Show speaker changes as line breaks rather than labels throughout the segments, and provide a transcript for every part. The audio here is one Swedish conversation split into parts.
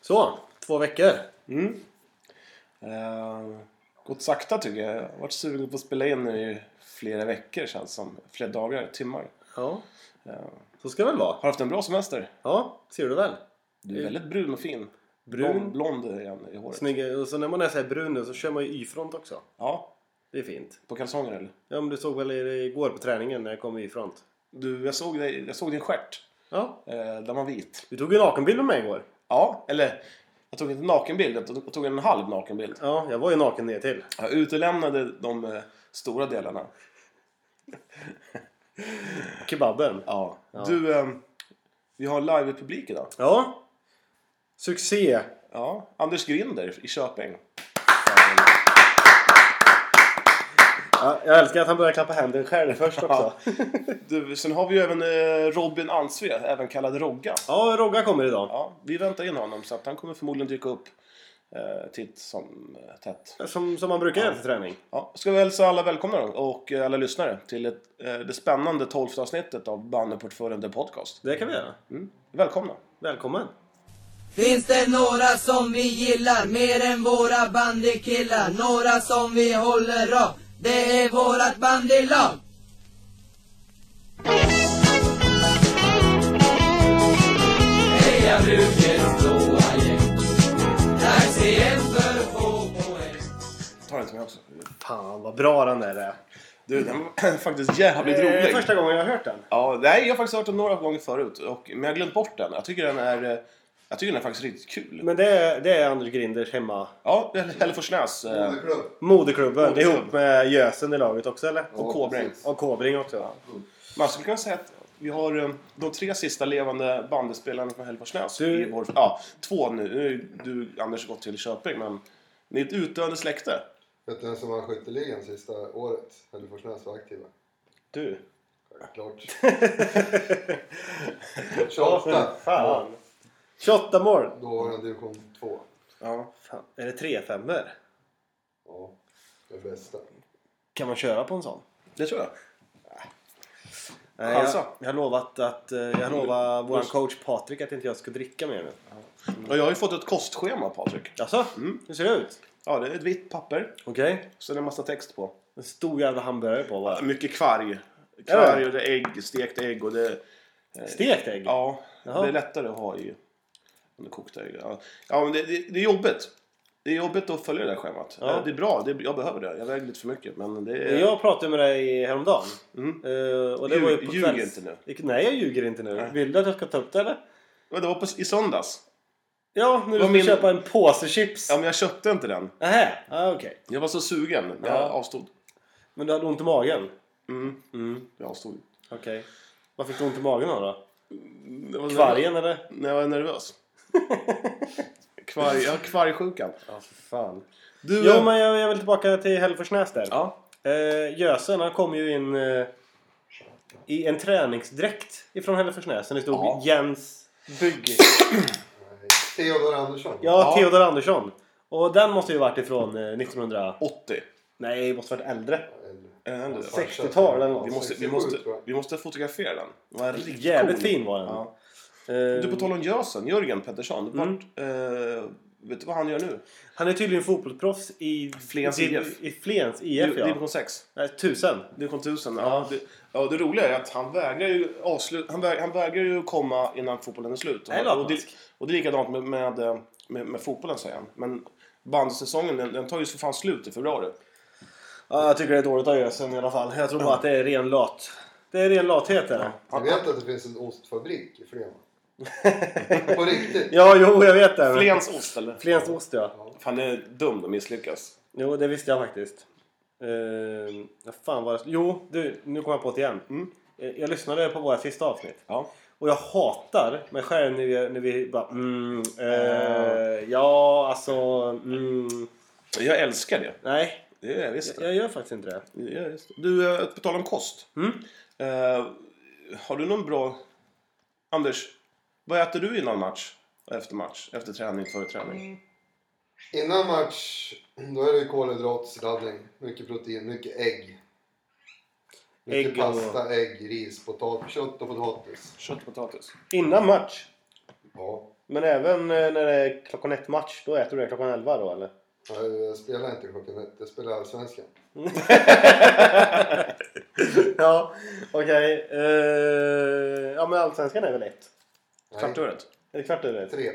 Så, två veckor.
Mm. Eh, gått sakta tycker jag. Jag har varit sugen på att spela in nu i flera veckor känns som. Flera dagar, timmar.
Ja,
Eh,
så ska det väl vara.
har haft en bra semester.
Ja, ser du väl.
Du är väldigt brun och fin.
Brun.
Blond, blond igen i håret.
Snygg. Och så när man är så här brun nu så kör man ju Y-front också.
Ja,
Det är fint.
på kalsonger eller?
Ja, men du såg väl igår på träningen när jag kom Y-front?
Du, jag såg, dig, jag såg din stjärt.
Ja.
Eh, den var vit.
Du tog ju en nakenbild med mig igår.
Ja, eller jag tog inte en nakenbild. Jag tog- jag tog en halv nakenbild.
Ja, jag var ju naken ner till.
Jag utelämnade de eh, stora delarna.
Kebaben.
Ja. Du, ehm, vi har live-publik idag.
Ja. Succé.
Ja, Anders Grinder i Köping.
Ja, jag älskar att han börjar klappa händer själv först också.
Ja. Du, sen har vi ju även eh, Robin Ansve, även kallad Rogga.
Ja, Rogga kommer idag.
Ja, vi väntar in honom så att han kommer förmodligen dyka upp eh, titt som eh, tätt.
Som, som man brukar göra till träning.
Ja, ska vi hälsa alla välkomna då, och eh, alla lyssnare till ett, eh, det spännande tolfte avsnittet av Bannerportföljen The Podcast.
Det kan vi göra.
Mm. Välkomna!
Välkommen.
Finns det några som vi gillar mer än våra bandykillar? Några som vi håller av? Det är vårat bandylag! Heja Brukets blåa gäng Dags igen för få poäng
Ta den till mig också.
Fan vad bra den där är.
Du, den var faktiskt jävligt
Det är
rolig.
Eh, första gången jag har hört den.
Ja, nej, jag har faktiskt hört den några gånger förut, och, men jag har glömt bort den. Jag tycker den är, eh, jag tycker den är faktiskt riktigt kul.
Men det är, det är Anders Grinders hemma.
Ja, Hälleforsnäs. Eh,
Moderklubben
Moderklubb.
ihop med Gösen i laget också eller?
Och Kobring.
Och Kobring också.
Man skulle kunna säga att vi har eh, de tre sista levande bandespelarna från Hälleforsnäs.
Du-
i vår- Ja, två nu. Nu har ju du, Anders, gått till Köping, men ni är ett utdöende släkte.
Vet du vem som vann skytteligan sista året? Hälleforsnäs var aktiva.
Du.
Klart. Tjata.
Fan. 28 mål.
Då var han division 2.
Ja.
Fan. Är det 3 5
Ja, det bästa.
Kan man köra på en sån?
Det tror jag.
Nej, jag,
Chansa.
jag har lovat att eh, jag lovar vår coach Patrik att inte jag ska dricka mer nu.
Mm. Och jag har ju fått ett kostschema, Patrik.
Jaså? Hur ser det ut?
Ja, det är ett vitt papper.
Mm. Okej.
Sen är det en massa text på.
En stor jävla hamburgare på bara.
Mycket kvarg.
Är det?
Kvarg och det är ägg, stekt ägg och det är
Stekt ägg?
Ja,
Jaha.
det är lättare att ha i under kokta ägg. Ja, ja men det, det, det är jobbigt. Det är jobbigt att följa det där schemat.
Ja.
Eh, Det är bra, det, jag behöver det. Jag väger lite för mycket. Men det är,
Jag pratade med dig häromdagen.
Mm.
Eh, och det
Ljug-
var ju på
ljuger
kvälls-
inte
Nej, jag ljuger inte nu.
Nej.
Vill du att jag ska ta upp det eller?
Ja, det var på, i söndags.
Ja, när du
Vad
ska
min-
köpa en påse chips.
Ja, men jag köpte inte den.
Nähä, ah, okej.
Jag var så sugen. Men
Ja.
jag avstod.
Men du hade ont i magen?
Mm,
Mm,
jag avstod.
okej. Vad fick du ont i magen av då?
Det var
Kvargen eller?
När jag var nervös. Kvarg, jag har kvargsjukan.
Ja, för fan.
Du,
Jo,
eh,
men jag, jag vill tillbaka till Hälleforsnäs där.
ja,
Eh, Gösen, han kom ju in eh, i en träningsdräkt ifrån Hälleforsnäs. Där det stod
Ja.
Jens Bygg.
Nej, Theodor Andersson.
Ja,
Ja.
Theodor Andersson. Och den måste ju varit ifrån eh, 1900...
80.
Nej, det måste varit äldre.
Eller-
Är den äldre?
Fan,
60-tal eller något.
Vi måste, vi,
67
måste,
tror jag.
vi måste fotografera den. Den var riktigt
Jävligt
cool.
fin var den.
Ja.
Eh,
Du, på tal om Gösen, Jörgen Pettersson.
Mm.
Vart, eh, vet du vad han gör nu?
Han är tydligen fotbollsproffs i
Flens
i-
IF.
I Flens
Div-
IF, ja.
Division 6.
Nej, tusen.
Division 1000. Ja. det, ja, det roliga är att han vägrar ju, avslu- han väg- han vägrar ju komma innan fotbollen är alltså. slut.
Nej,
och, det,
latmask.
och det är likadant med, med, eh, med, med fotbollen, säger han. Men bandysäsongen, den, den tar ju för fan slut i februari.
Ja, jag tycker det är dåligt av Ösen i alla fall. Jag tror bara att det är ren lat. Det är ren lathet det.
Jag vet att det finns en ostfabrik i Flen. På riktigt.
Ja, jo, jag vet det. men-
Flens ost, eller?
Flens ost, ja.
Fan, det är dumt att misslyckas.
Jo, det visste jag faktiskt. Uh, fan var det... Jo, du, nu kommer jag på det igen. Eh, Jag lyssnade på våra sista avsnitt.
Ja.
Och jag hatar mig själv när vi, när vi bara mm, eh, ja, alltså, mm,
Jag älskar det.
nej.
Det är jag visst.
Jag gör faktiskt inte det.
Ja, just det. Du, eh, på tal om kost. Eh, har du någon bra... Anders, vad äter du innan match? Och Efter match? Efter träning? Före träning?
Innan match, då är det ju kolhydratsladdning. Mycket protein, mycket ägg. Mycket
Ägg och-
pasta, ägg, ris, potat, kött och potatis.
Kött och potatis?
Innan match.
Ja.
Men även eh, när det är klockan ett match, då äter du det klockan elva då eller?
Ja, Jag spelar inte klockan ett, jag spelar Allsvenskan.
ja, okej. Eh, ja men Allsvenskan är väl ett?
Nej,
Kvart över ett.
Är det kvart över ett?
Tre.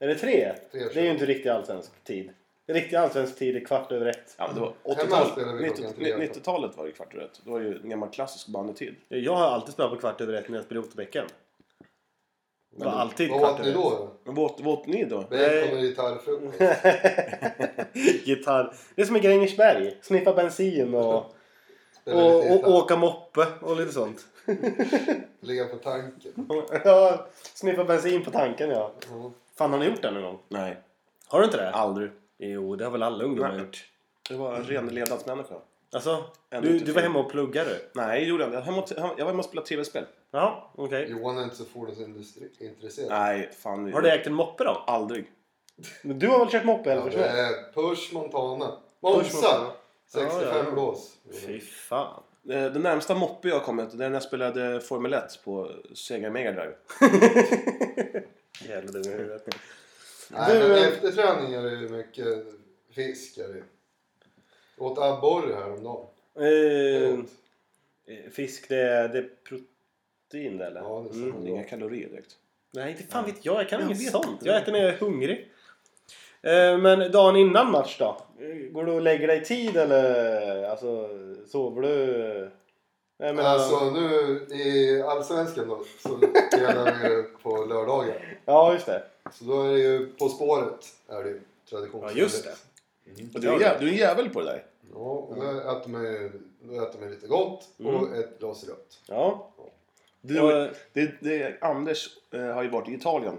Är det tre?
Tre,
det är
tror
ju
jag.
inte riktig allsvensk tid. Riktig allsvensk tid är kvart över ett.
Ja, men det var
spelar
80-talet.
vi klockan
90-
tre.
90-talet var det kvart över ett. Det var ju en gammal klassisk bandetid.
Jag har alltid spelat på kvart över ett när jag spelade i Otterbäcken. Det var
Men-
alltid
Vad
kvart
åt ni
över ett.
då?
Men vad åt- vad åt ni då?
Välkommen gitarrfrukost.
Gitarr. Det är som i Grängesberg. Sniffa bensin och,
Spela
och,
lite
och
gitarr.
åka moppe och lite sånt.
Ligga på tanken.
Ja, sniffa bensin på tanken ja.
Ja.
Fan har ni gjort det någon gång?
Nej,
Har du inte det?
aldrig.
Jo, det har väl alla ungdomar
Nej.
gjort.
Det var en ren ledansmänniska.
Alltså,
Ändå
du,
inte
du var
fel.
hemma och pluggade du?
Nej, det gjorde jag inte. Jag var hemma och- Jag var hemma och spelade tv-spel.
Ja, okej.
Johan är inte så fordonsintresserad.
Nej, fan.
Har du ägt en moppe då?
Aldrig.
Men du har väl kört moppe
Ja,
eller
det
ja,
är Push Montana.
Push Montana.
Monza! 65
Ja, ja, ja.
blås.
Fy fan.
Eh, Den närmsta moppe jag kom till, det är när jag spelade Formel 1 på Sega Mega Drive.
Jävla dum i huvudet.
Nej,
Du,
men
eh,
efter träning är det ju mycket fisk. Är det. ju. Åt abborre häromdagen.
Eh, fisk, det är, det är protein det eller?
Ja, det är
Mm.
sant.
Det är inga kalorier direkt.
Nej, inte fan vet jag. Jag kan
Jag
inget
vet
sånt.
inte.
Jag äter när jag är hungrig. Eh, Men dagen innan match då? Eh, Går du och lägger dig i tid eller alltså, sover du? Nej, men,
Alltså nu i Allsvenskan då så spelar vi ju på lördagar.
Ja, just det.
Så då är det ju På spåret är det ju traditionsenligt.
Ja, just det.
Och du, är, jä- du är en jävel på det där.
Ja, och då äter man ju då äter man lite gott och ett glas rött.
Ja.
Du,
Och-
det, det, Anders eh, har ju varit i Italien.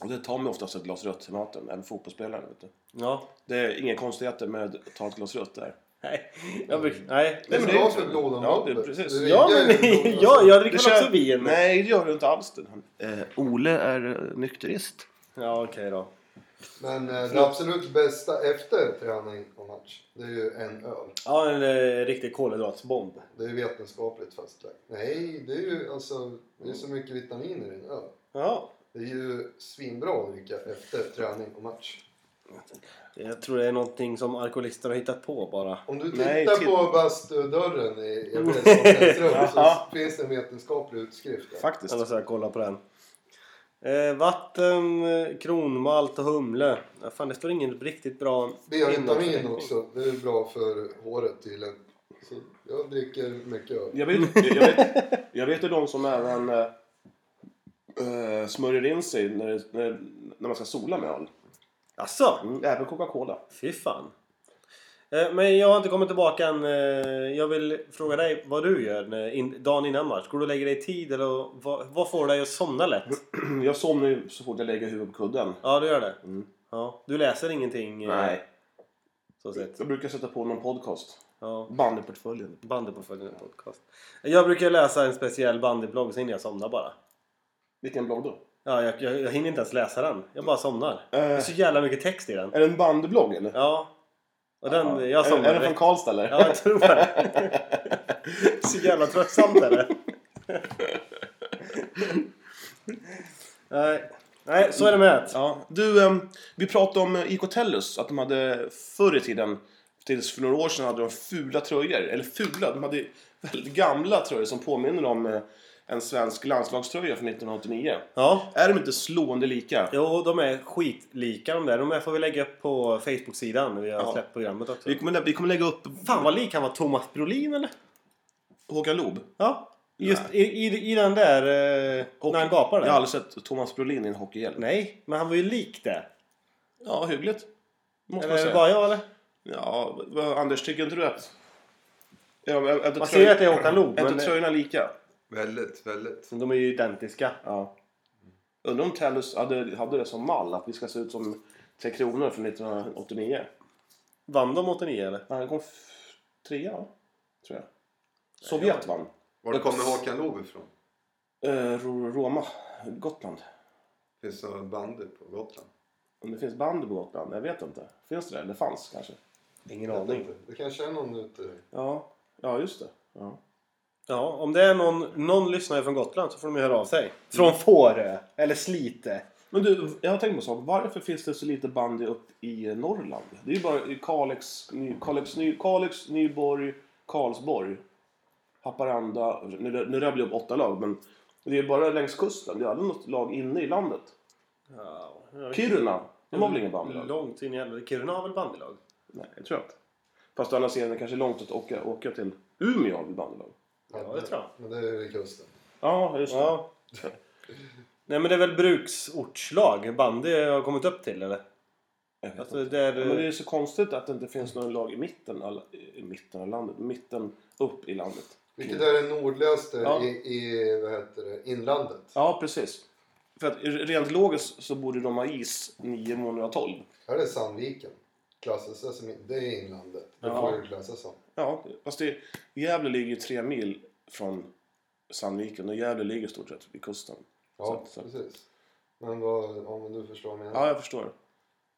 Och det tar mig oftast ett glas rött till maten, även fotbollsspelare. Vet du.
ja.
Det är inga konstigheter med att ta ett glas rött där.
Nej, jag brukar... Nej.
Det är
men
bra
det-
för blodomloppet.
ja, det- precis.
Det
Ja,
riggar
men
ju för blodomloppet.
ja, jag dricker
Det
väl också
kör-
vin.
Nej, det gör du inte alls. det. Han, eh, Ole är eh, nykterist.
Ja, okej då.
Men eh, det absolut bästa efter träning och match, det är ju en öl.
Ja, en eh, riktig kolhydratsbomb.
Det är ju vetenskapligt fastlagt. Nej, det är ju alltså, det är så mycket vitaminer i en öl.
Ja.
Det är ju svinbra att dricka efter träning och match.
Jag tror det är någonting som alkoholister har hittat på bara.
Om du tittar
Nej, till-
på bastudörren i i ett vetenskapsrum
Jaha.
så finns det en vetenskaplig utskrift där.
Faktiskt.
Jag måste jag kolla på den. Eh, vatten, eh, kronmalt och humle. Ja, fan, det står ingen riktigt bra
B-vitamin
innehållsförteckning.
också, det är bra för håret tydligen. Så jag dricker mycket öl.
Jag vet, jag, jag vet, jag vet ju de som även eh, eh, smörjer in sig när, det- när, när man ska sola med öl.
Jaså?
Mm, även Coca-Cola.
Fy fan. Eh, men jag har inte kommit tillbaka än. Eh, jag vill fråga dig vad du gör när, in, dagen innan match. Går du och lägger dig i tid eller vad, vad får dig att somna lätt?
Jag somnar ju så fort jag lägger huvudet på kudden.
Ja, du gör det?
Mm.
Ja. Du läser ingenting? eh,
Nej.
Så sett.
Eh, Jag brukar sätta på någon podcast.
Ja.
Bandyportföljen.
Bandyportföljen podcast. Jag brukar läsa en speciell bandyblogg sen jag somnar bara.
Vilken blogg då?
Ja, jag, jag, jag hinner inte ens läsa den. Jag bara somnar. Det
Eh,
är så jävla mycket text i den.
Är det en bandyblogg eller?
Ja. Och den, jag
är,
somnar
är den från
direkt.
Karlstad eller?
Ja, jag tror det. så jävla tröttsamt är det. Nej. Nej, så är det med det.
Ja. Du, ehm, vi pratade om eh, IK Tellus, att de hade förr i tiden, tills för några år sedan, hade de fula tröjor. Eller fula, de hade väldigt gamla tröjor som påminner om eh, en svensk landslagströja från 1989.
Ja.
Är de inte slående lika?
Jo, de är skitlika de där. De här får vi lägga upp på Facebook-sidan när vi har
Ja.
släppt programmet också.
Vi kommer, lä- vi kommer lägga upp
Fan vad lik han var Thomas Brolin eller?
Håkan Loob.
Ja. Just i, i, i den där... Eh, när han gapar där.
Jag har aldrig sett Thomas Brolin i en hockeyhjälm.
Nej, men han var ju lik det.
Ja, hyggligt. Måste
Eller
man
är det
säga.
bara jag eller?
Ja, vad- vad, Anders, tycker inte du att... Ja, men,
Man ser ju att det är Håkan Loob,
Är
men-
inte tröjorna lika?
Väldigt, väldigt.
De är ju identiska.
Ja. Undrar om Tellus hade, hade det som mall att vi ska se ut som Tre Kronor från 1989?
Vann de 89 eller?
Nej, han kom f- trea, va? tror jag. Sovjet vann.
Var kommer Håkan Loob ifrån?
Eh, Ro- Roma, Gotland.
Finns det några bandy på Gotland?
Om det finns band på Gotland? Jag vet inte. Finns det det? Det fanns kanske.
Ingen
Jag vet inte. Det kanske är någon ute.
Ja, ja just det. Ja.
Ja, om det är någon, någon lyssnare från Gotland så får de ju höra av sig. Från Fårö eller Slite
Men du, jag har tänkt på en sak. Varför finns det så lite bandy upp i Norrland? Det är ju bara i Kalix, Ny, Kalix, Ny, Kalix Nyborg, Karlsborg, Haparanda. Nu, nu rabblade jag upp åtta lag, men det är bara längs kusten. Det är aldrig något lag inne i landet.
Ja, jag vet
Kiruna, de har väl ingen
inte.
bandylag?
Långt in i helvete. Kiruna har väl bandylag?
Nej, jag tror inte. Fast å andra sidan är det kanske långt att åka, åka till Umeå har väl bandylag?
Ja, det tror jag.
Men det är ju vid kusten.
Ja, just det.
Ja. Nej men det är väl bruksortslag bandy har kommit upp till eller?
Jag vet
Alltså det är...
Ja, Men det är så konstigt att det inte finns några lag i mitten, all, i mitten av landet. Mitten upp i landet.
Vilket är det nordligaste
Ja.
i, i vad heter det, inlandet.
Ja, precis. För att rent logiskt så borde de ha is 9 månader av 12.
Här är Sandviken. Klassas det som in- det är inlandet. Det
Ja.
får det klassas som.
Ja, fast det, Gävle ligger ju tre mil från Sandviken och Gävle ligger i stort sett vid kusten.
Ja,
Så- så-
precis. Men vad, om du förstår vad jag menar.
Ja, jag förstår.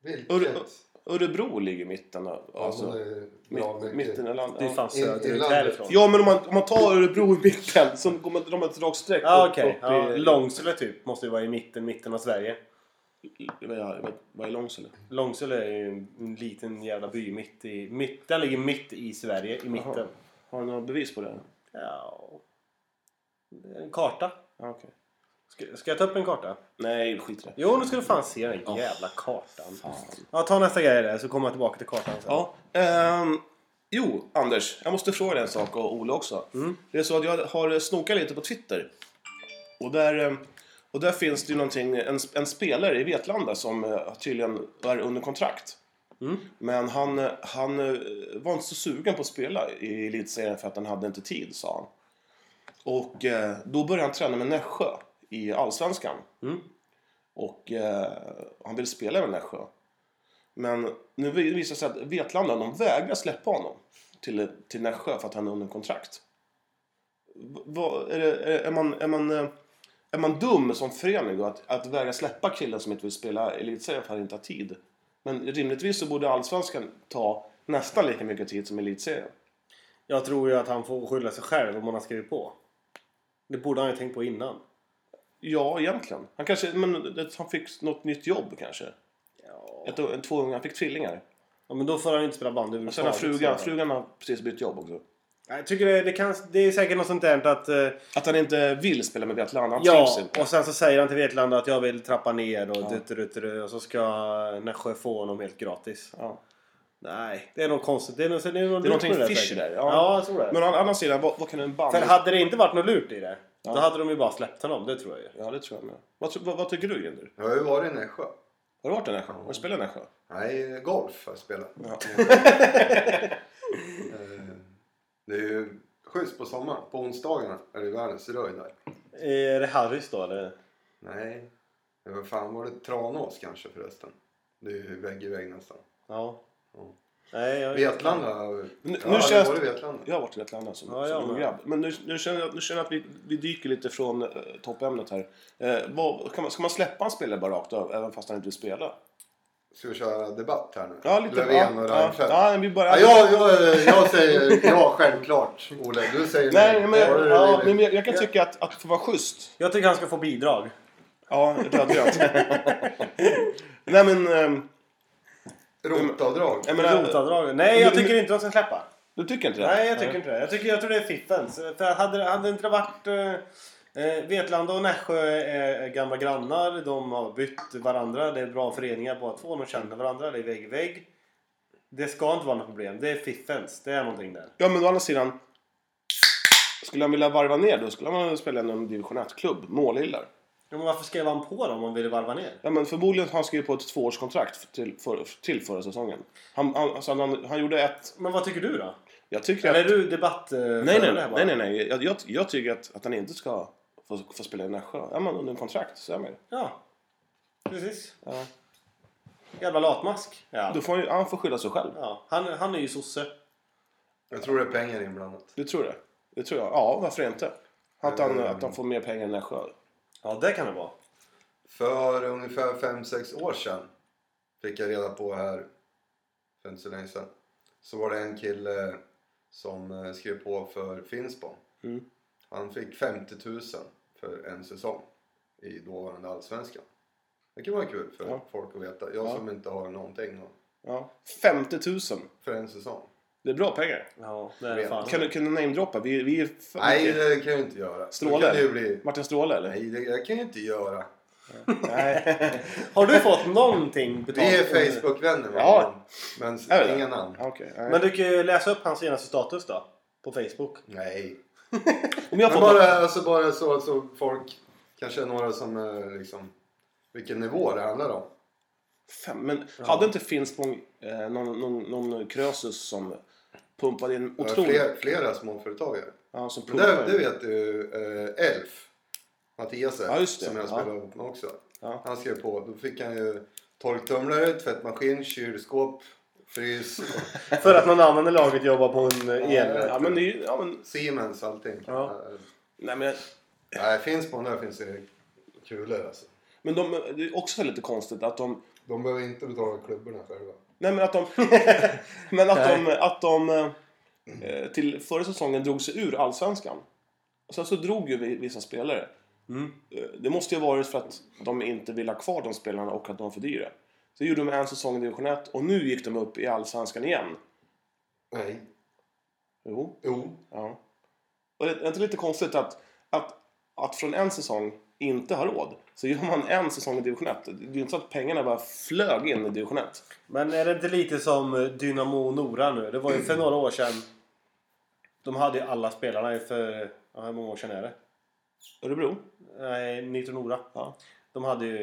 Vilket?
Ur- Örebro ligger i mitten av,
Ja,
alltså,
det är bra
mitt,
mycket.
mitten av landet.
Det är ju
Ja.
fan söderut
Inlandet.
härifrån.
ja, men om man, om man tar Örebro i mitten så går man, drar man ett rakt streck
Ja
upp,
okej.
upp
Ja,
i...
Långsele typ måste ju vara i mitten, mitten av Sverige.
Vad är- vad är Långsele?
Långsele är ju en liten jävla by mitt i... Mitt, den ligger mitt i Sverige, i mitten.
Jaha. Har du några bevis på det? här?
Ja... En karta.
Ja, okej.
Ska, ska jag ta upp en karta?
Nej, skit i det.
Jo, nu ska du fan se den jävla kartan. Ja, ta nästa grej där så kommer jag tillbaka till kartan sen.
Ja, ehm, jo, Anders. Jag måste fråga dig en sak och Ola också. Det är så att jag har snokat lite på Twitter. Och där, ehm, och där finns det ju någonting, en, en spelare i Vetlanda som eh, tydligen är under kontrakt. Men han, eh, han eh, var inte så sugen på att spela i elitserien för att han hade inte tid, sa han. Och eh, då började han träna med Nässjö i Allsvenskan. Och eh, han ville spela med Nässjö. Men nu visar det sig att Vetlanda, de vägrar släppa honom till, till Nässjö för att han är under kontrakt. V- vad- är, det, är, är, man, är, man, eh, är man dum som förening då att, att vägra släppa killen som inte vill spela elitserien för att han inte har tid? Men rimligtvis så borde allsvenskan ta nästan lika mycket tid som elitserien.
Jag tror ju att han får skylla sig själv om han har skrivit på. Det borde han ju tänkt på innan.
Ja, egentligen. Han kanske men, det- han fick något nytt jobb kanske. Ett, en, två unga, han fick tvillingar.
Ja, men då får han ju inte spela bandy
Och sen har
överhuvudtaget.
frugan,
så-
frugan har precis bytt jobb också.
Ja, Jag tycker det, det, kan, det är säkert något sånt där att... eh,
Att han inte vill spela med Vetlanda, han trivs
Ja,
inte.
och sen så säger han till Vetlanda att jag vill trappa ner och, dutt-dutt-dutt, och så ska Nässjö få honom helt gratis.
Ja.
Nej, det är något konstigt. Det är, något, det är, något
Det är någonting
lurt med
fishy
säkert.
där, ja.
Ja. jag tror det.
Men å andra sidan, vad, vad kan en band...
För hade det inte varit något lurt i det, då hade de ju bara släppt honom. Det tror jag ju.
Ja, det tror jag med. Vad, tro- vad, vad tycker du, Ginder?
Jag har ju varit i Nässjö.
Har du varit i Nässjö? Har du spelat i Nässjö?
Nej, golf har jag spelat. Eh, det är ju schysst på sommaren. På onsdagarna är det världens röj där.
Är det Harrys då eller?
Nej, det var fan var det Tranås kanske förresten? Det är ju vägg i vägg nästan.
Ja.
Ja.
Nej, jag...
Vetlanda. ja,
Nu,
jag har
nu
aldrig
känns...
varit i Vetlanda.
Jag har varit i Vetlanda som,
Ja, jag
som ung
med.
grabb. Men nu, nu, känner jag, nu känner jag att vi, vi dyker lite från eh, toppämnet här. Eh, vad, kan man, ska man släppa en spelare bara rakt av, även fast han inte vill spela?
Ska vi köra debatt här nu?
Ja, lite...
Löfven och
ja,
Reinfeldt.
ja, vi börjar...
Ja, jag, jag, jag säger ja, självklart. Ola, du säger
Nej, men,
Har
jag,
du det
ja,
i dig?
men jag, jag kan tycka att, att för att vara schysst
jag tycker han ska få bidrag.
Ja, rödgrönt. Nej men, ehm,
Rotavdrag.
jag menar,
Rotavdrag. Nej, jag
Men-
tycker inte de ska släppa.
du tycker inte det?
Nej, jag tycker inte det. Jag, tycker, jag tror det är fiffens. För hade, hade inte det varit... eh, eh, Vetlanda och Nässjö är gamla grannar. De har bytt varandra. Det är bra föreningar båda två. De känner varandra. Det är vägg i vägg. Det ska inte vara något problem. Det är fiffens. Det är någonting där.
Ja, men å andra sidan. Skulle han vilja varva ner då skulle han spela i någon division 1-klubb, målhillar.
Ja, men varför skrev han på dem om han ville varva ner?
Ja, men förmodligen har han skrivit på ett tvåårskontrakt till, för, till förra säsongen. Han, han, alltså, han, han gjorde ett...
Men vad tycker du då?
Jag tycker
Eller
att...
är du debatt... eh,
Nej, nej,
förare här
nej,
bara?
nej, nej, nej. Jag, jag, jag tycker att, att han inte ska få, få spela i Nässjö. Är man under kontrakt så är man ju.
Ja, precis.
Ja.
Jävla latmask. Ja.
Då får han, ju- han får skylla sig själv.
Ja. Han, han är ju sosse.
Jag tror det är pengar inblandat.
Du tror det? Det tror jag. Ja, varför inte? Att han, att han får mer pengar än Nässjö.
Ja, det kan det vara.
För ungefär 5-6 år sedan fick jag reda på här för inte så länge sedan. Så var det en kille som eh, skrev på för Finspång.
Mm.
Han fick 50 000 för en säsong i dåvarande Allsvenskan. Det kan vara kul för
Ja.
folk att veta. Jag
Ja.
som inte har någonting och-
Ja. 50 000.
för en säsong.
Det är bra pengar.
Ja, det är det fan.
Kan du, kan du namedroppa? Vi, vi är för
Nej,
mycket.
det kan jag inte göra.
Stråle?
Det kan ju bli...
Martin Stråle eller?
Nej, det jag kan jag inte göra.
Har du fått någonting betalt?
Vi är Facebook-vänner med
Ja.
honom.
Är
Men
det?
inga namn.
Ja, Okej. nej.
Men du kan ju läsa upp hans senaste status då. På Facebook.
Nej.
Om jag
Men
får
bara, alltså bara så att så folk, kanske några som eh, liksom, vilken nivå det handlar om.
Fem, men hade inte Finspång eh, någon, någon, någon krösus som pumpade in
Jag har
otroligt...
Fler, flera småföretagare.
Ja, som
Men det, det
pumpade in.
vet du, eh, Elf, Mattias Elf,
Ja, just det.
som jag
Ja.
spelade ihop med också.
Ja.
Han skrev på, då fick han ju torktumlare, tvättmaskin, kylskåp, frys,
För att någon annan i laget jobbar på en eh, el.
Ja, men det är ju... Ja, men,
Siemens, allting.
Ja.
Eh,
nej, men,
Nej, finns på där finns det kulor alltså.
men de, det är också lite konstigt att de...
De behöver inte betala klubborna själva.
Nej, men att de... men att de... Att de eh, till förra säsongen drog sig ur Allsvenskan. Och sen så drog ju vi- vissa spelare.
Mm.
Eh, Det måste ju ha varit för att de inte vill ha kvar de spelarna och att de var för dyra. Så gjorde de en säsong i division 1 och nu gick de upp i Allsvenskan igen.
Nej.
Jo,
Jo.
Ja. Och det är inte lite konstigt att, att, att från en säsong inte ha råd så gör man en säsong i division 1. Det är ju inte så att pengarna bara flög in i division 1.
Men är det inte lite som eh, Dynamo Nora nu? Det var ju för några år sedan. De hade ju alla spelarna ju för... Ja, hur många år sedan är det?
Örebro?
Nej, Nitro Nora.
Ja.
De hade ju...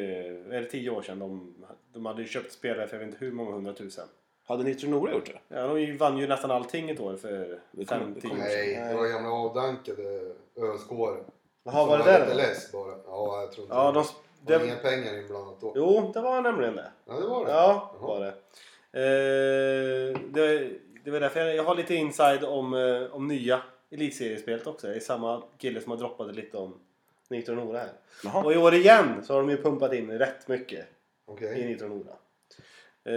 Är det tio år sedan? De, de hade ju köpt spelare för jag vet inte hur många hundratusen.
Hade Nitro Nora gjort det?
Ja, de vann ju nästan allting ett år för
Det kommer- det
50
kommer-
Nej, det var gamla avdankade öskåre.
Jaha, var det
Som
där
lite
det?
less bara. Ja, jag tror inte
Ja,
det.
de...
Det var
Det,
inga pengar inblandat då.
jo, det var nämligen det.
Ja, det var det.
Ja,
Jaha.
var det. Eh, det. Det var därför jag, jag har lite inside om, eh, om nya elitseriespelet också. Det är samma kille som har droppat lite om Nitro Nora här.
Jaha.
Och i år igen så har de ju pumpat in rätt mycket
Okej.
i Nitro Nora.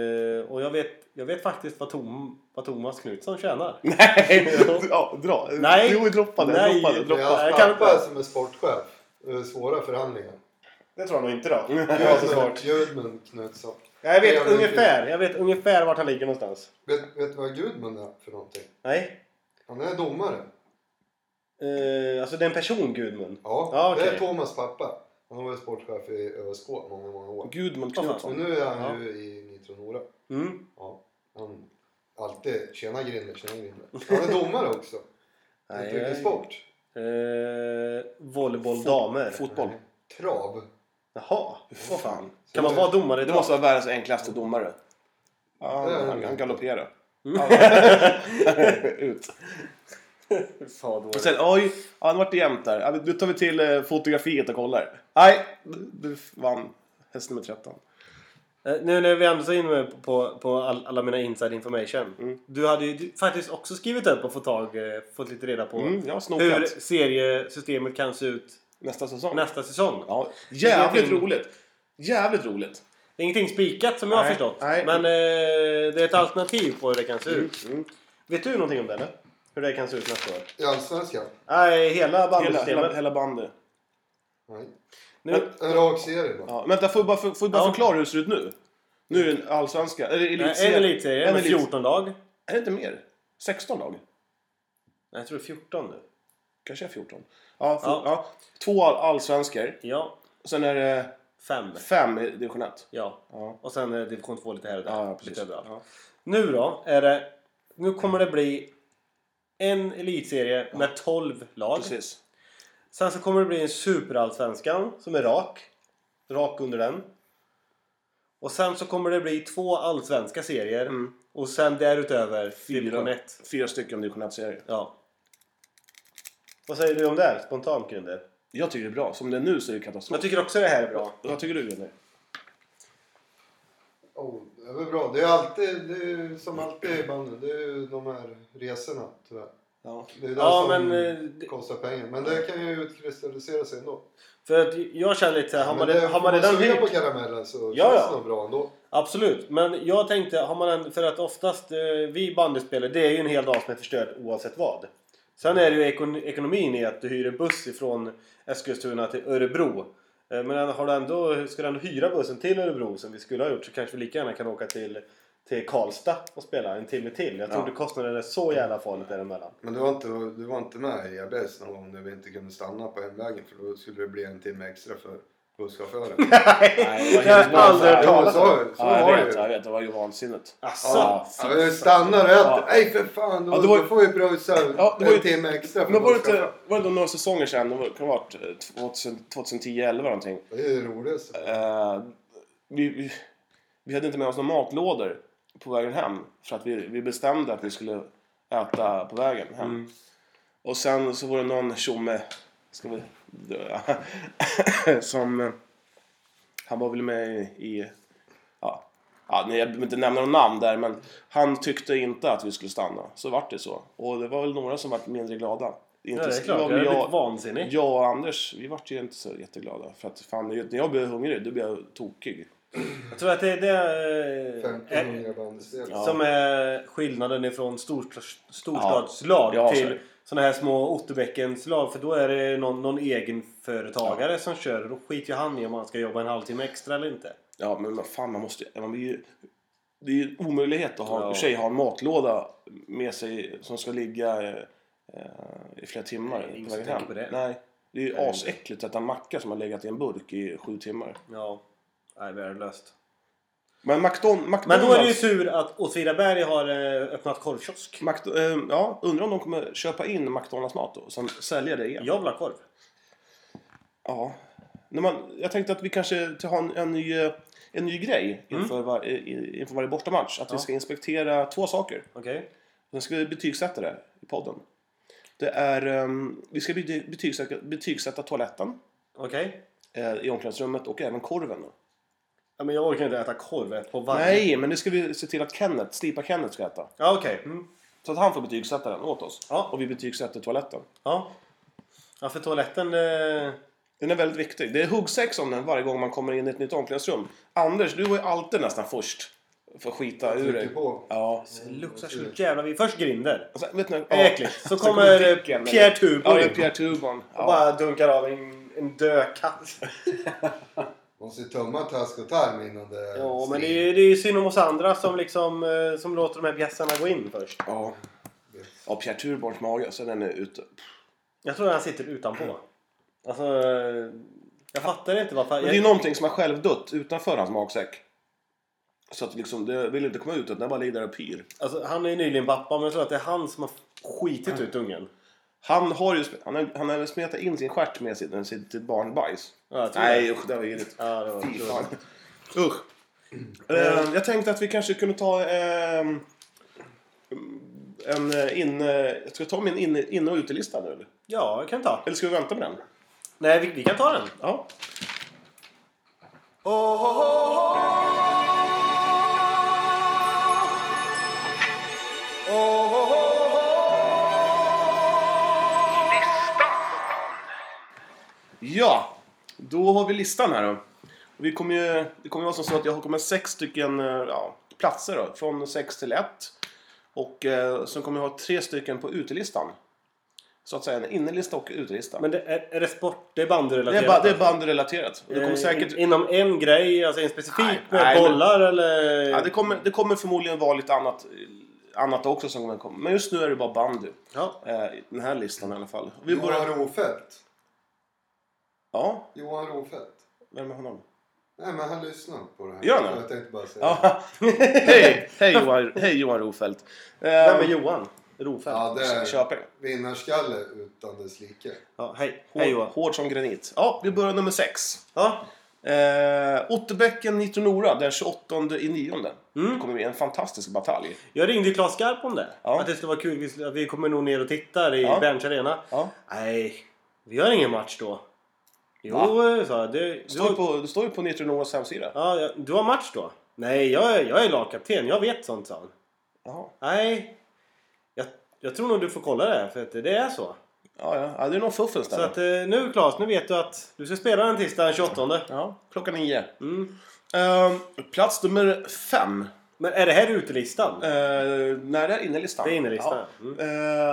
Eh, och jag vet, jag vet faktiskt vad, Tom, vad Thomas Knutsson tjänar.
Nej! ja, dra.
Nej.
Jo, droppa det.
Nej.
Droppa det.
Det är
Droppa.
Ja.
hans
Jag kan
pappa
inte-
som är sportchef. Det är svåra förhandlingar.
Det tror jag nog inte då.
Gudmund- Gudmund Knutsson.
jag, vet
Det är
ungefär, jag vet ungefär vart han ligger någonstans.
Vet, vet du vad Gudmund är för någonting?
Nej.
Han är domare.
Eh, alltså det är en person Gudmund.
Ja,
Ja, okej.
det är Thomas pappa. Han har varit sportchef i ÖSK många, många år.
Gudmund
Vad fan.
Men
Knutsson.
nu är han ju i Nitro Nora.
Mm.
Ja, han alltid tjena Grinder, tjena Grinder. Han är domare också.
Nej,
Uttrycker sport.
Eh, volleyboll damer.
Fotboll.
Trav.
Jaha, vad fan.
Så
Kan man
det-
vara domare
Det
då?
måste vara världens enklaste domare. Ja,
Det är
han,
det.
han, han galopperar. Ut.
Fan, då är
Och
det-
sen, oj, ja, nu vart det jämnt där. Ja, men Nu tar vi till eh, fotografiet och kollar. Nej, du- du vann häst nummer 13.
Eh, Nu när vi ändå är inne med på, på all, alla mina inside information.
Mm.
Du hade ju du, faktiskt också skrivit upp och fått, tag, eh, fått lite reda på
Mm, jag har snokat.
hur seriesystemet kan se ut
Nästa säsong.
nästa säsong.
Ja, jävligt
Ingenting-
roligt. Jävligt roligt.
Det är ingenting spikat som jag har
Nej,
förstått.
nej.
Men eh, det är ett alternativ på hur det kan se ut.
Mm.
Vet du någonting om det eller? Hur det kan se ut nästa år?
I Allsvenskan?
Nej, hela
Hela,
bandsystemet.
hela, hela bandet.
Nej.
Nu,
En rak serie bara.
Ja, vänta, får jag bara, får jag bara
Ja.
förklara hur det ser ut nu? Nu är det en allsvenska. Eller
nej,
elitserie.
en elitserie
En
med
elit-
14 lag. Nej,
Är det inte mer? 16 lag?
jag tror det är 14 nu.
Kanske är 14. Ja, för,
Ja.
ja. Två all- allsvenskor.
Ja,
Sen är det
fem.
fem i division 1.
Ja.
Ja.
Och sen är division 2 lite här och där.
Ja, ja, precis.
Lite överallt.
Ja.
Nu då, är det, nu kommer det bli en elitserie med 12 lag.
Precis.
Sen så kommer det bli en superallsvenskan som är rak. Rak under den. Och sen så kommer det bli två allsvenska serier. Och sen därutöver division 1.
Mm. Fyra stycken division 1-serier.
Ja. Vad säger du om det här? Spontant Grunder?
Jag tycker det är bra. Som det är nu så är det katastrof.
Jag tycker också det här är bra.
Vad tycker du Gunnar?
Oh, det är väl bra. Det är alltid, det är ju som alltid i bandet, det är ju de här resorna tyvärr.
Ja.
Det är det
Ja,
som
men, eh, det-
kostar pengar. Men det kan ju utkristallisera sig ändå.
För att jag känner lite så här, har man,
men det,
har man
får
redan
suga på
hyrt...
karamellen så
Ja,
känns
ja.
det nog bra ändå.
Absolut, men jag tänkte, har man en, för att oftast eh, vi bandespelare, det är ju en hel dag som är förstörd oavsett vad. Sen är det ju ekon, ekonomin i att du hyr en buss ifrån Eskilstuna till Örebro. Eh, Men har du ändå, ska du ändå hyra bussen till Örebro som vi skulle ha gjort så kanske vi lika gärna kan åka till, till Karlstad och spela en timme till. Jag tror
Ja.
det kostnaden är så jävla farligt däremellan.
Men du var inte, du var inte med i ABS någon gång när vi inte kunde stanna på hemvägen för då skulle det bli en timme extra för busschauffören.
Nej, det
Jag har aldrig hört
var helt vansinnigt.
talas om.
så, så
Ja,
var
jag
det
vet,
ju.
jag vet. Det var ju vansinnigt.
Asså.
Ja,
Ja,
ja, men stannar du
Ja.
Nej för fan, då,
Ja, det var ju-
då får vi pröjsa
Ja, det var ju-
en timme extra för
Men var det
busschauffören.
inte, var det då några säsonger sedan, det var- kan ha varit eh, 2000 2010, 11 någonting.
Det är det roligaste.
Eh, vi, vi, vi hade inte med oss några matlådor på vägen hem. För att vi, vi bestämde att vi skulle äta på vägen hem.
Mm.
Och sen så var det någon tjomme ska vi, som eh, han var väl med i, i ja, ja, nej, jag behöver inte nämna någon namn där men han tyckte inte att vi skulle stanna. Så vart det så. Och det var väl några som vart mindre glada. Inte
Ja, det är klart,
var
jag är
jag-
lite vansinnig.
jag och Anders, vi vart ju inte så jätteglada. För att fan, när jag blir hungrig, då blir jag tokig.
Jag tror att det är det eh,
1500 bandespel.
Ja.
som är skillnaden ifrån storstads, storstadslag
Ja, så är
till
det.
sådana här små Otterbäckenslag. För då är det någon, någon egenföretagare som kör. Då skiter ju han i om han ska jobba en halvtimme extra eller inte.
Ja, men vad fan, man måste man blir ju... Det är ju en omöjlighet att ha,
Ja.
i och för sig ha en matlåda med sig som ska ligga eh, i flera timmar
Nej, ingen
på
som
vägen
tänker
hem.
på det.
Nej, det är ju asäckligt att äta en macka som har legat i en burk i sju timmar.
Ja, nej, värdelöst.
Men McDon- McDonalds...
Men då är det ju tur att Åtvidaberg har eh, öppnat korvkiosk.
Mc, eh, ja, undrar om de kommer köpa in McDonalds mat då och sen sälja det igen.
Jag vill ha korv.
Ja. När man, jag tänkte att vi kanske ska ha en, en, ny, eh, en ny grej inför, var, i- i- inför varje bortamatch. Att vi
Ja.
ska inspektera två saker.
Okej?
Sen ska vi betygsätta det i podden. Det är, ehm, vi ska bety- betygsätta, betygsätta toaletten
Okej?
eh, i omklädningsrummet och även korven.
Ja, men jag orkar inte äta korv på varje...
Nej, men det ska vi se till att Kenneth, Slipa Kenneth ska äta.
Ja, okej. Mm.
Så att han får betygsätta den åt oss.
Ja.
Och vi betygsätter toaletten.
Ja. ja, för toaletten... Eh...
Den är väldigt viktig. Det är huggsexa om den varje gång man kommer in i ett nytt omklädningsrum. Anders, du var ju alltid nästan först. För att skita ur dig.
Trycker på.
Ja.
Det luktar så jävla... vi- Först Grinder.
Och sen, Alltså, vet ni,
Mm. Ja. Alltså, Äckligt. Så kommer eh,
Dicken,
Pierre Tubo
Ja, det
in.
är eh, Pierre Tubon.
och
Ja.
bara dunkar av en, en död katt.
Måste ju tömma task och tarm innan det...
Ja, men det är, ju- det är ju synd om oss andra som liksom... eh, Som låter de här bjässarna gå in först.
Ja. ja, Pierre Tubons mage, så den är ute.
Jag tror han sitter utanpå. Alltså... eh, Jag fattar inte varför...
Men det är ju någonting som har självdött utanför hans magsäck. Så att liksom, det vill inte komma ut, utan den bara ligger där och pyr.
Alltså, han är ju nyligen pappa, men jag tror att det är han som har skitit ut ungen.
Han har ju sp- han har, han har smetat in sin stjärt med sitt, sitt barnbajs.
Ja, jag tror
Nej
det.
usch, det var vidrigt.
Ja, det var
Fy
kul.
fan. Usch. Eh, jag tänkte att vi kanske kunde ta ehm, en eh, in... eh, Jag ska ta min in, in och utelista nu eller?
Ja, jag kan ta.
Eller ska vi vänta med den?
Nej, vi, vi kan ta den.
Ja. Ja, då har vi listan här då. Och Vi kommer ju, det kommer ju vara som så att jag kommer sex stycken eh, ja, platser då, från 6 till 1. Och eh, sen kommer jag ha tre stycken på utelistan. Så att säga en innelista och utelista.
Men det, är, är det sport? Det är
det,
bandyrelaterat?
är ba, det är bandrelaterat. Och det kommer
Eh,
säkert...
in- Inom en grej? Alltså en specifik
Nej,
med
nej, men-
bollar eller?
Ja, det, kommer, det kommer förmodligen vara lite annat, annat också som kommer komma. Men just nu är det bara bandy.
Ja.
Eh, i den här listan i alla fall. Vi
Johan
börjar...
Rofeldt.
Ja,
Johan Rofeldt.
vem är honom?
Nej men han lyssnar på det här.
Gör han det?
Jag tänkte bara säga det.
Ja. hej, hej, Johan, hej Johan Rofeldt. Eh,
Vem är Johan? Rofeldt?
Ja, det är
Köping.
vinnarskalle utan dess like.
Ja, hej.
Hård,
Hej Johan.
hård som granit. Ja, vi börjar nummer sex.
Ja.
Eh, Otterbäcken, Nitro Nora den 28 i nionde. Det kommer bli en fantastisk batalj.
Jag ringde ju Claes Skarp om det.
Ja.
Att det skulle vara kul. Vi, skulle- att vi kommer nog ner och tittar i
Ja.
Berns Arena.
Ja.
Nej, vi har ingen match då. Jo, sa jag. Det,
Det står ju på, det står ju på Nitro Noras hemsida.
Ja, ja, du har match då? Nej, jag, är- jag är lagkapten. Jag vet sånt, sa han.
Jaha.
Nej, jag, jag tror nog du får kolla det här, för att det är så.
Ja, ja. ja, det är någon fuffens där.
Så att eh, nu Claes, nu vet du att du ska spela den tisdag den 28.
Ja, klockan nio.
Mm.
Ehm, plats nummer fem.
Men är det här utelistan?
Uh, nej, det är innerlistan.
Det är innerlistan,
Ja.
ja.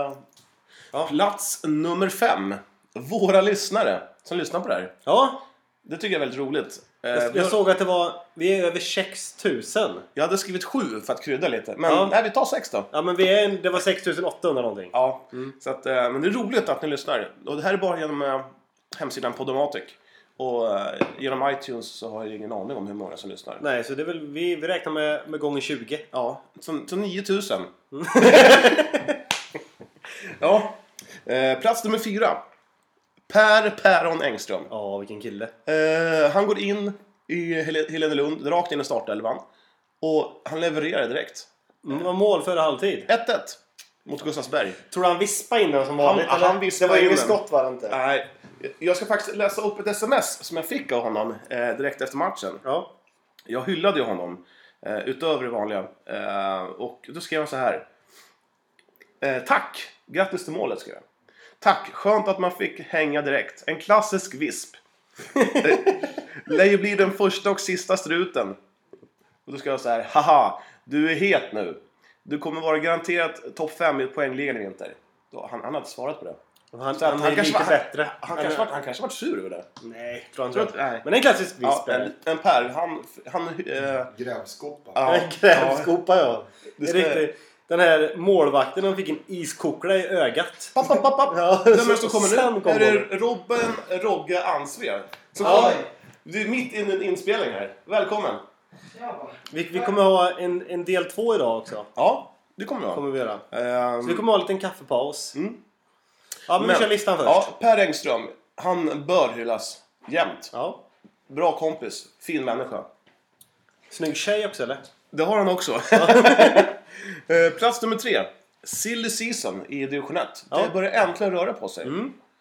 Ehm,
Ja.
Plats nummer fem. Våra lyssnare som lyssnar på det här.
Ja,
Det tycker jag är väldigt roligt. Eh,
Jag,
vi
jag
har-
såg att det var... Vi är över 6000.
jag hade skrivit sju för att krydda lite. Men
Ja.
nej, vi tar sex då.
Ja men vi är en, det var 6800 någonting.
Ja, så att, eh, men det är roligt att ni lyssnar. Och det här är bara genom eh, hemsidan Podomatic. Och eh, genom iTunes så har jag ingen aning om hur många som lyssnar.
Nej, så det är väl, vi, vi räknar med, med gånger 20.
Ja, så, så 9000. ja, eh, plats nummer fyra. Per Päron Engström.
Ja, vilken kille.
Eh, han går in i Hel- Helenelund, rakt in i startelvan. Och han levererar direkt. Mm.
Det var mål före halvtid.
1-1 mot Gustavsberg.
Tror du han vispade innan som
Han-
vanligt? eller?
han vispade
det var inget
in den.
skott var det inte?
Nej, jag ska faktiskt läsa upp ett sms som jag fick av honom eh, direkt efter matchen.
Ja.
Jag hyllade ju honom, eh, utöver det vanliga. Eh, och då skrev han så här. Eh, tack! Grattis till målet, skrev jag. Tack! Skönt att man fick hänga direkt. En klassisk visp. Eh, Lär ju bli den första och sista struten. Och då ska jag så här. Haha! Du är het nu. Du kommer vara garanterat topp 5 i poängligan i vinter. Då, han, han hade inte svarat på det.
Han, han,
Så att
är lite
var-
bättre.
Han, kanske var, han kanske var sur över det.
Nej, tror han
Tror
inte.
inte- nej.
Men en klassisk visp.
Ja,
är
en,
det.
en Per, han... han eh,
Grävskopa.
ja,
En grävskopa ja. Det är
ska-
riktigt. Den här målvakten, han fick en iskokla i ögat.
Papp, papp, papp, papp.
Ja,
Vem är
så-
det som kommer
sen
nu?
kom
är det
bollen.
Robben Rogge Ansve? Som
Ja.
kommer. Du är mitt i en inspelning här. Välkommen!
Vi, vi kommer ha en, en del två idag också.
Ja, det kommer jag.
Kommer vi göra.
Ehm,
Så vi kommer ha en liten kaffepaus. Ja, men, vi
Mm. men-
kör listan först.
Ja, per Engström, han bör hyllas jämt.
ja.
Bra kompis, fin människa.
Snygg tjej också eller?
Det har han också. Eh, Plats nummer tre. Silly Season i division 1.
Ja.
Det börjar äntligen röra på sig.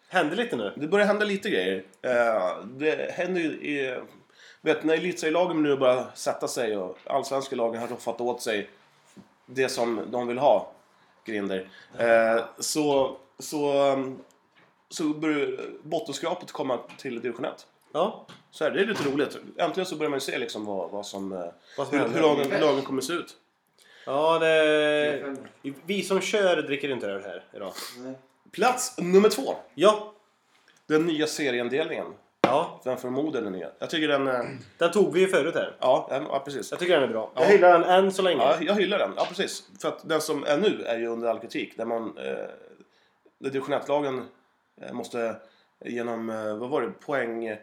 Händer lite nu.
Det börjar hända lite grejer. Eh, Det händer ju i... Vet, när elitserielagen nu börjar sätta sig och allsvenska lagen har roffat åt sig det som de vill ha, Grinder, eh, så, så, um, så börjar bottenskrapet komma till division 1.
Ja.
Så här, det är lite roligt. Äntligen så börjar man ju se liksom vad, vad som, eh,
Vad som
hur,
händer.
hur, lagen, hur lagen kommer se ut.
Ja, det... Vi som kör dricker inte öl här idag.
Plats nummer två.
Ja.
Den nya serieindelningen.
Ja,
Den förmodar den nya. Jag tycker den... eh,
den tog vi ju förut här.
Ja, eh, ja precis.
Jag tycker den är bra.
Ja.
Jag gillar den än så länge.
Ja, jag hyllar den. Ja, precis. För att den som är nu är ju under all kritik. Där man... Eh, där division 1-lagen eh, måste genom, eh, vad var det, poäng...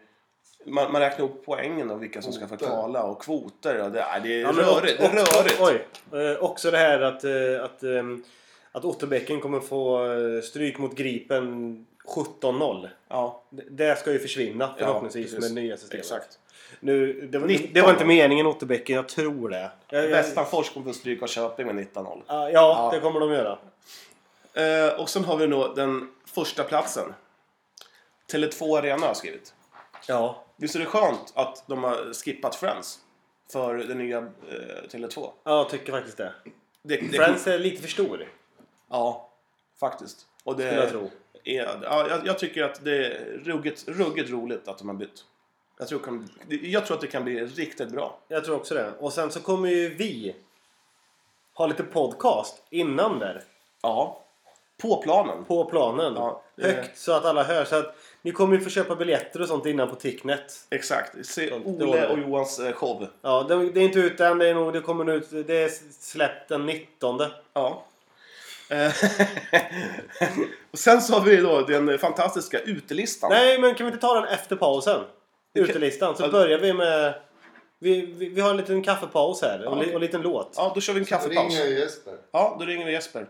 Man, man räknar upp poängen och vilka som ska få
Kvoter.
kvala och kvoter. Och det, nej, det är
Ja, men
rörigt. Det är
och- och-
rörigt.
Oj. Eh, Också det här att, eh, att, ehm, att Otterbäcken kommer få eh, stryk mot Gripen 17-0.
Ja,
Det- Det ska ju försvinna förhoppningsvis
precis.
med det nya systemet.
exakt.
Nu, det, var,
19.
det var inte meningen Otterbäcken, jag tror det. Jag, jag,
Västanfors kommer få stryk av Köping med 19-0.
Ja,
Ja.
det kommer de göra.
Eh, och sen har vi nog den första platsen. Tele2 Arena har jag skrivit.
Ja.
Visst är det skönt att de har skippat Friends för den nya eh, Tele2?
ja, jag tycker faktiskt det.
Det, det,
Friends är lite för stor.
Ja, faktiskt. Och det
Skulle jag tro.
Är, ja, jag, jag tycker att det är ruggigt, ruggigt roligt att de har bytt. Jag tror, kan, jag tror att det kan bli riktigt bra.
Jag tror också det. Och sen så kommer ju vi ha lite podcast innan där.
Ja. På planen.
På planen.
Ja, det-
Högt så att alla hör. Så att ni kommer ju få köpa biljetter och sånt innan på Ticknet.
Exakt. Se
Sånt,
Ole
dåligt.
och Johans eh, show.
Ja, det, det är inte ute än. Det, är nog, det kommer ut. Det är släppt den 19.
Ja. Eh, och sen så har vi då den fantastiska utelistan.
Nej, men kan vi inte ta den efter pausen? Utelistan. Så börjar vi med... Vi, vi, vi har en liten kaffepaus här och, li, och en liten låt.
Ja, då kör vi en kaffepaus.
Ring Jesper.
Ja, då ringer vi Jesper.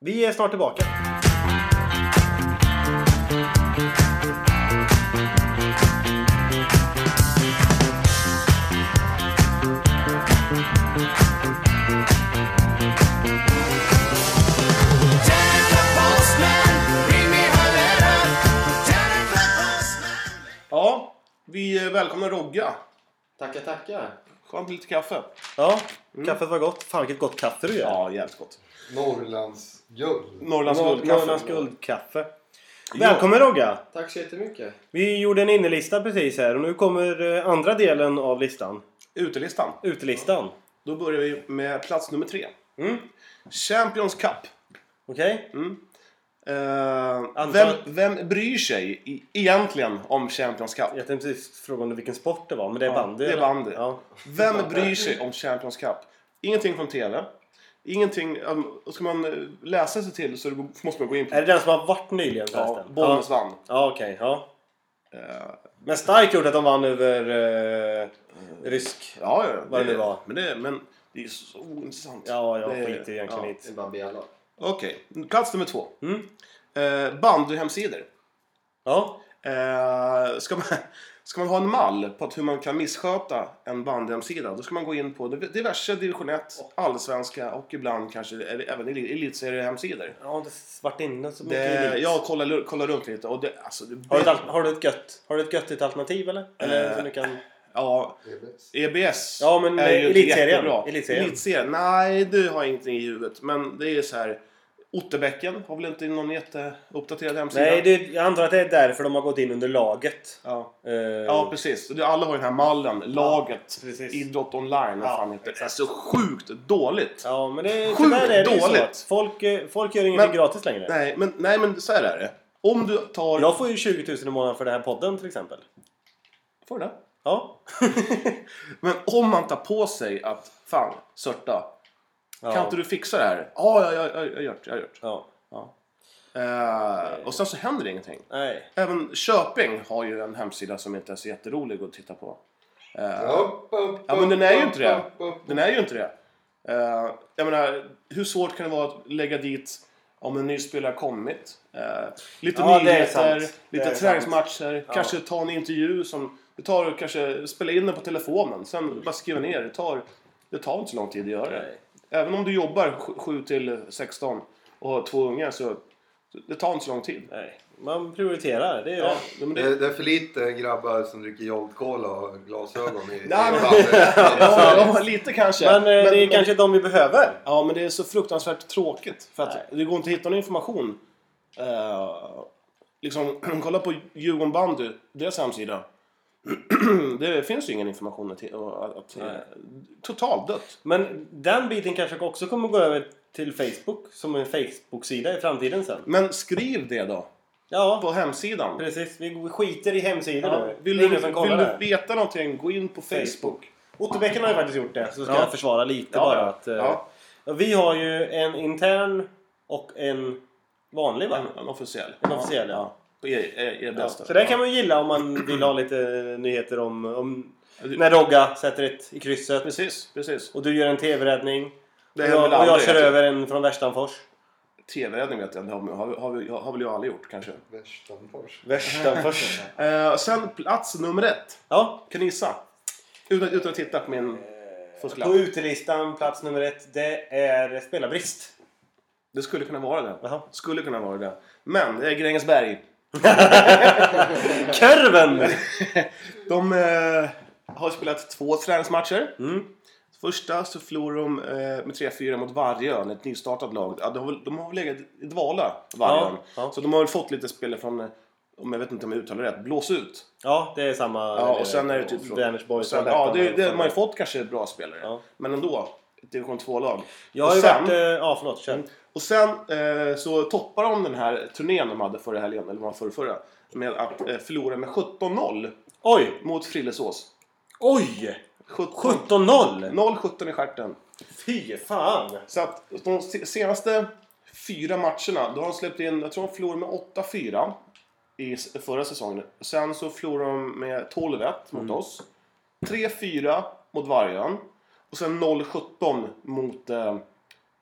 Vi är snart tillbaka.
Ja, vi eh, välkomnar Rogga.
Tackar, tackar.
Skönt med lite kaffe.
Ja, kaffet var gott. Fan vilket gott kaffe du gör.
Mm. Ja, jävligt gott.
Norrlands guld.
Norrlands
Nor-
guldkaffe.
Norrlands guldkaffe. Välkommen Rogga!
Tack så jättemycket.
Vi gjorde en innelista precis här och nu kommer eh, andra delen av listan.
Utelistan.
Utelistan.
Då börjar vi med plats nummer tre.
Mm.
Champions Cup.
Okej?
Mm. Eh, vem,
Antal-
vem bryr sig i, egentligen om Champions Cup?
Jag tänkte precis fråga om det vilken sport det var, men det är
Ja,
bandy.
det är
eller?
bandy.
Ja.
Vem bryr sig om Champions Cup? Ingenting från TV. Ingenting, um, ska man eh, läsa sig till så det- måste man gå in
Är
på
det den som har varit nyligen
ja,
förresten?
Bollnäs vann.
Ja, okej. ja. Eh. Men starkt gjort att de vann över eh, rysk.
Ja, ja,
Vad det nu var.
Men det, men det är så ointressant.
Ja, jag
Det är-
skiter egentligen i
Det är
det.
bara bjälla.
Okej, plats nummer två.
Mm.
Eh, bandyhemsidor.
Ja.
Eh, ska, man, ska man ha en mall på att hur man kan missköta en bandyhemsida då ska man gå in på diverse division 1, allsvenska och ibland kanske eller även elit- elitseriehemsidor.
Jag har inte varit inne så mycket i
Det,
det.
jag kollar, kollar runt lite och det, alltså, det,
Har du, ett, al- har, du ett gött, har du ett göttigt alternativ eller? eller som du kan...
ja,
Det är bäst.
EBS
Ja, men,
är ju
elitserien.
jättebra.
Elitserien.
Elitserien, nej du har ingenting i huvudet. Men det är så här, Otterbäcken har väl inte någon jätteuppdaterad hemsida?
Nej, det, jag antar att det är därför de har gått in under laget.
Ja.
Eh,
Ja, precis. Och det- Alla har ju den här mallen, laget,
precis.
idrott online, vad
Ja,
fan heter det? Det är så sjukt dåligt.
ja, men det
Sjukt
tyvärr är det ju så.
dåligt.
att Folk, eh, folk gör ingenting
Men-
gratis längre.
Nej, men, nej, men så här är det. Om du tar...
Jag får ju 20 000 i månaden för den här podden till exempel.
får det.
Ja.
Men om man tar på sig att, fan, Sörta,
ja.
kan inte du fixa det här? Ja, ja, ja, ja, jag har gjort, jag har gjort.
Ja.
Eh, och sen så händer det ingenting.
Nej.
Även Köping har ju en hemsida som inte är så jätterolig att titta på.
Upp, upp,
Ja, men den är ju inte det.
upp, upp, upp.
Den är ju inte det. Eh, jag menar, hur svårt kan det vara att lägga dit om en ny spelare har kommit? Eh, lite
Ja, det är
nyheter,
sant. Det är
lite
sant.
träningsmatcher, kanske ta en intervju som... Det tar kanske spela in den på telefonen, sen bara skriva ner. Det tar, det tar inte så lång tid att göra det.
Nej.
Även om du jobbar 7 till 16 och har två ungar så det tar inte så lång tid.
Nej. Man prioriterar. Det är
Ja,
ja.
men
Det
det,
är, det är för lite grabbar som dricker Jolt Cola och har glasögon i, i
Nej, men-
bandet.
ja, ja, lite kanske.
Men, eh, det är kanske de vi behöver.
Ja, men det är så fruktansvärt tråkigt. För att det går inte att hitta någon information. Eh, liksom, kolla på Djurgården bandy, deras hemsida. det finns ju ingen information att, att, att eh,
Nej.
Totalt dött.
Men den biten kanske också kommer gå över till Facebook som en Facebook-sida i framtiden sen.
Men skriv det då,
Ja,
på hemsidan.
precis. Vi skiter i hemsidor
Ja,
nu.
vill
det är
du,
ingen som kollar
vill
det.
du veta någonting, gå in på Facebook.
Facebook. Otterbäcken har ju faktiskt gjort det, så ska
Ja.
jag försvara lite
Ja,
bara.
ja.
Att, eh,
Ja.
Vi har ju en intern och en vanlig va?
En, en officiell.
En officiell, ja.
På er, er, er
Ja,
bästa.
så det kan man ju gilla om man vill ha lite nyheter om, om
du-
när Rogga sätter ett i krysset
Precis, precis.
och du gör en TV-räddning och
Det händer väl
jag, och jag
aldrig,
kör
jag tror.
över en från Värstanfors.
TV-räddning vet jag inte, har, har, har, har väl jag aldrig gjort kanske.
Västanfors.
Värstanfors.
Eh, sen plats nummer ett.
ja. Eh,
Kan ni gissa? Utan, utan att titta på min fusklapp.
På utelistan, plats nummer ett, det är spelarbrist.
Det skulle kunna vara det.
Jaha.
Skulle kunna vara det. Men det är Grängesberg.
Körven!
De eh, har spelat två träningsmatcher.
Mm.
Första så förlorade de eh, med 3-4 mot Vargön, ett nystartat lag. Ja, de, har, väl- de har väl legat i dvala, Vargön.
Ja, ja.
Så de har väl fått lite spelare från, eh, om jag vet inte om jag uttalar rätt, blås ut.
Ja, det är samma.
Ja, och sen är det typ från...
Vänersborg.
sen, ja, det, det, man har ju fått kanske bra spelare.
Ja.
Men ändå, ett division 2-lag.
Jag har
Och
ju
sen-
varit... eh, Ja, förlåt. Kör.
Och sen eh, så toppar de den här turnén de hade förra helgen, eller var det förra, förra med att eh, förlora med 17-0
Oj!
mot Frillesås.
Oj!
17
17-0!
0-17 i stjärten.
Fy fan!
Så att de se- senaste fyra matcherna, då har de släppt in, jag tror de förlorade med 8-4 i s- förra säsongen. Sen så förlorade de med 12-1 mot
Mm.
oss. 3-4 mot Vargön. Och sen 0-17 mot eh,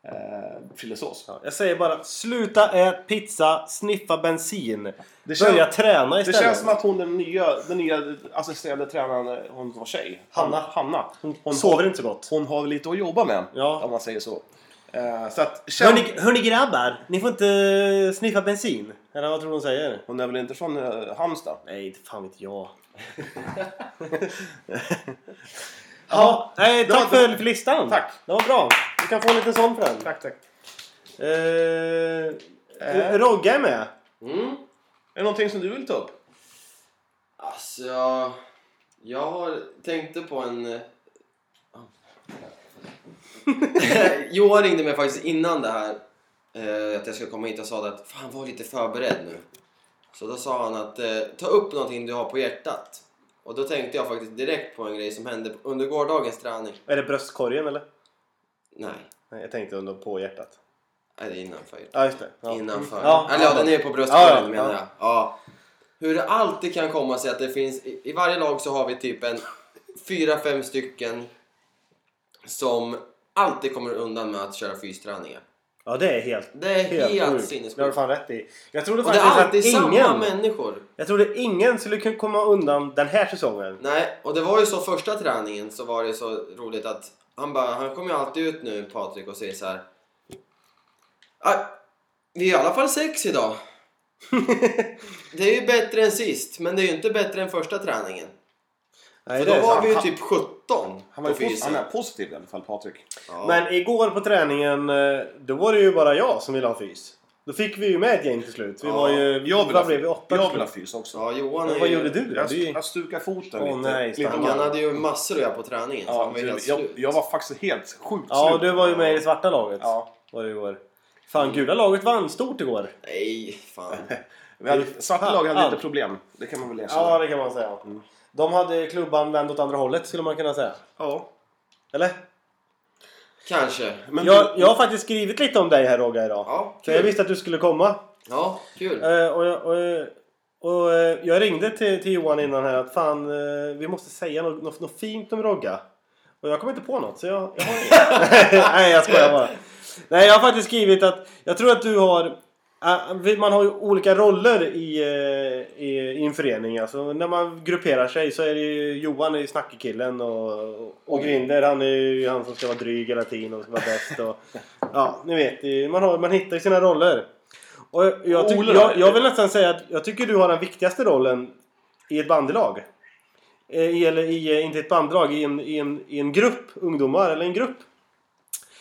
eh, Frillesås.
Jag säger bara, sluta ät pizza, sniffa bensin.
Det
Börja
känns-
träna
Det
istället.
känns som att hon den nya, den nya assisterande tränaren, hon var tjej.
Hanna.
Hanna. Hon, hon,
Sover inte så gott.
hon har väl lite att jobba med.
Ja.
Om man säger så. Eh, så att, känn,
Hörni, hörni grabbar, ni får inte sniffa bensin. Eller vad tror du hon säger?
Hon är väl inte från uh, Halmstad?
Nej, inte fan vet jag. ja, nej, tack
Det var-
för, för listan.
Tack.
Det var bra. Du kan få en liten sån för den.
Tack, tack.
Eh,
Eh.
Rogga är med.
Mm.
Är det någonting som du vill ta upp?
Alltså, jag, jag har tänkte på en... eh, eh, Johan ringde mig faktiskt innan det här eh, att jag skulle komma hit och sa att fan var lite förberedd nu. Så då sa han att eh, ta upp någonting du har på hjärtat. Och då tänkte jag faktiskt direkt på en grej som hände under gårdagens träning.
Är det bröstkorgen eller?
Nej,
Nej, jag tänkte ändå på hjärtat.
nej, det är innanför.
Ja, just det. Ja.
Innanför.
Ja,
Eller ja,
ja.
den är ju på bröstkorgen
Ja, ja,
menar
ja.
jag. Ja. Hur det alltid kan komma sig att det finns, i i varje lag så har vi typ en fyra, fem stycken som alltid kommer undan med att köra fysträningar.
Ja, det är helt
Det är helt,
sjukt. Det har du
sinnessjukt.
fan rätt i. Jag trodde
Och det är
faktiskt att
alltid samma
ingen,
människor.
jag trodde ingen skulle kunna komma undan den här säsongen.
Nej, och det var ju så första träningen så var det så roligt att han bara, han kommer ju alltid ut nu Patrik och säger så här. "Ah, Vi är i alla fall sex idag. det är ju bättre än sist, men det är ju inte bättre än första träningen.
Nej,
För då var
sant.
vi ju
Han-
typ 17
Han, var
på
ju posi- han
fysen.
är positiv i alla fall, Patrik.
Ja.
Men igår på träningen, eh, då var det ju bara jag som ville ha fys. Då fick vi ju med ett gäng till slut. Vi
Ja,
var ju...
Jag vill,
vad
ha,
blev vi? Åtta
jag
till
vill ha
slut.
fys också.
ja, Johan är
Vad
ju-
gjorde du? då?
Jag,
Du gick-
jag stukade foten
Åh,
lite.
nej,
lite
stackarn.
grann.
Han hade ju massor att göra på träningen, så
Ja,
han var ju helt
jag,
slut.
jag var faktiskt helt sjukt
Ja,
slut.
du var ju med i det svarta laget.
Ja.
Var det igår. Fan, gula laget vann stort igår.
Nej, fan.
Vi hade, svarta lag hade
Fan.
lite problem. Det kan man väl erkänna.
Ja, det kan man säga. Mm. De hade klubban vänd åt andra hållet skulle man kunna säga.
Ja.
Eller?
Kanske.
Men
Jag, jag har faktiskt skrivit lite om dig här Rogga idag.
Ja,
För jag
kul.
visste att du skulle komma.
Ja, kul.
Eh, och, jag, och, jag- och eh, jag ringde till, till Johan innan här att fan eh, vi måste säga något, något, något fint om Rogga. Och jag kom inte på något så jag, jag har inget. Nej jag skojar bara. Nej jag har faktiskt skrivit att jag tror att du har ah, vi- man har ju olika roller i, eh, i, i en förening. Alltså, när man grupperar sig så är det ju Johan är ju snackekillen och, och Grinder han är ju han som ska vara dryg hela tiden och ska vara bäst. Och, ja, ni vet. det är ju- Man, har, man hittar ju sina roller. Och jag, jag, tyck-
Ole då?
jag, jag vill nästan säga att jag tycker du har den viktigaste rollen i ett bandelag. Eh, I, eller i, eh, inte ett bandlag, i en, i, en, i en grupp ungdomar eller en grupp.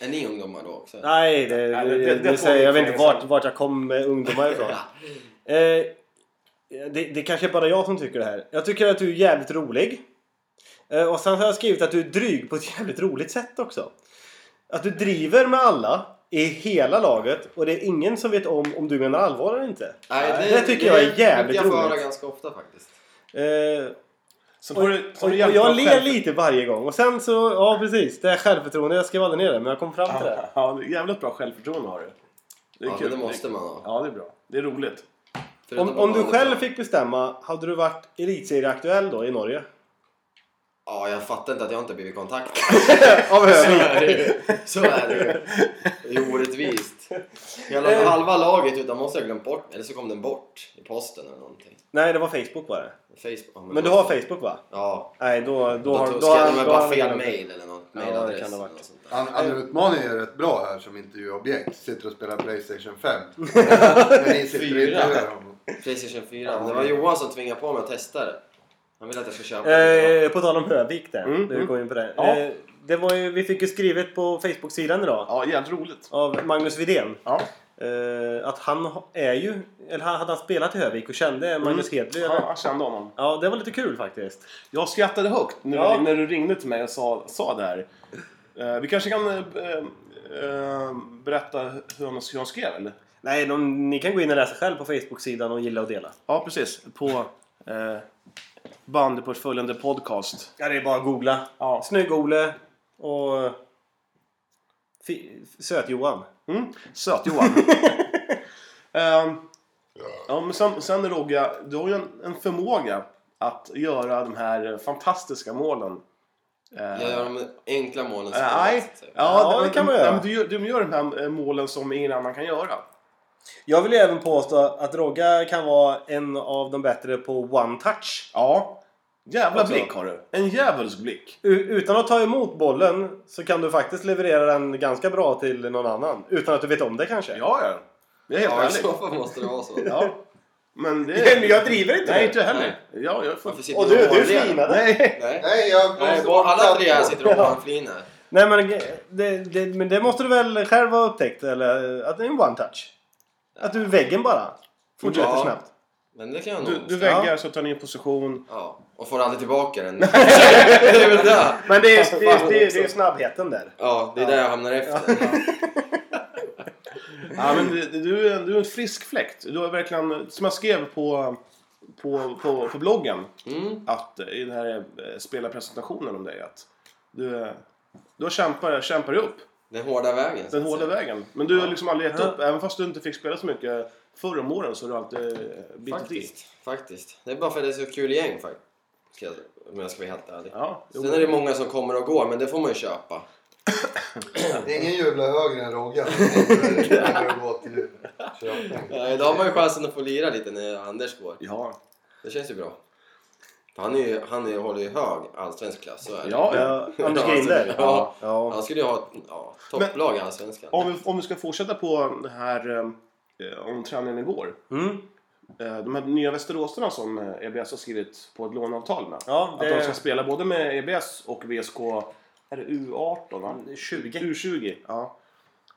Är ni ungdomar då också?
Nej, det,
Nej,
det, det,
det- det- det får
säger,
vi
jag vet inte
inte
vart,
säga.
vart jag kom med ungdomar ifrån. eh, det, det kanske är bara jag som tycker det här. Jag tycker att du är jävligt rolig. Eh, och sen har jag skrivit att du är dryg på ett jävligt roligt sätt också. Att du driver med alla i hela laget och det är ingen som vet om om du menar allvar eller inte.
Nej,
Det tycker jag är jävligt
jag Jag
roligt.
ganska ofta faktiskt.
Eh,
så
och,
får
och,
du, så
och
får du hjälpa
jag
dig
ler
själv.
lite varje gång. Och sen så, ja precis, det här självförtroendet. Jag skrev aldrig ner det men jag kom fram till det.
Ja, ja, det är jävligt bra självförtroende har du. Det är
Ja,
kul.
det måste man ha.
Ja, det är bra. Det är roligt.
Förutom
Om,
att liksom-
om du
man-
själv fick bestämma, hade du varit elitserieaktuell då i Norge?
Ja, jag fattar inte att jag inte blivit kontaktad.
Av höger.
Så är det ju. Det är orättvist.
Eh.
Hela halva laget utan måste jag ha glömt bort Eller så kom den bort i posten eller någonting.
Nej, det var Facebook var det.
Facebook. ja,
Men du har Facebook va?
Ja.
Nej, då, då,
Då,
har
då,
har
skrev de
han-
väl
då
bara
har han-
fel mail eller något.
Ja, det
Mailadress
kan det ha varit.
eller något sånt där.
Han, han utmanar ju rätt bra här som intervjuobjekt. Sitter och spelar Playstation 5. Men ni sitter och intervjuar honom.
Playstation 4. Men det var Johan som tvingade på mig att testa det. Han vill att jag ska köpa det.
Eh, på tal om Hövik där,
Mm,
när vi
mm.
kom in på det.
Ja.
Eh, det var ju, vi fick ju skrivet på Facebook-sidan idag
Ja, jävligt roligt.
av Magnus Widén.
Ja.
Eh, att han ha- är ju, eller han hade han spelat i Hövik och kände Magnus Hedlund.
Ja,
eller?
jag kände honom.
Mm. Ja, det var lite kul faktiskt.
Jag skrattade högt när,
Ja.
du, när du ringde till mig och sa, sa det här. Eh, vi kanske kan eh, eh, berätta hur han, hur han skrev, eller?
Nej, de, ni kan gå in och läsa själv på Facebook-sidan och gilla och dela.
Ja, precis. På eh, bandyportföljande podcast.
Ja, det är bara att googla.
Ja.
Snygg-Ole och fi- Söt-Johan.
Mm. Söt Johan. Ehm, ja, men sen, sen Rogga, du har ju en, en förmåga att göra de här eh, fantastiska målen. Eh,
Jag gör de enkla målen som
eh,
jag
Nej,
vet,
ja,
typ.
Ja, det
men-
kan man göra.
ja, men Du, gör- du gör de här eh, målen som ingen annan kan göra.
Jag vill ju även påstå att Rogga kan vara en av de bättre på one-touch.
Ja. Jävla
Också.
blick har du. Alltså, En djävulsk blick.
U- utan att ta emot bollen så kan du faktiskt leverera den ganska bra till någon annan. Utan att du vet om det kanske.
Ja, ja. Det är helt
Ja, i
ärligt.
så fall måste det vara så.
Ja. Men det
Men jag driver inte
Nej,
det.
inte jag heller. Ja, jag får...
Varför sitter
Och du, du
hårdare?
flinade.
Nej.
Nej.
Nej, jag
Nej, bara alla tre här sitter och
Ja.
hånflinar.
Nej men det, det, men det måste du väl själv ha upptäckt? Eller att det är en one-touch? Att du väggen bara fortsätter
Ja.
snabbt.
Men det kan jag
Du,
nog.
du väggar så tar ni en position.
Ja, och får aldrig tillbaka den. det är väl det.
Men det är, det, är, det, är, det är snabbheten där.
Ja, det är där jag hamnar efter.
Ja, men du, du, är en, du är en frisk fläkt. Du har verkligen, som jag skrev på, på, på, på bloggen,
Mm.
att eh, i den här eh, spelarpresentationen om dig, att du, eh, du har kämpar, kämpar upp
Den hårda vägen. så
den
att
hårda
säga.
vägen. Men du har liksom aldrig gett
Ja.
upp. Även fast du inte fick spela så mycket förr om åren så har du alltid eh, bitit i.
Faktiskt. Faktiskt. Det är bara för att det är så kul gäng faktiskt. Ska jag- Om jag ska vara helt ärlig.
Ja, jo.
Sen är det många som kommer och går, men det får man ju köpa.
Ingen jublar högre än Roggan. Det är gå till Köping.
Ja, idag Eh, har man ju chansen att få lira lite när Anders går.
Ja,
Det känns ju bra. Han, är ju, han är, håller ju hög allsvensk klass, så är det.
ja,
Alltså,
ja. alltså,
Ja, Anders Grinder.
Ja.
ja.
Han skulle ju ha ett ja, topplag i Allsvenskan.
Om, vi, om vi ska fortsätta på det här eh, om träningen igår.
Mm.
Eh, de här nya Västeråsarna som eh, EBS har skrivit på ett låneavtal med.
Ja,
Att de
det
ska spela både med EBS och VSK är det U18 va?
är 20.
U20. Ja.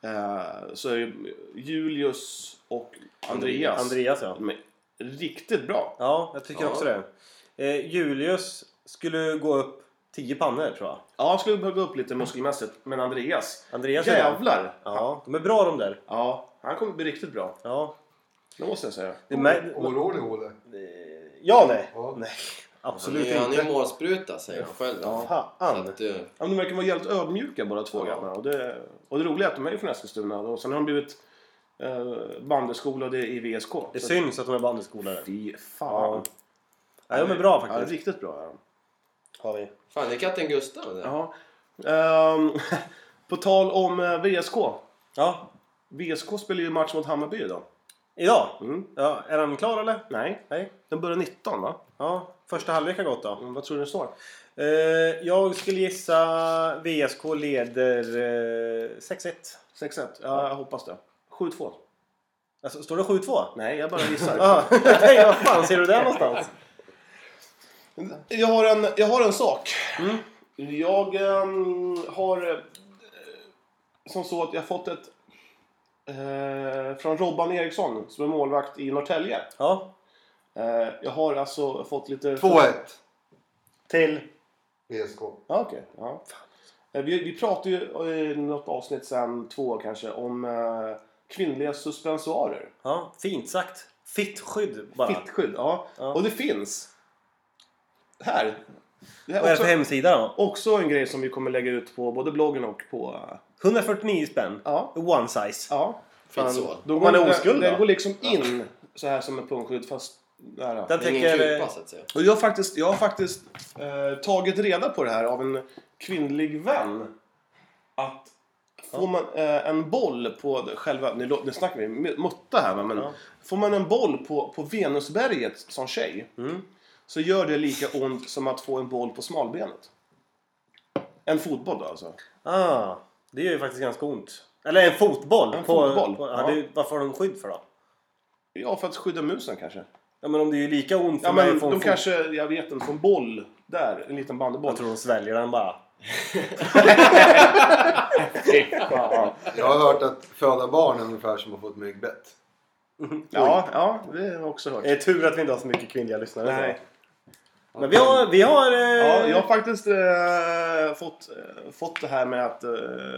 Eh, så är ju Julius och Andreas.
Andreas ja.
De är riktigt bra.
Ja, jag tycker
Ja.
också det. Eh, Julius skulle gå upp 10 pannor tror jag.
Ja, han skulle behöva gå upp lite muskelmässigt. Men Andreas.
Andreas är bra.
Jävlar!
Ja, de är bra de där.
Ja, han kommer bli riktigt bra.
Ja,
Det måste jag säga.
det mär-
Orolig Ole.
ja nej.
Ja.
nej.
han är
Absolut
ju han är
inte.
ju målspruta, säger han själv. Så
Fan.
att, eh,
Ja, men de verkar vara jävligt ödmjuka båda två
Ja.
grabbarna. Och det, och det roliga är att de är ju från Eskilstuna. Och sen har de blivit eh, bandyskolade i VSK.
Det
Så-
syns att de är bandyskolare.
Fy fan.
Ja. Nej, de är bra
Ja,
faktiskt.
riktigt bra är de.
Har vi.
fan, det är katten Gustav det.
Ja. Ehm, på tal om eh, VSK.
Ja,
VSK spelar ju match mot Hammarby idag.
idag.
Mm.
Ja, är han klar eller?
Nej,
Nej.
den börjar 19 va?
Ja, första halvlek har gått då.
Mm, vad tror du det står?
Eh, jag skulle gissa VSK leder eh, 6-1.
6-1? Ja, jag hoppas det. 7-2?
Alltså, står det 7-2?
Nej, jag bara gissar.
Ja, jag tänkte, vad fan ser du det någonstans?
jag, har en, jag har en sak.
Mm.
Jag ehm, har eh, som så att jag fått ett eh, från Robban Eriksson som är målvakt i Norrtälje.
Ja,
Eh, jag har alltså fått lite...
2-1
Till?
VSK.
Ja, okej. Ja. Eh, Vi, vi pratade ju eh, i något avsnitt sen, två kanske, om eh, kvinnliga suspensoarer.
ja fint sagt. Fittskydd bara.
Fittskydd, ja.
Ja.
Och det finns. Här. Det här
Vad är
är
det för
också,
hemsida då?
också en grej som vi kommer lägga ut på både bloggen och på... eh,
149 spänn.
Ja.
One size.
ja.
Fint så.
Då
Om
går
man är
den-
oskuld,
Den
då?
går liksom in så här som en punktskydd fast... Där, ja.
Den
Det är ingen
täcker...
kupa,
eh,
så att säga.
Och jag har faktiskt, jag har faktiskt eh, tagit reda på det här av en kvinnlig vän. Att får man eh, en boll på det- själva, nu, lå- nu snackar vi mu- mutta här va, men
Ja.
får man en boll på, på Venusberget som tjej
Mm.
så gör det lika ont som att få en boll på smalbenet. En fotboll då alltså.
Ah, det gör ju faktiskt ganska ont. Eller en fotboll.
En
på,
fotboll,
På,
ja.
ja. det, varför har de skydd för då?
Ja, för att skydda musen kanske.
Ja men om det är lika ont för
Ja,
mig
men
att få en
de
fot...
kanske, jag vet inte, får en boll där, en liten
Jag
bandyboll.
tror de sväljer den bara.
ja,
Jag har hört att föda barn är ungefär som att få ett myggbett.
ja, ja, det har jag också hört.
Det är tur att vi inte har så mycket kvinnliga lyssnare.
Nej.
Så. Men vi har... Vi har eh...
Ja, jag har faktiskt eh, fått, eh, fått det här med att eh,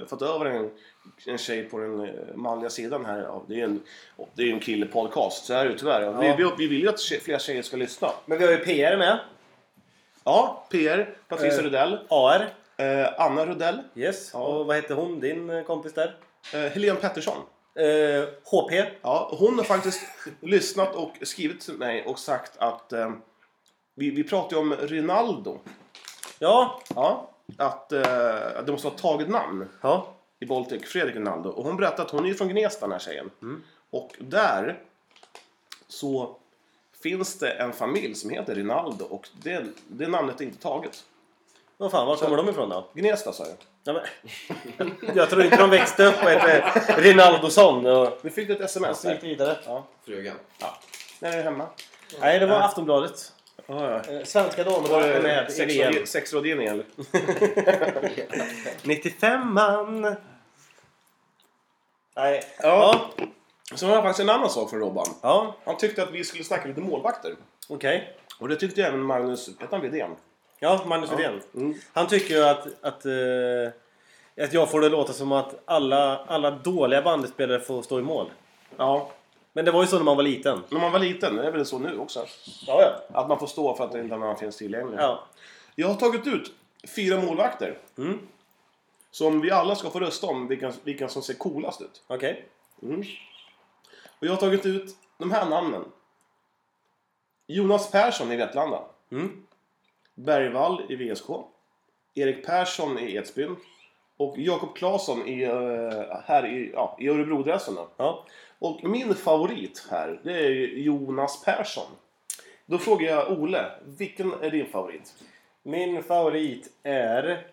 fått över en, en tjej på den eh, manliga sidan här. Ja, det är ju en, det är ju en killepodcast, så här är det tyvärr.
Ja.
Vi, vi, vi vill ju att tje, fler tjejer ska lyssna.
Men vi har ju PR med.
Ja, PR, Patricia
Eh.
Rudell,
AR.
eh, Anna Rudell,
Yes.
Ja.
Och vad hette hon, din eh, kompis där?
eh, Helene Pettersson.
Eh, HP.
Ja, hon har faktiskt lyssnat och skrivit till mig och sagt att eh, vi, vi pratar ju om Rinaldo.
Ja.
Ja, att, eh, att det måste ha tagit namn.
Ja.
i Baltic, Fredrik Rinaldo. Och hon berättade att hon är ju från Gnesta den här tjejen.
Mm.
Och där så finns det en familj som heter Rinaldo och det, det namnet är inte taget.
Vad fan, var kommer de ifrån då?
Gnesta sa jag.
Ja, men... jag tror inte de växte upp och hette Rinaldosson. Och...
Nu fick du ett sms
Så gick det
här.
vidare.
Frugan.
När är du hemma?
Nej, det var Aftonbladet.
Ja, ja.
Eh, Svenska
Var
damlaget är
det
med i VM.
sexrådgivning sexrådgivning, eller?
95 man. Nej.
Ja. Så hon har faktiskt en annan sak från Robban.
Ja,
Han tyckte att vi skulle snacka lite målvakter.
okej.
Och det tyckte även Magnus, hette han Widén?
Ja, Magnus Widén.
Mm.
Han tycker ju att, att eh, att jag får det låta som att alla, alla dåliga bandespelare får stå i mål.
Ja.
Men det var ju så när man var liten.
När man var liten, det är väl så nu också.
Ja, ja.
Att man får stå för att det inte annan finns tillgänglig.
ja.
Jag har tagit ut fyra målvakter.
Mm.
Som vi alla ska få rösta om vilka, vilka som ser coolast ut.
Okej.
Och jag har tagit ut de här namnen. Jonas Persson i Vetlanda.
Mm.
Bergvall i VSK. Erik Persson i Edsbyn. Och Jakob Claesson i, eh, här i, ja, i Örebrodressen. då.
Ja.
Och min favorit här, det är ju Jonas Persson. Då frågar jag Ole, vilken är din favorit?
Min favorit är...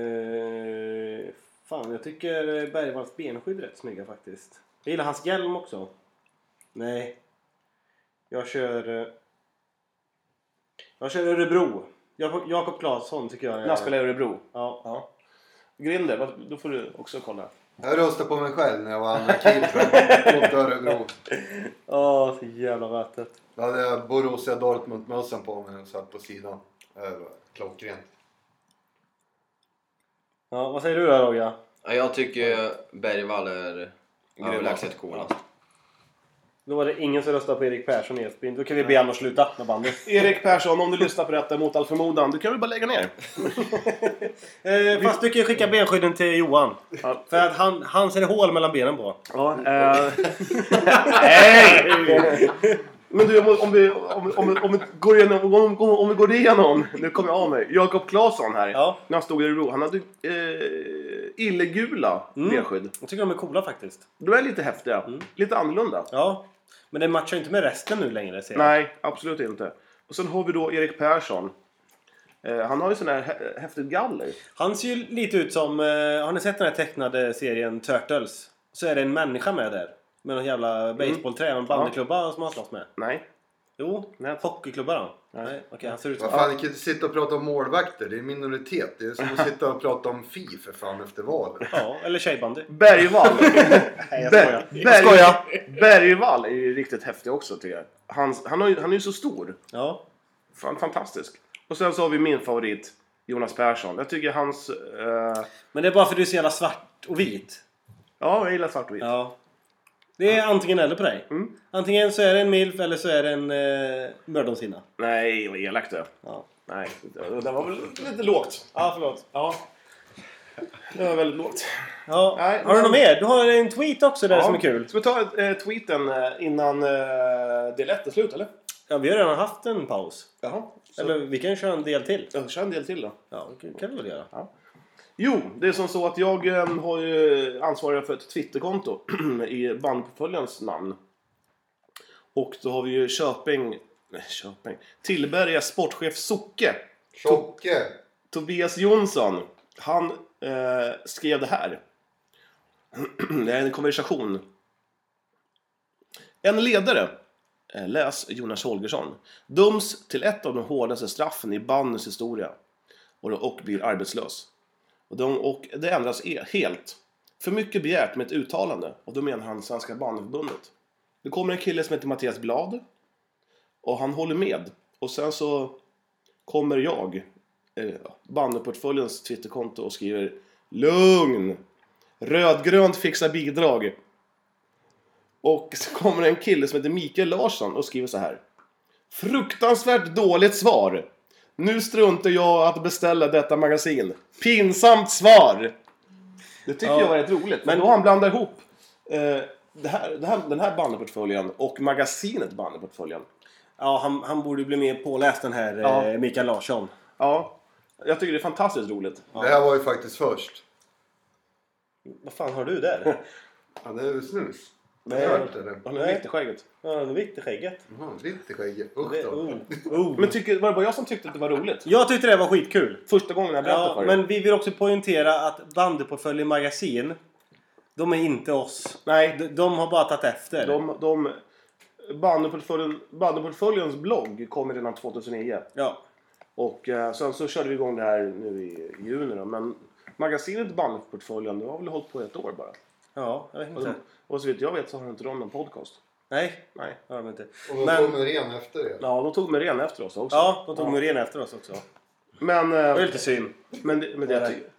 Eh, fan, jag tycker Bergvalls benskydd är rätt snygga faktiskt. Jag gillar hans hjälm också. Nej. Jag kör... eh, Jag kör Örebro. Jakob- Jakob Claesson tycker jag är...
När han spelar i Örebro.
Ja.
Ja. Grinder, vad- då får du också kolla.
Jag röstade på mig själv när jag var andra keeper mot Örebro.
Åh, så jävla vätet.
Då hade jag Borussia Dortmund-mössan på mig och satt på sidan. Det var Klockrent.
Ja, vad säger du då Roger?
Ja, jag tycker ju Bergvall är
Grym.
överlägset coolast.
Då var det ingen som röstade på Erik Persson i Edsbyn. Då kan vi be honom att sluta med bandet.
Erik Persson, om du lyssnar på detta mot all förmodan, du kan väl bara lägga ner?
Eh, fast du kan ju skicka benskydden till Johan.
Ja.
För att han, han ser hål mellan benen på.
Ja, eh. Nej! Men du, om- om vi, om, om, om, vi går igenom, om, om, om vi går igenom... Nu kommer jag av mig. Jakob Claesson här.
Ja.
När han stod i Örebro. Han hade eh, illegula
Mm.
benskydd.
Jag tycker de är coola faktiskt.
De är lite häftiga.
Mm.
Lite annorlunda.
Ja. Men det matchar ju inte med resten nu längre ser jag.
Nej, absolut inte. Och sen har vi då Erik Persson. Eh, han har ju sån här hä- häftigt galler.
Han ser ju lite ut som... Eh, har ni sett den här tecknade serien Turtles? Så är det en människa med där. Med någon jävla basebollträ och en bandyklubba som han slåss med.
Nej.
Jo,
Nej.
hockeyklubba då. Nej. Okej, han ser ut som...
Vad fan, ni kan inte sitta och prata om målvakter. Det är minoritet. Det är som att sitta och prata om Fi för fan efter valet.
Ja, eller tjejbandy.
Bergvall.
skojar.
Ber- Berg- Bergvall är ju riktigt häftig också tycker jag. Han, han, har ju, han är ju så stor.
Ja.
Fan, fantastisk. Och sen så har vi min favorit, Jonas Persson. Jag tycker hans... eh,
Men det är bara för att du är så jävla svart och vit.
ja, jag gillar svart och vitt.
Ja. Det är antingen eller på dig. Antingen så är det en milf eller så är det en eh, mördomshinna.
Nej, vad elakt det
Ja.
Nej, det det var väl lite lågt.
ja, förlåt.
Ja. Det var väldigt lågt.
Ja.
Nej,
har du
men-
något mer? Du har en tweet också där som är kul.
Ska vi ta eh, tweeten eh, innan eh, del 1 är slut eller?
Ja, vi har redan haft en paus.
Jaha.
Eller vi kan köra en del till.
Jag kör en del till då.
Ja, det kan vi väl göra.
Jo, det är som så att jag eh, har ju ansvarig för ett Twitterkonto i bandportföljens namn. Och då har vi ju Köping... Nej, Köping. Tillberga sportchef Socke.
Tjocke!
Tobias Jonsson. Han eh, skrev det här. det är en konversation. En ledare. eh, Läs Jonas Holgersson. Döms till ett av de hårdaste straffen i bandens historia. Och, och blir arbetslös. Och, de, och det ändras e- helt. För mycket begärt med ett uttalande. Och då menar han Svenska Bandförbundet. Det kommer en kille som heter Mattias Blad. Och han håller med. Och sen så kommer jag, eh, bandyportföljens Twitterkonto och skriver Lugn! Rödgrönt fixar bidrag. Och så kommer en kille som heter Mikael Larsson och skriver så här. Fruktansvärt dåligt svar. Nu struntar jag att beställa detta magasin. Pinsamt svar! Det tycker
Ja.
jag var rätt roligt. Men då har han blandat ihop eh, det här, det här, den här bandyportföljen och magasinet bandyportföljen.
Ja, han, han borde ju bli mer påläst den här
Ja.
eh, Mikael Larsson.
Ja, jag tycker det är fantastiskt roligt.
Det här var ju faktiskt först.
Vad fan har du där?
Ja, det är väl snus.
Nej.
Har du hört det? eller?
Har ni vikt i skägget?
Ja, han är vitt i skägget.
Jaha, Lite skäggigt. Usch
Det-
då.
oh, oh.
Men tycker, var det bara jag som tyckte att det var roligt?
Jag tyckte det var skitkul.
Första gången jag berättade
Ja,
för er.
men vi vill också poängtera att Bandyportföljen Magasin, de är inte oss.
Nej,
De, de har bara tagit efter.
de... de Bandyportföljen- Bandyportföljens blogg kom redan 2009.
Ja.
Och eh, sen så körde vi igång det här nu i juni då. Men magasinet Bandyportföljen, det har väl hållit på ett år bara.
ja, jag vet
Och,
inte.
de, och så vitt jag vet så har inte de någon podcast.
Nej,
Nej.
det har de inte.
Och då
Men-
kommer ren efter er.
Ja, de tog Muren efter oss också.
Ja, de tog Muren efter oss också.
Men,
Det var
eh,
lite synd.
men, det- men det jag tycker...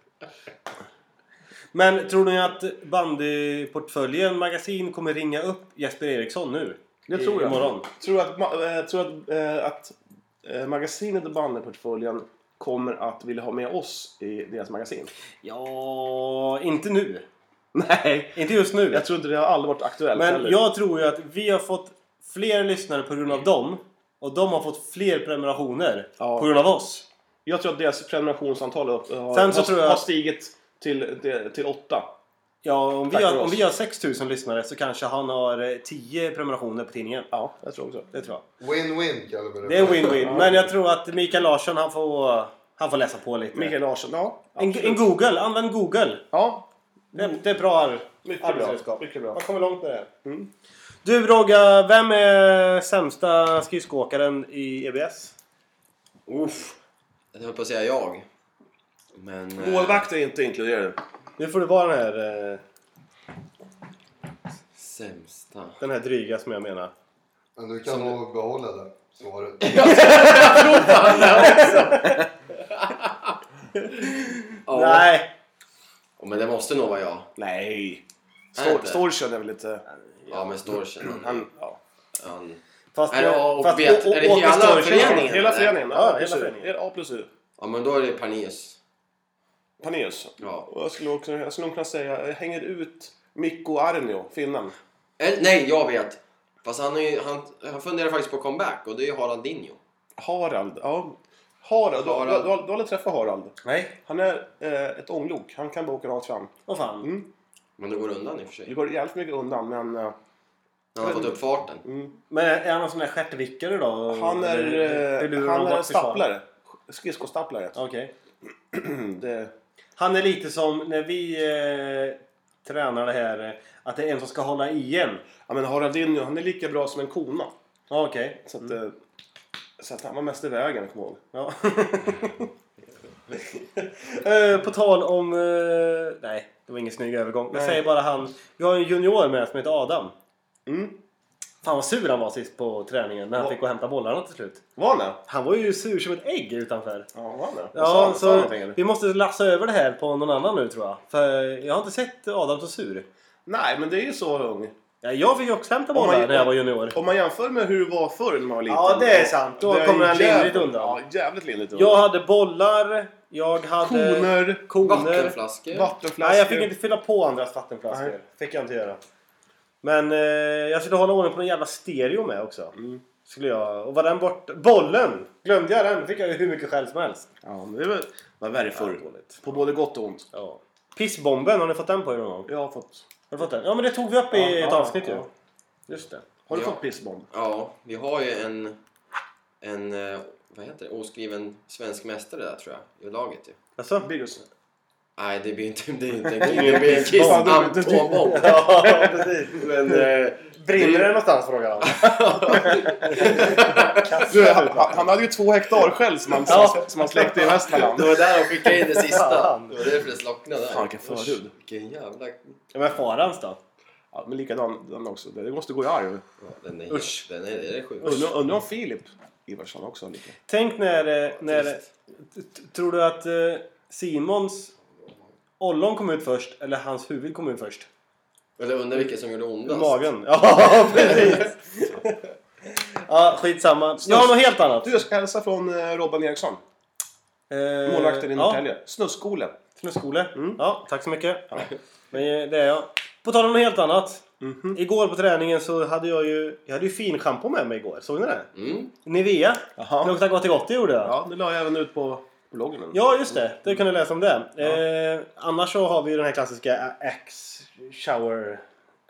Men tror ni att bandyportföljen magasin kommer ringa upp Jesper Eriksson nu?
Det
I-
tror jag.
Imorgon.
Tror att, ma- eh, tror att, eh, att eh, magasinet och bandyportföljen kommer att vilja ha med oss i deras magasin?
Ja, inte nu.
Nej,
Inte just nu.
jag tror inte det har aldrig varit aktuellt
Men
heller.
jag tror ju att vi har fått fler lyssnare på grund av dem. Och de har fått fler prenumerationer
Ja.
på grund av oss.
Jag tror att deras prenumerationsantal har, har,
Sen så
har,
tror jag-
har stigit till, till, till åtta.
Ja, om vi,
Tack för
har,
oss.
om vi har 6000 lyssnare så kanske han har eh, 10 prenumerationer på tidningen.
Ja, jag tror också
Det tror jag.
Win-win kallar vi det.
Det är en win-win. Men jag tror att Mikael Larsson han får, han får läsa på lite.
Mikael Larsson, ja.
en, en Google, använd Google.
Ja,
Det, det är bra ar-
Mm. mycket bra.
arbetsredskap.
Mycket bra.
Man kommer långt med det. här. Du Rogga, vem är sämsta skridskoåkaren i E EBS?
Uff. Jag höll på att säga jag. Men... eh,
Målvakt är inte inkluderad.
Nu får du vara den här, eh,
Sämsta.
den här dryga som jag menar.
Men du kan nog behålla det svaret.
Ja.
Nej!
Ja, Men det måste nog vara jag.
Nej.
Nej, inte. Mm.
Storchen är väl lite...
Ja, men Storchen. Han...
Han, ja.
han...
Fast,
Är det A och
fast
B? Är det
Åke
hela
Storchen-
föreningen?
Hela föreningen. Ja,
Ja,
hela
hela
föreningen.
föreningen.
Det är A plus U.
Ja, men då är det Panius.
Paneus.
Ja.
Och jag skulle också jag skulle nog kunna säga, jag hänger ut Mikko Arnio, finnen.
Eller, nej, jag vet. Fast han, är ju, han, han funderar faktiskt på comeback och det är ju Harald Dinho.
Harald. Ja. Harald. Du, du,
Harald.
du, har- du har aldrig träffat Harald?
Nej.
Han är eh, ett ånglok. Han kan bara åka rakt fram.
Åh fan.
Mm.
Men det går undan i och för
Det
sig.
går jävligt mycket undan men eh,
Han har fått upp farten.
Men är är han en sån där stjärtvickare då?
han är,
Eller- eller
eh,
lurar
han
de
är en
bort försvaret?
stapplare. Skridskostaplare.
Okej.
Mm, det,
Han är lite som när vi eh, tränar det här eh, att det är en som ska hålla i en.
ja, men Haraldinho, han är lika bra som en kona.
Ja, Okej.
Så att, eh, så att han var mest i vägen, kommer jag ihåg.
Ja. eh, på tal om... Eh, nej, det var ingen snygg övergång. Jag
Nej.
säger bara han. Vi har en junior med som heter Adam.
Mm.
Fan vad sur han var sist på träningen när han
Ja.
fick gå och hämta bollarna till slut.
Var han det?
Han var ju sur som ett ägg utanför.
Ja, var han det? Sa
Ja,
han- sa han
så
någonting, eller?
vi måste lassa över det här på någon annan nu tror jag. För jag har inte sett Adam så sur.
Nej, men det är ju så ung.
Ja, jag fick ju också hämta
Om
bollar
man-
när jag var junior.
Om man jämför med hur det var förr när man var liten.
Ja, det är sant. Då
Det är
kommer han
jävligt-
lindrigt undan.
Ja, jävligt lindrigt undan.
Jag hade bollar, jag hade...
Koner,
Koner.
Vattenflaskor.
vattenflaskor.
Eh, Nej, jag fick inte fylla på andras vattenflaskor.
Nej.
Fick jag inte göra. Men eh, jag skulle hålla ordning på en jävla stereo med också.
Mm.
Skulle jag. Och var den bort... Bollen! Glömde jag den fick jag ju hur mycket skäll som helst.
Ja, men det var, var värre förr.
Ja, dåligt.
på både gott och ont.
Ja. Pissbomben, har ni fått den på er någon gång?
Jag har fått...
Har du fått den? Ja men det tog vi upp i
Ja,
ett
ja,
avsnitt
ja.
ju. Just det.
Har du
Ja.
fått pissbomb?
Ja, vi har ju en... En... eh, Vad heter det? Oskriven svensk mästare där tror jag. I laget ju.
Alltså?
Virus.
Nej, det blir inte... Det är inte en kille. Det blir en kiss
Fan,
an-
du- du-
på bomb.
Ja precis.
Men... Eh,
Brinner det någonstans frågade han.
du, han, han hade ju två hektar själv som han,
Ja.
som han släckte i Västmanland.
Det var där de skickade in det sista.
Fan.
Det var därför det slocknade
Fan,
där.
vilken förhud.
Vilken jävla...
Ja, men farans då?
Ja, men likadan den också. Det måste gå i arv.
Ja, den är, Usch. Den är, det är det sjukaste.
Undrar undrar om Filip Ivarsson också har lika.
Tänk när... eh, när
Trist.
t- t- tror du att eh, Simons ollon kom ut först eller hans huvud kom ut först?
Eller undrar vilken som gjorde ondast.
Magen. Ja, precis. ja, skitsamma. Jag har något helt annat.
Du, jag ska hälsa från eh, Robban Eriksson.
Eh,
Målvakten i
ja,
Norrtälje. Snuskole.
Knuskole.
Mm.
Ja, tack så mycket. Men eh, det är jag. På tal om något helt annat.
Mhm.
Igår på träningen så hade jag ju, jag hade ju fin shampoo med mig igår. Såg ni det?
Mm.
Nivea.
Jaha.
Det Luktade gott i gott, det gjorde jag.
Ja, det la jag även ut på bloggen. nu.
Ja, just det. Det kan du läsa om det. Eh, annars så har vi ju den här klassiska Axe shower...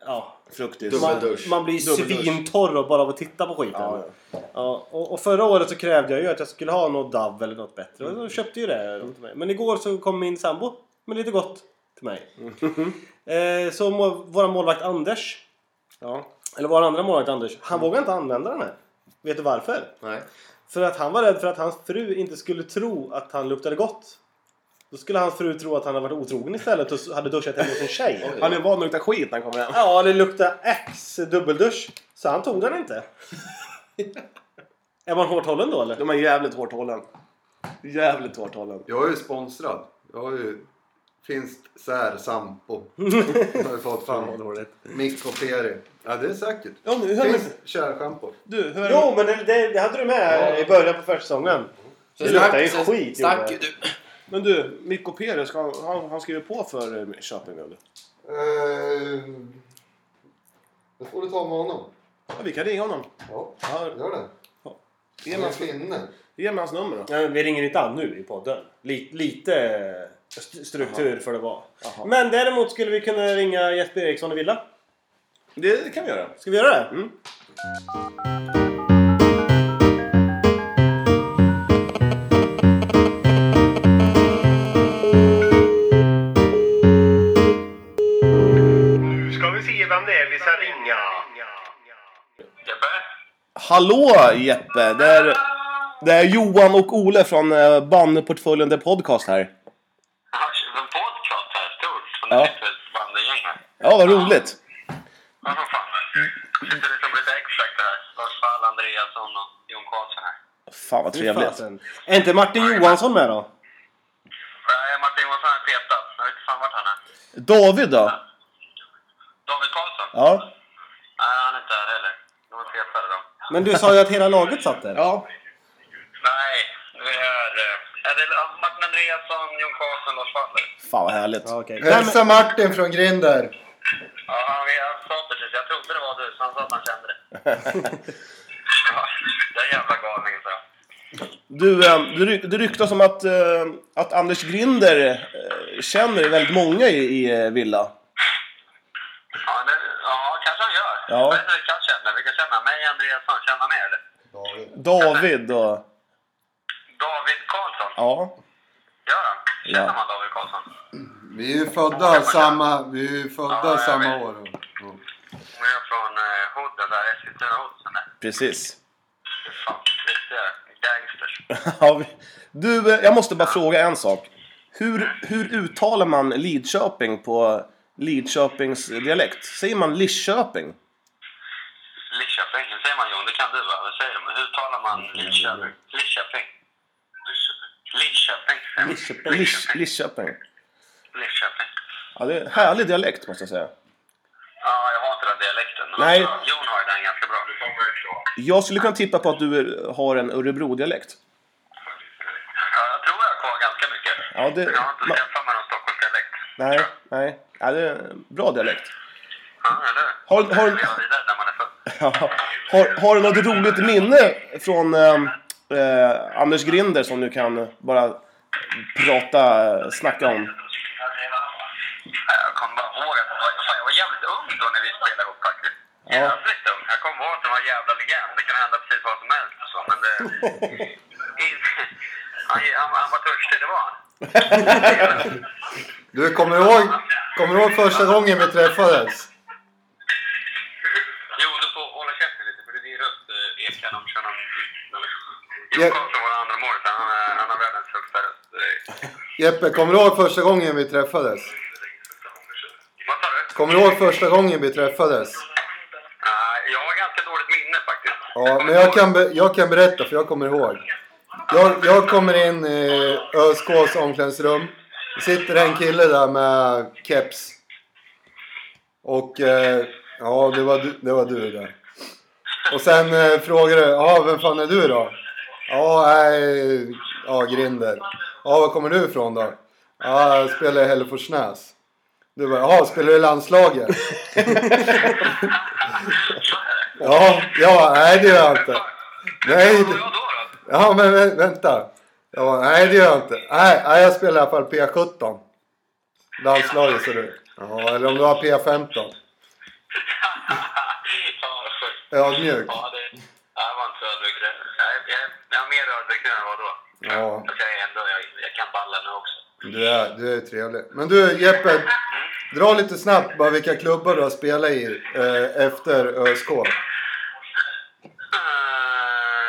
Ja,
Fruktis.
Dubbel-
Man-
man,
Dubbeldusch.
man blir
Dubbeldusch.
svintorr och bara av att titta på skiten.
Ja,
Ja,
ja.
och, och förra året så krävde jag ju att jag skulle ha något Dove eller något bättre. Och då köpte ju det åt mig. Men igår så kom min sambo med lite gott till mig. Eh, så må, vår målvakt Anders,
Ja.
eller vår andra målvakt Anders, han vågade inte använda den här. Vet du varför?
Nej.
För att han var rädd för att hans fru inte skulle tro att han luktade gott. Då skulle hans fru tro att han hade varit otrogen istället och hade duschat hemma hos en tjej.
Han är van att lukta skit när han kommer hem.
Ja, det luktade Axe dubbeldusch. Så han tog den inte. Är man hårt hållen då eller?
De är jävligt hårt hållen. Jävligt hårt hållen.
Jag är ju sponsrad. Jag har ju
Finns så här sampo. har vi fått
Fan vad
fram.
dåligt.
Mikroferi. Ja, det är säkert.
Ja, nu, hör
Finns
mig-
kärrschampo.
du, hör mig-
Jo men det, det, det hade du med i början på försäsongen.
Så
Det luktar
snack-
ju
så-
skit,
Snack
gjorde
du.
Men du, Mikko Pérez, ska han, han, han skriver på för eh, Köping eller?
Eh, det får du ta med honom.
Ja, vi kan ringa honom.
Ja,
Ja,
gör det.
ge,
Han
mig,
är
hans-
finne.
ge mig hans nummer då.
Ja, men vi ringer inte an nu i podden. Lite, lite st- struktur för det var.
Jaha.
Men däremot skulle vi kunna ringa Jesper Eriksson i Villa.
Det kan vi göra.
Ska vi göra det?
Mm.
Nu ska vi se vem det är vi ska ringa.
Hallå Jeppe! Det är, det är Johan och Ole från eh, Banneportföljen The Podcast här.
En podcast här, stort. Som
Ja.
ja. bandegänget.
Ja, vad roligt!
Ja, för fan. Sitter liksom lite exakt här. Lars Wall, Andreasson och Jon Karlsson här.
Fan vad
Fy
trevligt.
fasen. Är inte Martin Johansson med då?
Nej, Martin Johansson är petad. Jag vet inte fan vart han är.
David då?
David Karlsson?
Ja.
Nej, han är inte här heller. De är petade de.
Men du sa ju att hela laget satt där.
Ja.
Nej, vi är... eh, Är det ja, Martin Andreasson, Jon Karlsson, Lars Wall?
Fan vad härligt.
Ja, okej. Nej, men,
Hälsa Martin från Grinder.
Ja, han, han sa precis. Jag trodde det var du, så han sa att han kände det. ja, den jävla galningen, så.
Du, eh, det ry- det ryktas om att, eh, att Anders Grinder eh, känner väldigt många i, i eh, Villa.
Ja, det, ja, kanske han gör.
Ja.
Jag vet inte vilka han känner. Vilka känner han? Mig, Andreasson? Känner han mig eller?
David och...
David Karlsson?
Ja.
Gör han? Känner
Ja.
man David Karlsson?
Vi är ju födda samma, vi är ju
Ja,
födda
jag
samma
vet.
år. Ja.
Hon är från eh, Hooden där, Eskilstuna Hoodsen där.
Precis.
Fy fan, riktiga gangsters.
Ja, vi- du, eh, jag måste bara fråga en sak. Hur, hur uttalar man Lidköping på Lidköpings dialekt? Säger man Lidköping?
Lidköping, det säger man Jon, det kan du va? Vad säger de? Hur talar man Lidköping? Lidköping. Lidköping. säger man.
Lidköping. Lidköping. Lidköping.
Lidköping.
Ja, det är en härlig dialekt måste jag säga.
Ja, jag har inte den dialekten. men alltså,
Nej.
Jon har ju den ganska bra.
Jag skulle kunna tippa på att du eh, har en Örebro-dialekt.
Ja, jag tror jag har kvar ganska mycket.
Ja, det-
Jag har inte
ma-
skaffat mig någon Stockholmsdialekt.
Nej, nej. Ja, det är en bra dialekt.
Ja, eller hur?
Har- har-
Det är vidare när man är född.
Ja. Har, har du något roligt minne från ehm, eh, Anders Grinder som du kan bara prata, eh, snacka om?
Nej, Jag kommer bara ihåg att jag var- fan, jag var jävligt ung då när vi spelade ihop faktiskt. Jävligt ung. Jag kommer ihåg att det var en jävla legend. Det kunde hända precis vad som helst och så, men det... han, han, han var törstig, det var han.
Du, kommer du ihåg, kommer du ihåg första gången vi träffades?
Jo, du får hålla käften lite för det är din röst eh, ekar. De kör någon...
Ja.
Jon Karlsson var den andra målisen. Han, är- han har världens högsta röst. Det är-
Jeppe, kommer du ihåg första gången vi träffades?
Vad sa du?
Kommer du ihåg första gången vi träffades?
Nej, jag har ganska dåligt minne faktiskt.
Ja, men jag kan, be, jag kan berätta för jag kommer ihåg. Jag, jag kommer in i ÖSKs omklädningsrum. Det sitter en kille där med keps. Och eh, ja, det var, du- det var du där. Och sen eh, frågar du, ja vem fan är du då? Ja, nej, ja Grinder. Ja, var kommer du ifrån då? Ja, jag spelar i Hälleforsnäs. Du bara, ja spelar du i landslaget? ja, ja, nej det gör jag inte. Nej,
Vad
det,
var jag då då?
Ja, men vä- vänta. Jag bara, nej det gör jag inte. Nej, nej jag spelar i alla fall P17. Landslaget ser du. Ja, eller om du har P15.
ja, sjukt.
Ödmjuk.
Ja, det, ja, jag var inte så ödmjuk. det- Jag, jag, jag är mer ödmjuk nu än jag var då.
Ja,
Fast jag är ändå, jag, jag kan balla nu också.
du är, du är trevlig. Men du Jeppe, dra lite snabbt bara vilka klubbar du har spelat i eh, efter ÖSK.
Eh,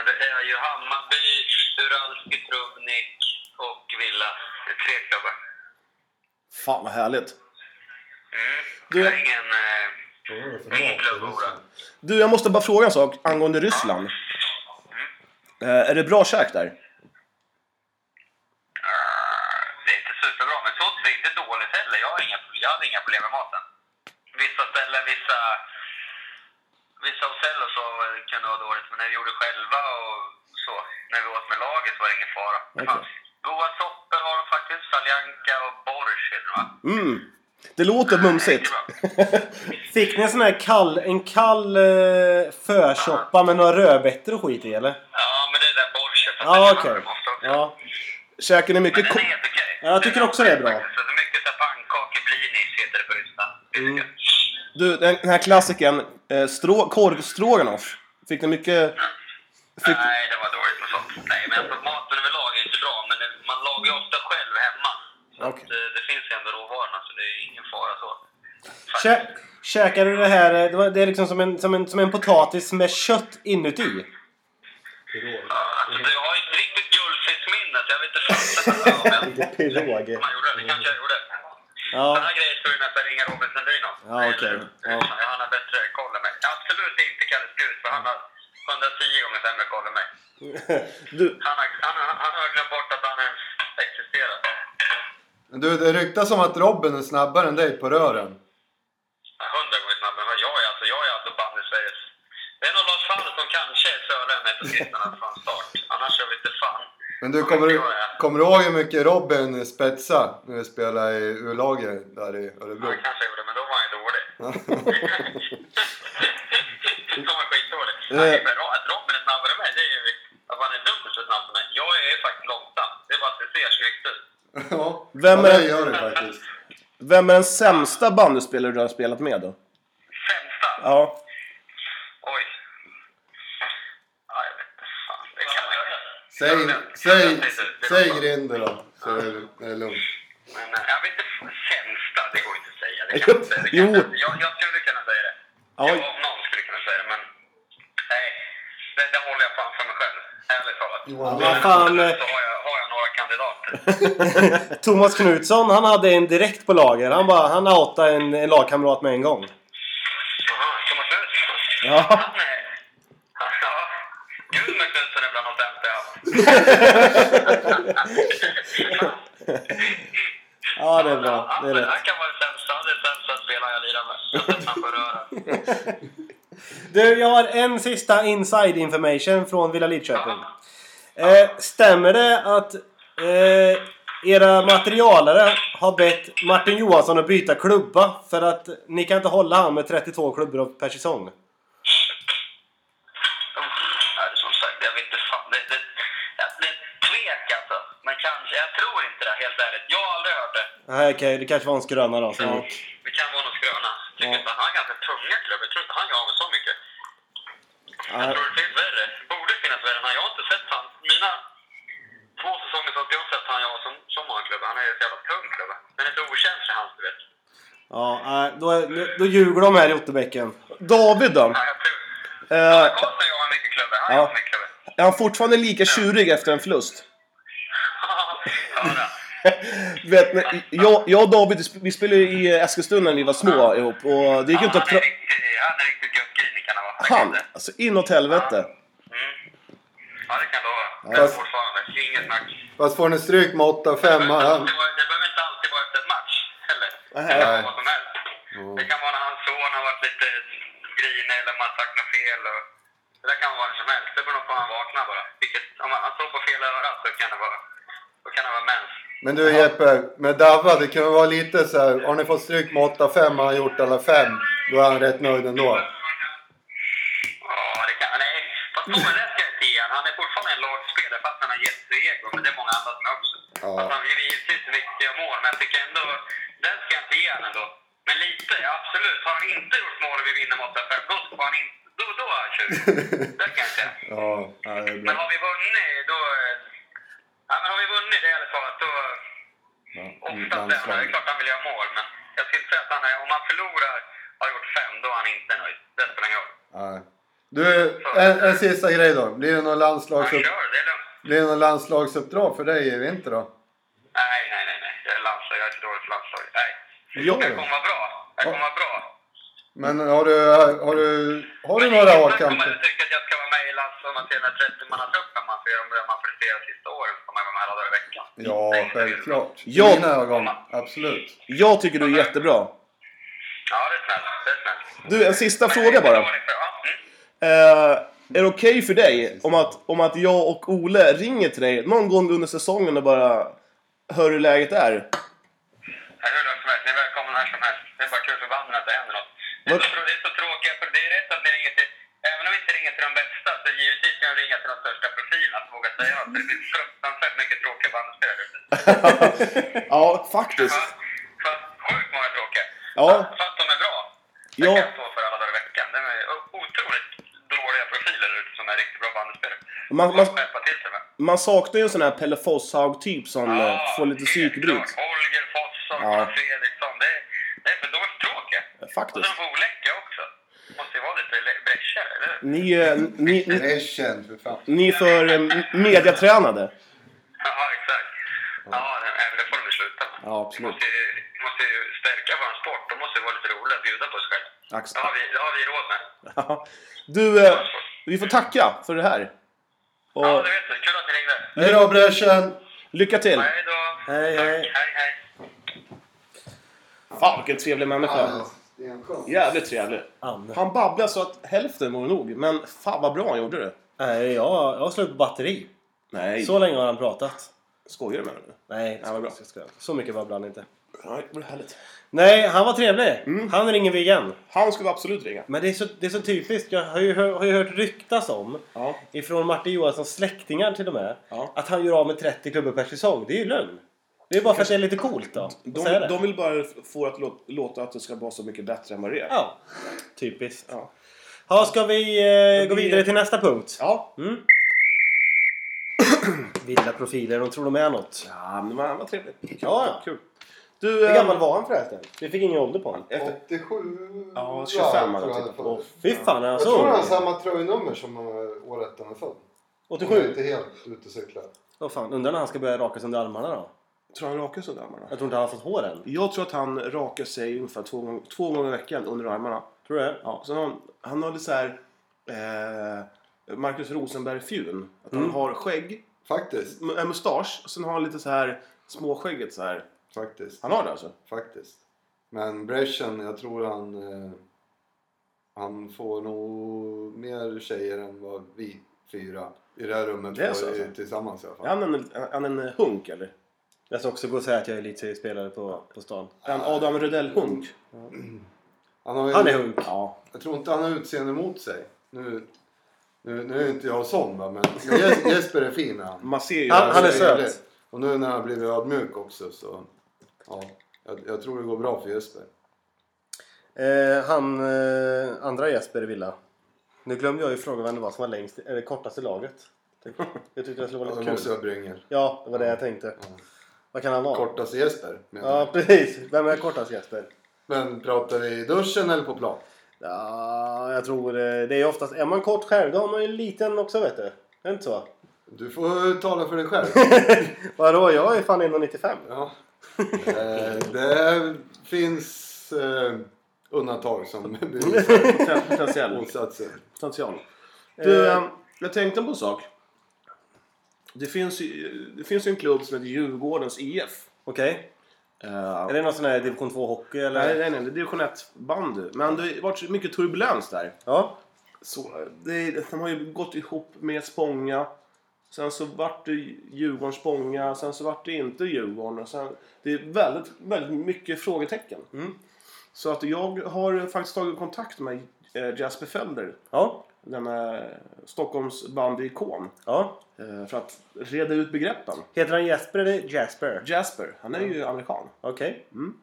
Det är ju Hammarby, Uralski, Trubnik och Villa. Det är tre klubbar.
Fan vad härligt.
Mm.
Du-
Jag har ingen, eh, ingen klubb att oroa.
Du, jag måste bara fråga en sak angående Ryssland. Eh, är det bra käk där?
Eh, Det är inte superbra, men så det är inte dåligt heller. Jag, har inga, jag hade inga problem med maten. Vissa ställen, vissa, vissa hotell och så kan det vara dåligt, men när vi gjorde själva och så, när vi åt med laget var det ingen fara. Det fanns goda soppor har de faktiskt, saljanka och borsch heter det va?
Mm. Det låter mumsigt.
Fick ni en sån här kall, en kall eh, försoppa med några rödbetor och skit i eller?
Ja, men det är där borschen.
Ja okej. Ja.
Käken är mycket...
Den är
ko-
helt okej.
Ja, jag tycker
Den är
också det är bra.
faktiskt. Så det är mycket så här pannkakor, blinis heter det på ryska. Mm.
Du, den den här klassikern, eh, strå, korvstroganoff. Fick ni mycket... Fick...
Nej, det var dåligt med sånt. Nej, men alltså, maten överlag är inte bra, men det, man lagar ju ofta själv hemma. Så
Okej.
att, eh, det finns ju ändå råvarorna, så det är ingen fara så.
Kä käkar du det här, eh, det, var, det är liksom som en, som, en, som en potatis med kött inuti.
Alltså, du har ju inte riktigt guldfiskminnet. Jag vet inte fasen om jag-
Pirog.
om man gjorde det. Det kanske jag gjorde.
Ja.
Sådana grejer ska vi nästan ringa Robin Sundin om.
Ja, okej. Ja.
Eh, Han har bättre koll än mig. Absolut inte Kalle Skus, för han har 110 gånger sämre koll än mig.
Du,
Han har, han, har- han har glömt bort att han ens existerar.
Men Du, det ryktas om att Robin är snabbare än dig på rören.
Hundra gånger snabbare än vad jag är. Alltså, jag är alltså banne Sveriges... Det är nog Lars Fall som kanske är sörlänning på sistone från start. Annars jag vet inte fan.
Men du, kommer du, kommer du ihåg hur mycket Robin spetsa när vi spelade i U-laget där i Örebro?
Han kanske gjorde, men då var han ju dålig. Han var skitdålig.
Eh.
Han är ju bra. Att Robin är snabbare än mig, det är ju... Att han är dubbelt så snabb som mig. Jag är faktiskt långsam. Det är bara att det ser snyggt ut.
ja,
Vem
ja,
är-
det gör du faktiskt.
vem är den sämsta bandyspelare du har spelat med då?
Sämsta?
Ja.
Oj. Ja, jag vet inte fan. Det kan man inte.
Säg,
Jag vet- jag
säg,
vet inte. Det är
säg
långsamt.
Grinder då, så är det- det är lugnt.
Men eh, jag vet inte, sämsta, det går inte att säga. Det kan jag inte, det kan
Jo.
jag inte. Jag, jag skulle kunna säga det.
Ja.
Jag, någon skulle kunna säga det, men nej. Det, det håller jag fan för mig själv. Ärligt talat.
Johan,
vad fan, eh.
Så har jag, har jag några kandidater.
Thomas Knutsson han hade en direkt på lager. Han bara, han outade en, en lagkamrat med en gång.
Aha, Thomas Knutsson.
Ja.
Han är... Ja. Gud med Knutsson är bland de sämsta jag haft.
Ja det är bra. Det är
men
rätt.
Han kan vara den sämsta. Han är den sämsta spelaren jag lirar med. Jag sätter han på rören.
Du, jag har en sista inside information från Villa Lidköping.
Ja.
Eh, stämmer det att eh, era materialare har bett Martin Johansson att byta klubba för att ni kan inte hålla han med 32 klubbor per säsong?
Ja, det är som sagt, jag vet inte fan. Det, det, det, det är tvek alltså. Men kanske, jag tror inte det helt ärligt. Jag har aldrig hört det. Mm.
Nej, okej, det kanske var en skröna då. som gick.
Det kan vara någon skröna. Jag tycker inte han har ganska tunga klubbor. Jag tror inte han gör av med så mycket. Jag tror det finns värre. Borde finnas värre. Men jag har inte sett han. Mina två säsonger som jag har sett han jag har som, som många klubbar. Han är ju så jävla tung klubba. Den är så okänslig hans, du vet.
Ja, nej, då, är- då ljuger de här i Otterbäcken.
David då?
Ja, jag tror...
Eh,
Karlsson jag har mycket klubbor. Han
Ja.
har mycket klubbor.
är han fortfarande lika tjurig efter en förlust?
ja, då.
Du vet, när- jag, jag och David vi sp- vi spelade ju i Eskilstuna när vi var små ihop och det gick ju inte
han,
att
är
prata...
riktigt, han är riktigt gubbgrinig kan han vara.
Han! Alltså inåt helvete.
Ja, det kan jag lova. Det är fortfarande. Inget snack.
Fast får ni stryk med 8-5
det, behöver
han,
inte vara- det behöver inte alltid vara efter en match heller.
Nej.
Det kan vara vad som helst. Det kan vara när hans son har varit lite grinig eller man har sagt något fel. Och, det där kan vara vad som helst. Det beror nog på hur han vaknar bara. Vilket, om han, han står på fel öra så kan det vara, då kan det vara mens.
Men du Jeppe, med Davva, det kan vara lite så här. Har ni fått stryk med 8-5 har han gjort alla fem. Då är han rätt nöjd ändå.
Ja, det kan nej. Fast då är det ska jag ge han. Han är fortfarande en lagspelare fast han har jätteego. Men det är många andra som är också.
Ja.
Fast han gjorde givetvis viktiga mål, men jag tycker ändå... Den ska jag inte ge han ändå. Men lite, ja, absolut. Har han inte gjort mål och vi vinner mot FF, då ska han inte... Då, då är han tjurig. Det kan jag inte säga.
Ja, ja, det är
Men
bra.
har vi vunnit, då... eh, Ja, men har vi vunnit det ärligt talat, då...
mm,
Oftast är han det. är klart han vill göra mål, men jag skulle inte säga att han är... Om han förlorar har gjort fem, då är han inte nöjd. Det spelar ingen roll.
Ja. Du, en, en sista grej då. Blir det något
Han
landslagsupp,
kör, det är lugnt.
blir det något landslagsuppdrag för dig i vinter då?
Nej, nej, nej, nej. Jag är landslag. Jag är för dålig för landslag. Nej.
Jo.
Jag kommer vara bra. Jag kommer vara bra.
Men har du, har du, har du
Men
några
ingen kommer
A-kamper?
att tycka att jag ska vara med i landslaget till den här 30 manna truppen man ser om man får flera sista åren så man med alla dagar i veckan.
Ja,
Det är inget jag vill.
självklart. I
Ja.
mina ögon, absolut.
Jag tycker du är jättebra.
Ja, det är snällt. Det är snällt.
Du, en sista
Men
fråga
det är
bara.
dåligt för- ja, mm.
Eh, är det okej för dig om att, om att jag och Ole ringer till dig någon gång under säsongen och bara hör hur läget är?
Ja, Hur långt som helst. Ni är välkomna när som helst. Det är bara kul för banden att det händer något. Det är,
Vad-
så, tro- det är så tråkigt, för det är rätt att ni ringer till... Även om vi inte ringer till de bästa, så givetvis kan vi ringa till de största profilerna som vågar säga något. För det blir fruktansvärt mycket tråkiga bandspelare ute.
ja, faktiskt.
Fast- Fast sjukt många tråkiga.
Ja.
Fast- Fast de är bra. Det
Ja.
kan jag stå för alla dagar i veckan. De är o- otroligt dåliga profiler ute som är riktigt bra bandspelare.
Man, man,
Man peppa till sig med.
man saknar ju en sån här Pelle Fosshaug-typ som eh, får lite
helt
psykbryt.
klart. Holger Fossson,
Ja.
Tom Fredriksson. Det, är- det är för de är tråkiga. Och
Faktiskt.
sen på Oläcka också. Måste ju vara lite le- bräschare, eller hur?
Ni, eh, ni, ni,
Det är känt för fan.
ni är för eh, mediatränade.
Ja, exakt. Ja, det- även det får de ju sluta med.
Ja, absolut.
Vi måste ju- Vi måste ju stärka vår sport. De måste ju vara lite roliga att bjuda på sig själva.
Axel.
Det har vi, det har vi råd med.
Du, eh, vi får tacka för det här.
Ja,
Och
det vet du. Kul att ni ringde.
Hej då bräschen!
lycka till!
Hej då.
Hej, hej.
Tack. Hej, hej.
Fan vilken trevlig människa.
Stenskönt.
Jävligt trevlig.
Anne.
Han babblar så att hälften vore nog. Men fan vad bra han gjorde det.
Nej, jag, jag har slut på batteri.
Nej,
Så länge har han pratat.
skojar du med mig nu?
Nej,
Ja, vad bra.
ska- ska- så mycket babblar han inte.
Nej, det var härligt.
Nej, han var trevlig.
Mm.
Han ringer vi igen.
Han skulle absolut ringa.
Men det är så, det är så typiskt. Jag har ju, hör- har ju hört ryktas om
Ja.
ifrån Martin Johanssons släktingar till och med
Ja.
att han gör av med 30 klubbor per säsong. Det är ju lögn. Det är bara för att det är lite coolt då. att säga det.
De, de vill bara få att lå- låta att det ska vara så mycket bättre än vad det är.
Ja, typiskt.
Ja.
Ja, ska vi eh, gå
vi-
vidare till nästa punkt?
Ja,
Mm. Vilda profiler, de tror de är något.
ja men vad vad trevligt. Kul,
Ja, ja.
kul. Du,
Hur
eh,
gammal var han förresten? Vi fick ingen ålder på honom.
Efter,
87...
ja, 25 hade
tror
jag
jag
tittat
han är
på.
född.
Fy fan, alltså. är han
Jag tror han har
så ung?
samma tröjnummer som eh, året han är född. Jag är
87?
inte helt ute och cyklar.
Åh fan, undrar när han ska börja raka sig under armarna då?
Tror han rakar sig under armarna?
Jag tror inte han har fått hår än.
Jag tror att han rakar sig ungefär två, gång- två gånger i veckan under armarna.
Tror du det?
Ja, så han, han har lite så här... Eh, Markus Rosenberg-fjun. Att han har skägg,
Faktiskt.
mu- en mustasch och sen har han lite så här småskägget så här.
Faktiskt.
Han har det alltså?
Faktiskt. Men Breschen, jag tror han... Eh, han får nog mer tjejer än vad vi fyra i det här rummet
Det är
får
så,
i-
alltså.
tillsammans i alla fall.
Är han en, är han en hunk eller?
Jag ska också gå och säga att jag är elitseriespelare på, på stan.
Är han Adam Rödell-hunk?
Han, har ju,
Han är hunk.
Ja.
Jag tror inte han har utseende mot sig. Nu, nu, nu är inte jag sån va, men Jes- Jesper är fin är han.
Man ser ju...
Han- han är
Så
söt.
trevlig. Och nu när han har blivit ödmjuk också så... Ja, jag, jag tror det går bra för Jesper.
Eh, han eh, andra Jesper i Villa. Nu glömde jag ju fråga vem det var som var längst, eller kortast i laget. Jag tyckte det skulle vara
Ja,
lite
då Alltså, måste
kul.
jag Brynger.
Ja, det var det jag tänkte. Vad kan han vara?
Kortaste Jesper menar jag.
Ja, precis. Vem är kortast Jesper?
Men pratar vi i duschen eller på plan?
Ja, jag tror eh, det är oftast... Är man kort själv, då har man ju en liten också vet du. Är det inte så?
Du får tala för dig själv.
Vadå, jag är fan 1,95.
Ja. Eh, det finns eh, undantag som bevisar
Potentiell.
motsatsen.
Potential. Du, eh, jag tänkte på en sak. Det finns, ju, det finns ju en klubb som heter Djurgårdens IF.
Okej.
Eh,
Är det någon sån här division 2-hockey eller?
Nej, nej, nej. Det är division 1-bandy. Men det har ju varit så mycket turbulens där.
Ja.
Så, eh, det, är- de har ju gått ihop med Spånga. Sen så vart det Djurgården Spånga. Sen så vart det inte Djurgården. Och sen, det är väldigt, väldigt mycket frågetecken.
Mm.
Så att jag har faktiskt tagit kontakt med eh, Jasper Felder.
Ja.
Denna Stockholms bandyikon.
Ja.
eh, För att reda ut begreppen.
Heter han Jesper eller Jasper?
Jasper, han är ju amerikan.
Okej.
Men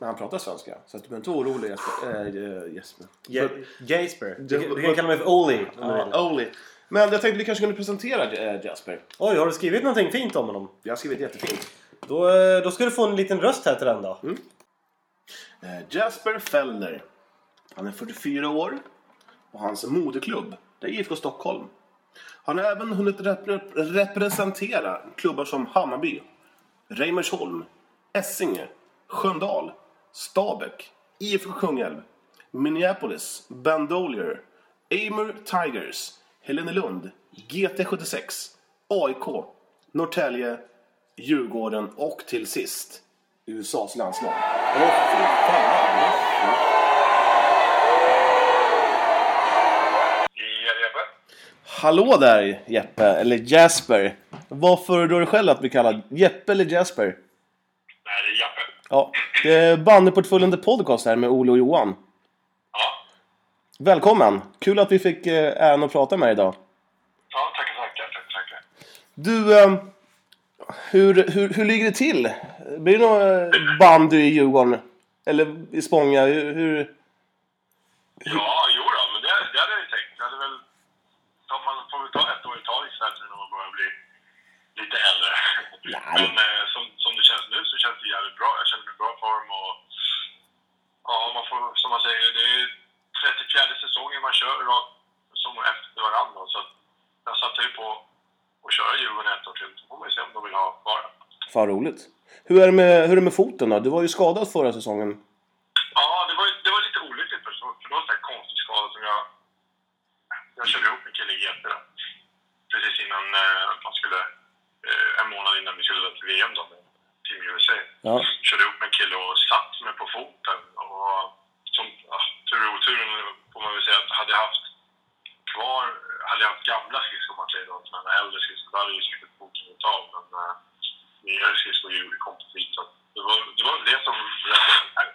han pratar svenska. Så att du behöver inte vara orolig Jesper. Eh, Jesper.
Ja- Jasper. Du,
Det-
du kan kalla mig för Oli. om du vill.
Ja, Oli. Men jag tänkte vi kanske kunde presentera eh, Jasper.
Oj, har du skrivit någonting fint om honom?
Jag har skrivit jättefint.
Då, eh, då ska du få en liten röst här till den då.
Mm. Eh, Jasper Fellner. Han är 44 år och hans moderklubb det är IFK Stockholm. Han har även hunnit repre- representera klubbar som Hammarby, Reimersholm, Essinge, Sköndal, Stabäck, IFK Kungälv, Minneapolis, Bandolier, Amur Tigers, Helenelund, GT76, AIK, Norrtälje, Djurgården och till sist USAs landslag. Åh, fy fan.
Ja, Jeppe?
Hallå där Jeppe, eller Jasper. Vad föredrar du själv att bli kallad? Jeppe eller Jasper?
Nej, det är Jeppe.
Ja, det är Bandyportföljen The Podcast här med Ole och Johan.
Ja.
Välkommen! Kul att vi fick eh, äran att prata med dig idag.
Ja, tackar, tackar, tackar, tackar.
Du, eh, hur, hur, hur ligger det till? Blir det någon eh, bandy i Djurgården? Eller i Spånga? Hur, hur...
Ja, jo då, men det, det hade jag ju tänkt. Jag hade väl... Ta, man får väl ta ett år i taget snart när man börjar bli lite äldre. Men eh, som, som det känns nu så känns det jävligt bra. Jag känner mig i bra form och... Ja, man får, som man säger, det är 34 säsongen man kör rakt som efter varandra. Så att jag satte ju på att köra Djurgården ett år till. Så får man ju se om de vill ha kvar den.
Fan roligt. Hur är, det med, hur är det med foten då? Du var ju skadad förra säsongen.
Ja, det var, det var lite olyckligt för för det var en sån här konstig skada som jag... Jag körde ihop en kille i GP då. Precis innan eh, man skulle... Eh, en månad innan vi skulle dra till VM då, med Team USA.
Ja.
Körde ihop med en kille och satt mig på foten. Och som ja, tur och oturen får man väl säga att hade jag haft kvar... Hade jag haft gamla skridskor, om man säger då, sådana här äldre skridskor, då hade ju säkert foten gått av. Men eh, nyare skridskor är ju kompetit. Så det var, det var det som räddade mig här.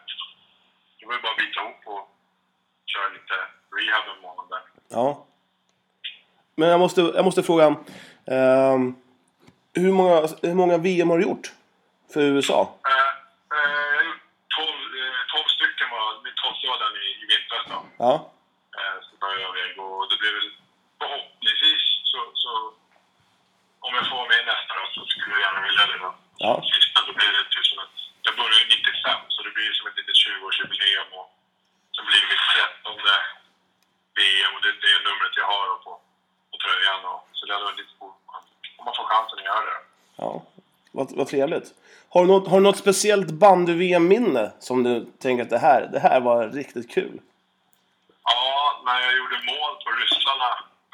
Det var ju bara att bita ihop och köra lite rehab en månad där.
Ja. Men jag måste, jag måste fråga. ehm, hur, många, hur många VM har du gjort? För USA?
Eh, eh, jag har gjort 12, eh, 12 stycken var min 12 var den i, i vintras då.
Ja.
Eh, så började jag iväg och det blir väl förhoppningsvis så, så om jag får med nästa då så skulle jag gärna vilja det då.
Ja.
Sista då blir det typ som att jag började ju 95 så det blir ju som ett litet 20-årsjubileum och så blir det mitt 13 VM och det, det är numret jag har då på, på tröjan och så det hade varit lite coolt om man- om man får chansen att göra det.
ja. Vad, vad trevligt. Har du något, har du något speciellt bandy-VM-minne som du tänker att det här, det här var riktigt kul?
Ja, när jag gjorde mål på ryssarna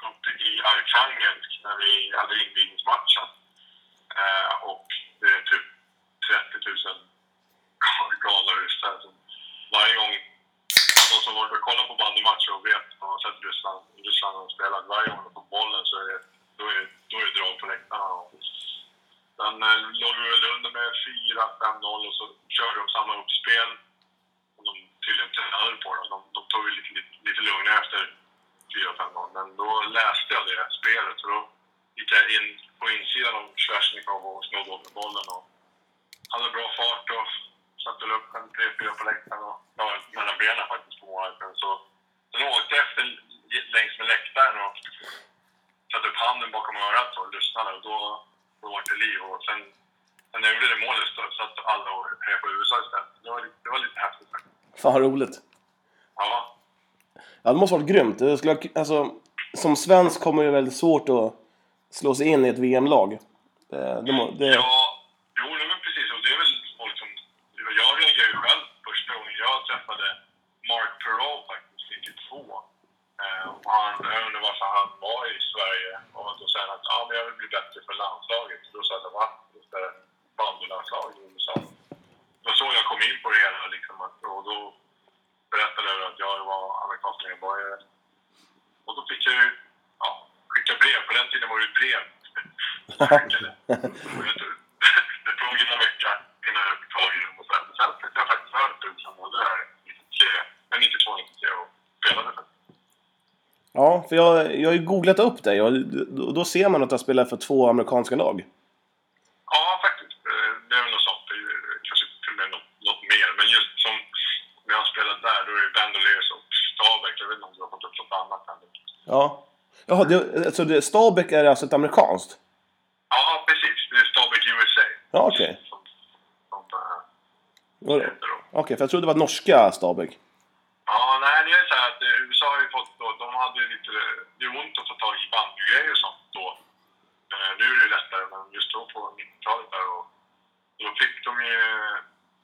uppe i Arkhangelsk när vi hade invigningsmatchen. Eh, och det är typ 30 000 galna ryssar som varje gång de som varit och kollat på bandymatcher och vet och har sett Ryssland, Ryssland och spelat, varje gång de får bollen så är det, då är, då är det drag på läktarna. Och Sen eh, låg vi väl under med 4-5-0 och så körde de samma uppspel som de tydligen tränade på. Då. De, de tog ju lite, lite, lite lugnare efter 4-5-0. Men då läste jag det spelet och då gick jag in på insidan av Svesjnikov och snodde åt med bollen. Och hade bra fart och satte väl upp en 3-4 på läktaren och la den mellan benen faktiskt på målvakten. Så sen åkte jag efter längs med läktaren och satte upp handen bakom örat och lyssnade. Och då, då var det liv. Och sen, sen när jag gjorde det målet så satt alla och hejade på USA istället. Det var, lite- det var lite häftigt faktiskt.
Fan vad roligt.
Ja,
Ja, det måste ha varit grymt. Det skulle, ha- alltså, som svensk kommer det väldigt svårt att slå sig in i ett VM-lag. Det, det, må- det,
ja jo, nej, men precis. Och det är väl folk som... Jag reagerade ju själv första gången jag träffade Mark Perrault faktiskt, 92. Eh, och han, jag undrar varför han var i Sverige. Och då sa han att ah, men jag vill bli bättre för landslaget. Då sa jag, va? Just det, bandylandslaget i USA. Då så jag kom in på det hela liksom, att, och då berättade jag att jag var amerikansk medborgare. Och då fick jag ju ja, skicka brev. På den tiden var det ju brev. Skickade. det tog ju någon vecka innan jag fick tag i dem. Och sen sen fick jag faktiskt höra att du både här 93, men 92, 93 och spelade faktiskt.
ja, för jag, jag har ju googlat upp dig och och då ser man att jag spelar för två amerikanska lag.
Ja, faktiskt. Eh, Det är väl något sånt. Det är ju Kanske till och med något, något mer. Men just som när jag spelade där, då är det Bandoliers och Stabäck. Jag vet inte om du har fått upp något annat än det.
Ja. Jaha, det, alltså det, Stabäck är alltså ett amerikanskt?
Ja, precis. Det är Stabäck USA.
Ja, okej.
Som, som eh,
Var det-
heter då.
Okej, för jag trodde det var norska Stabäck.
Ja, nej, det är så här att eh, USA har ju fått då, de hade ju lite, det är ont att få tag i bandygrejer och sånt då. Eh, nu är det ju lättare, men just då på 90-talet där och då fick de ju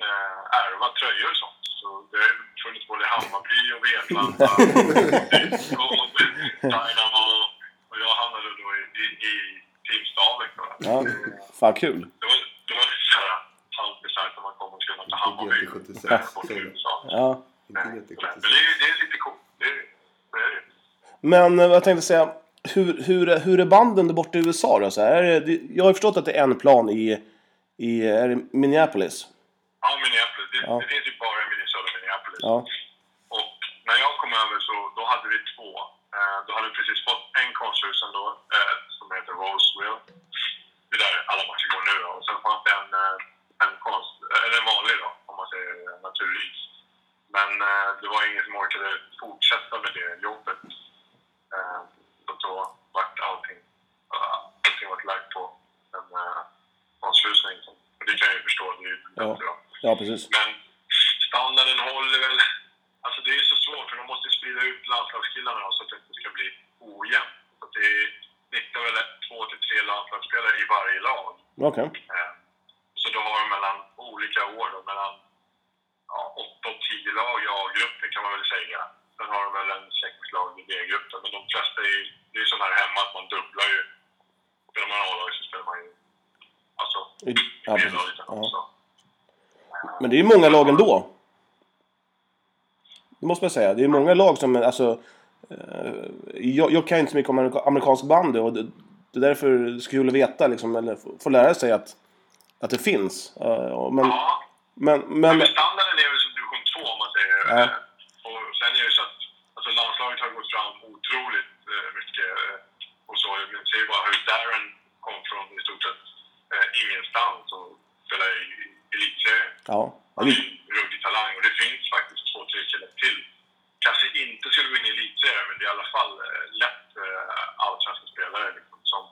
eh, ärva tröjor och sånt. Så det har ju funnits både Hammarby och Vetlanda och Dynamo och jag hamnade då i, i, i Team Stabäck då.
Ja. Fan kul.
Det var, det var lite så här halvbisarrt när man kom och skulle möta Hammarby.
Inte GT76.
Bort i USA.
Ja.
Inte
Men det
GT76.
är ju det är lite coolt. Det är, det är, det.
Men eh, jag tänkte säga, hur, hur, är- hur är banden där borta i USA då? Så här, är det, jag har ju förstått att det är en plan i, i är det Minneapolis.
ja, Minneapolis. Det,
Ja.
det finns ju bara i Minnesota och Minneapolis.
Ja.
Och när jag kom över så då hade vi två. Eh, då hade vi precis fått en konsthusen då, eh, som heter Roseville. Det är där alla matcher går nu. då. Och sen fanns det en, eh, en, konst, eh, eller en vanlig då, om man säger eh, naturlig. Men eh, det var ingen som orkade fortsätta med det jobbet. Eh, och då vart allting, eh, allting vart lagt på en eh, konstfrysning. Och det kan jag ju förstå, det är ju
Ja.
bättre då.
Ja, precis.
Men standarden håller väl. Alltså det är ju så svårt för de måste ju sprida ut landslagskillarna då, så att det inte ska bli ojämnt. Så att det är 19 eller två till tre landslagsspelare i varje lag.
Okej.
Eh, Så då har de mellan olika år då, mellan ja, 8 och 10 lag i A-gruppen kan man väl säga. Sen har de väl en sex lag i B-gruppen. Men de flesta är ju, det är ju sån här hemma att man dubblar ju. Spelar man A-lag så spelar man ju alltså
I- Ja,
B-laget
precis.
sen
Ja.
också.
Men det är ju många lag ändå. Det måste man säga. Det är många lag som, alltså... eh, Jag, jag kan ju inte så mycket om amerika- amerikansk bandy och det, det är därför det skulle kul att veta liksom, eller få- få lära sig att, att det finns. Eh, Men,
Ja.
men, men...
Men standarden är väl som division 2 om man säger.
Ja.
Eh, Och sen är det ju så att alltså, landslaget har gått fram otroligt eh, mycket. eh, Och så, men se bara hur Darren kom från i stort sett eh, ingenstans och spelade i i elitserien.
Ja.
Han är en ruggig talang och det finns faktiskt två, tre killar till. Kanske inte skulle gå in i elitserien men det är i alla fall eh, lätt eh, allsvenska spelare liksom, som,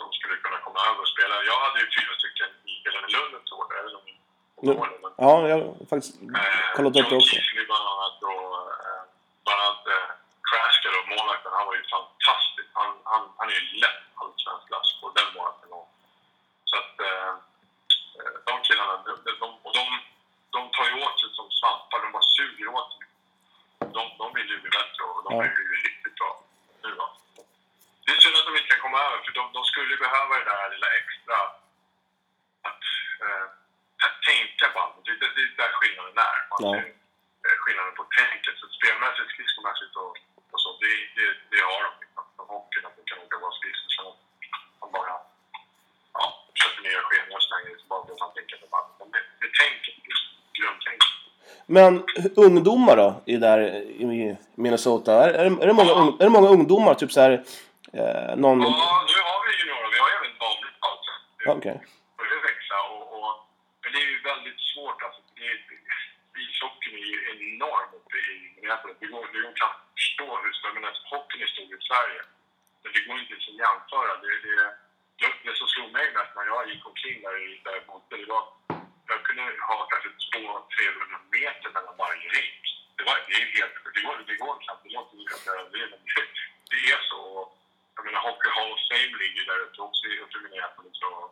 som skulle kunna komma över och spela. Jag hade ju fyra stycken i Elin Lund ett år, jag vet inte om ni kommer
Nu-
ihåg det, men-
Ja, jag har faktiskt
Eh,
kollat upp det också.
John Kisley bland annat och eh, bland annat eh, Krasker och målvakten, han var ju fantastisk. Han, han, han är ju lätt allsvensk klass på den målvakten. Och- Så att eh, eh, de killarna, de, de, de, och de, de tar ju åt sig som svampar. De bara suger åt sig. De, de vill ju bli bättre och de
Ja.
är ju riktigt bra nu då. Det är synd att de inte kan komma över för de, de skulle ju behöva det där lilla extra att eh, t- tänka bandet. Det, det, det är där skillnaden är. Man
Ja.
ser, eh, skillnaden på tänket. Så spelmässigt, skridskomässigt och, och så, det, det, det har de. Liksom. De hockeyn, att de kan åka våra skridskor. Så att man bara ja, köper nya skenor och slänger det tillbaka. Och man tänker på bandet. Men Det, det tänket, just grundtänket.
Men ungdomar då, i, där, i Minnesota? Är, är, det- är, det många, ung- är det många ungdomar, typ så här, eh, någon...
Ja,
Ja,
nu har vi juniorer. Vi har ju även vanligt alltså.
Okej.
börjar växa. Och, och, men det är ju väldigt svårt. Alltså, det är, ishockeyn är ju enorm uppe i Minneapolis. Det går, det går knappt att förstå hur stor... Men alltså, hockeyn är stor i Sverige. Men det går inte ens att jämföra. Det, det, det, det som slog mig mest när jag gick omkring där, i- där jag bodde, det var... Jag kunde ha kanske 200-300 meter mellan varje rink. Det, var, det är helt... Det går, det går knappt. Det låter lika bra det, men det, det är så. Jag menar, Hockey Hall of Fame ligger ju där uppe också, i- uppe i Minneapolis. Och,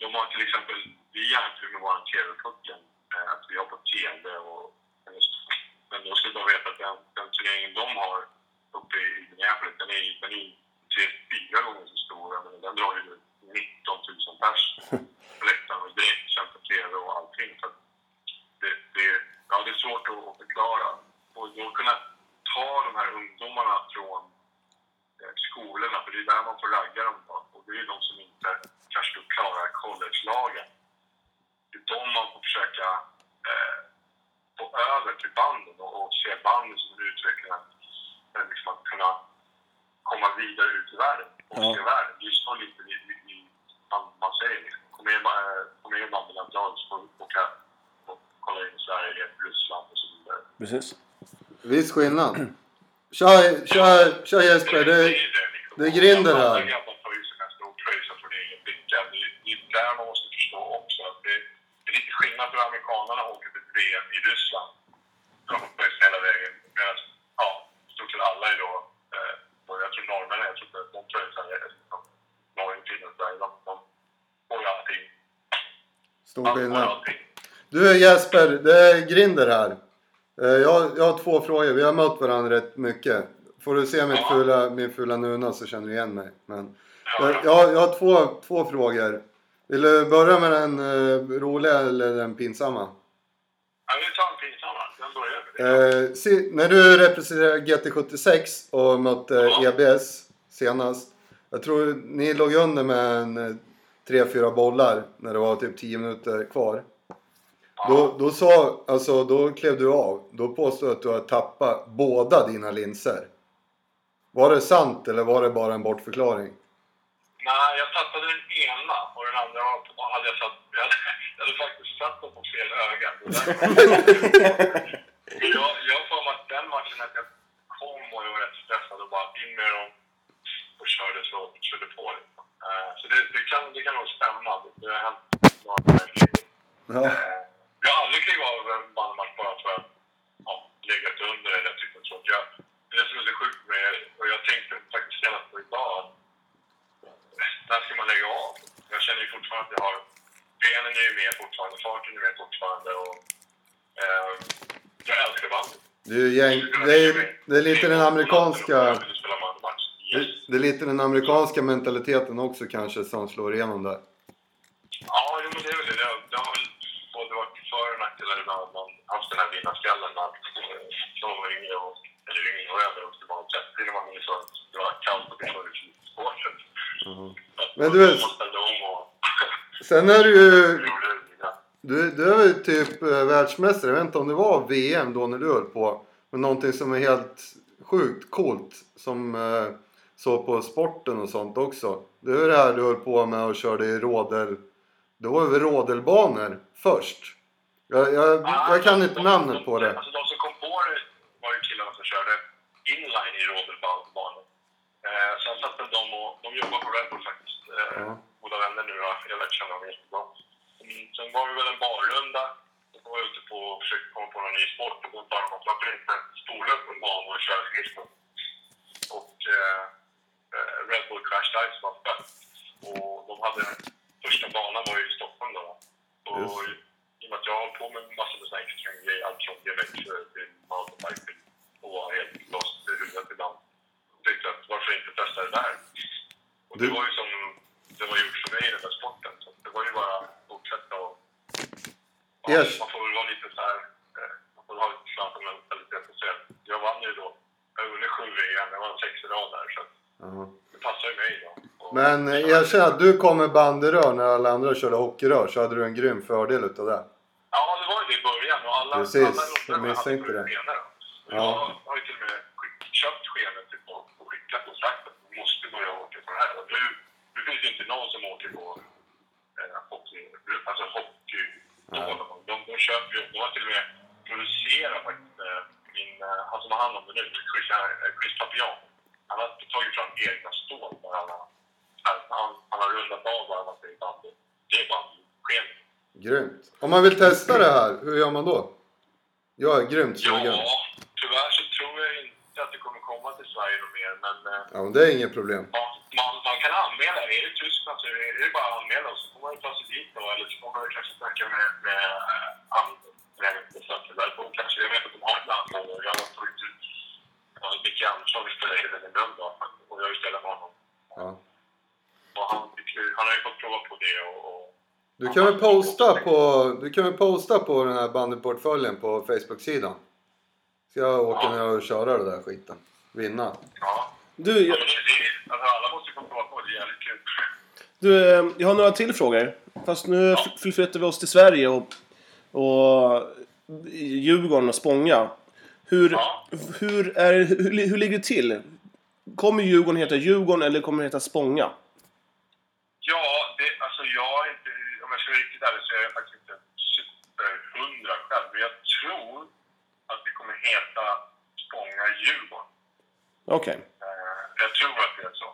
de har till exempel, vi hjälpte ju med vår TV-pucken, eh, att vi har på TV och men då ska de veta att den, den turneringen de har uppe i Minneapolis, den är, den är tre, fyra gånger så stor. Jag menar, den drar ju 19 000 pers på läktaren och direktsänd på TV och allting. Så att det, det, ja, det är svårt att att förklara. Och då kunna ta de här ungdomarna från eh, skolorna, för det är där man får ragga dem. då. Och det är ju de som inte kanske då klarar college-lagen. Det är de man får försöka eh, få över till banden och, och se banden som en utveckling. att, eh, Liksom att kunna komma vidare ut i världen och
Ja.
se världen. Det är ju så lite i, i, i, man, man säger. Liksom. Kom med, eh, kom med i bandylandslaget så får du åka och kolla in Sverige, Ryssland och så vidare.
Precis.
Viss skillnad. Kör, kör, kör Jesper. Du, det är grinder här.
Alla grabbar tar ju sina stortröjor från egen ficka. Det är- det är där man måste förstå också att det, det är lite skillnad för amerikanerna åker till ett VM i Ryssland. De har fått bäst hela vägen. Medan, ja, i stort sett alla är då, eh, och jag tror norrmännen, jag tror inte de tröjsäljer, Norge, Finland, Sverige, de, de får ju allting.
Stor
De får
skillnad.
allting.
Du Jesper, det är Grinder här. Eh, Jag, jag har två frågor. Vi har mött varandra rätt mycket. Får du se mitt
Ja.
fula, min fula nuna så känner du igen mig. Men, jag, jag, jag har två, två frågor.
Vill du börja med den eh, roliga eller den pinsamma?
Ja, vi tar en pinsamma. Jag börjar med det.
Eh, si- när du representerade GT76 och mötte
Ja.
EBS senast. Jag tror ni låg under med en eh, tre fyra bollar när det var typ 10 minuter kvar. Då, då sa, alltså då klev du av. Då påstod du att du har tappat båda dina linser. Var det sant eller var det bara en bortförklaring?
Nej, jag tappade den ena och den andra var- hade jag satt... Jag hade, jag hade faktiskt satt dem på fel öga. Det där- Men jag jag får mig att den matchen att jag kom och jag var rätt stressad och bara in med dem och körde, så, körde på. Liksom. Eh, Så det, det, kan, det kan nog stämma. Det- Det har hänt några gånger.
Ja.
Eh, Jag har aldrig klivit av en bandmatch bara för att ja, legat under eller tyckt något sånt. Jag, det som är så sjukt med och jag tänkte faktiskt senast på idag, att när ska man lägga av? Jag känner ju fortfarande att jag har, benen är ju med fortfarande, farten är med fortfarande och eh, jag älskar bandet.
Det är, ju gäng, det, är, det är lite den
Jag
amerikanska...
vill spela bandymatch.
Det,
Yes.
det är lite den amerikanska mentaliteten också kanske som slår igenom där.
Ja, jo, men det är väl det. Det har- Det har väl både varit för och nackdelar ibland att man haft den här vinnarskallen att eh, när man var yngre och, eller yngre och äldre och det var 30 när man insåg att det var kallt och det var ju svårt.
Mm. Men du vet- Mm.
Man ställde om och
Sen är du ju...
gjorde det.
Du, du är ju typ eh, världsmästare. Jag vet inte om det var VM då när du höll på. Men någonting som är helt sjukt coolt. Som eh, så på sporten och sånt också. Det är det här du höll på med och körde i rådel... Det var väl rådelbanor först? Jag, jag, jag kan inte namnet på det.
Alltså, de som kom på det var ju killarna som körde inline i rodelbanan. Eh, sen satte de och de jobbar på Red Bull faktiskt. Eh,
Ja.
Goda vänner nu då. Jag lär känna dem jättebra. Mm, Sen var vi väl en barrunda. Då var jag ute på och försökte komma på någon ny sport. Och då bara, varför inte spola upp en bana och köra skridskor? Och eh, eh, Red Bull Crash Dive som var fett. Och de hade, första banan var ju i Stockholm då. Och
Just.
i och med att jag har på med massor med såna här extrema grejer, allt från BMX till mountainbike till- och var helt lost i huvudet ibland. Tyckte att varför inte testa det där? Och det
Du-
var ju som det var gjort för mig i den där sporten. Så det var ju bara att fortsätta och... Ja,
Yes.
Man får väl vara lite så här... eh, Man får ha lite slant och mentalitet och se. att Jag vann ju då. Jag vunnit sju VM, jag vann sex i rad där. Så att
Ja.
det passar ju mig då. Och-
Men eh, erkänn att du kom med banderör när alla andra körde hockeyrör. Så hade du en grym fördel utav det.
Ja, det var ju det i början. Och alla,
Precis,
alla
jag
låtarna
missade inte det.
skenor.
Ja.
Jag har ju till och med skick- köpt skenor typ, och och skickat och sagt att du måste börja åka på det här. Och nu, nu finns det inte någon som åker på eh, hockey, alltså hockey. De, de köper ju, de har till och med producerat faktiskt, eh, min, eh, han som har hand om det nu, Chris, eh, Chris Papillon. Han har tagit fram egna stål där han, har- han, han, han har rundat av varandra i bandet. Det är bandyskenor.
Grymt. Om man vill testa det här, hur gör man då? Jag är grymt sugen.
Ja, tyvärr så tror jag inte att det kommer komma till Sverige något mer. Men eh,
Ja, men det är inget problem.
man, man, man kan anmäla. Är det Tyskland så är det, är det bara att anmäla och så får man ju ta sig dit då. Eller så får man ju kanske snacka med, med eh, han med besöksvärden. Kanske, jag vet att de har ett landslag. och Jag har tagit ut ja, Micke Andersson, vi spelade i Hedemund då. Och jag ställer med honom.
Ja.
Och han, han har ju fått prova på det och, och
Du kan väl posta på, du kan väl posta på den här bandyportföljen på Facebook-sidan. Ska jag åka ner och köra det där skiten. Vinna.
ja.
Du,
ja
jag,
men det, det, är- alltså, alla måste ju få prova på det. Det är jävligt kul.
du, eh, jag har några till frågor. Fast nu f- förflyttar vi oss till Sverige och, och Djurgården och Spånga. Hur,
Ja.
hur, är, hur, li- hur ligger det till? Kommer Djurgården heta Djurgården eller kommer det heta Spånga?
Ja, det, alltså jag är inte, om jag ska vara riktigt ärlig så är jag faktiskt inte superhundra själv. Men jag tror att det kommer heta Spånga Djurgården.
Okej.
Eh, jag tror att det är så.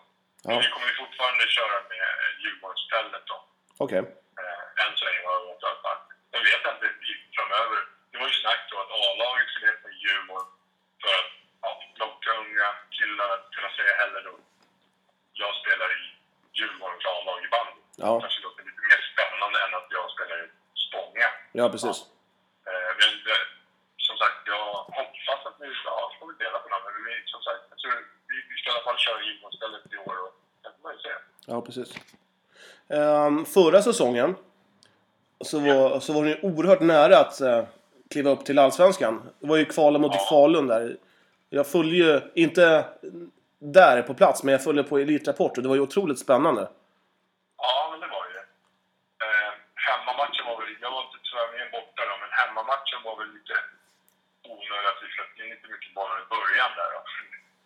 Men
Ja.
vi kommer ju fortfarande köra med Djurgårdsstället då.
Okej.
Eh, än så länge har jag varit i alla fall. Jag vet inte i- framöver. Det var ju snack då att A-laget skulle heta Djurgården för att ja, locka unga killar att kunna säga hellre då. Jag spelar i Djurgårdens A-lag i bandy.
Ja.
Kanske låter lite mer spännande än att jag spelar i Spånga.
Ja, precis.
Eh, men det, som sagt, jag hoppas att vi ja, får vi dela på det. här, Men vi, som sagt, jag tror vi, vi ska i alla fall köra Djurgården istället i år. Och, det får man ju se.
Ja, precis. Eh, Ehm, förra säsongen så var, så var hon ju oerhört nära att eh, kliva upp till Allsvenskan. Det var ju kvalen mot Falun där. Jag följde ju, inte där på plats, men jag följde på Elitrapport och det var ju otroligt spännande.
Ja, men det var ju det. Eh, hemmamatchen var väl... Jag var inte tyvärr med borta då, men hemmamatchen var väl lite onödig att vi släppte in lite mycket bollar i början där då.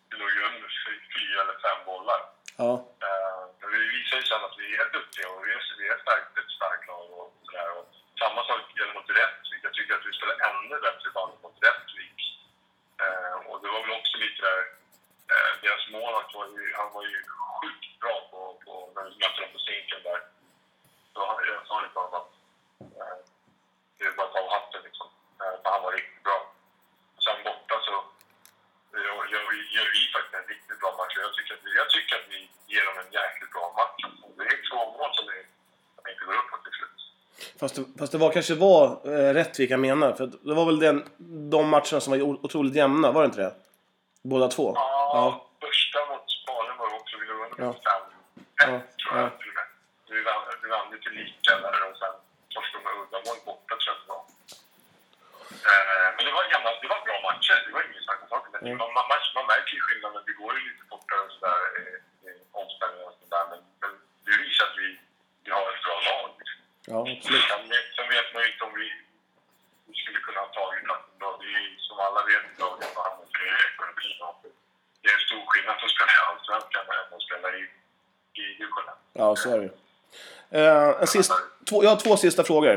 Vi låg ju under fy- fyra eller fem bollar.
Ja.
Eh, men vi visar ju sen att vi är duktiga och vi är, vi är starkt, ett starkt lag och sådär. Och samma sak gäller mot Rättvik. Jag tycker att vi spelar ännu bättre band mot Rättvik. Eh, och det var väl också lite där... Eh, deras målvakt var ju, han var ju sjukt bra på, på, när vi mötte dem på Zinken där. Så han, jag sa det till honom att eh, det är bara att ta av hatten liksom. Eh, för han var riktigt bra. Sen borta så Ja, gör vi, gör vi faktiskt en riktigt bra match. Jag tycker, att vi, jag tycker att vi ger dem en jäkligt bra match. Det är två mål som är- som inte går upp till slut.
Fast, det- fast det var kanske var eh, Rättvik jag menar. För att det var väl den, de matcherna som var o- otroligt jämna, var det inte det? Båda två?
Ja, första mot Spanien var det också. Vi låg under
Ja.
med 5-1
Ja,
tror jag
ja.
till och med. Vi vann, vi vann lite lika där och sen torskade med uddamål borta tror jag det var. Eh, Men det var, jämna, det var bra matcher, det var ingen snack om saken.
Mm.
Men Man, man, man, man märker ju skillnaden, det går ju lite fortare och sådär, eh, i omställningar och sådär. Men, men det visar att vi, vi har ett bra lag. liksom.
ja absolut.
Sen vet- Sen vet man ju inte om vi vi skulle kunna ha tagit platsen då. Det är ju som alla vet idag, det är handel för ekonomin. och Det är stor skillnad på att spela i Allsvenskan än att spela i, i division ett.
Ja, så är det ju. Eh, en sist, två, Jag har två sista frågor.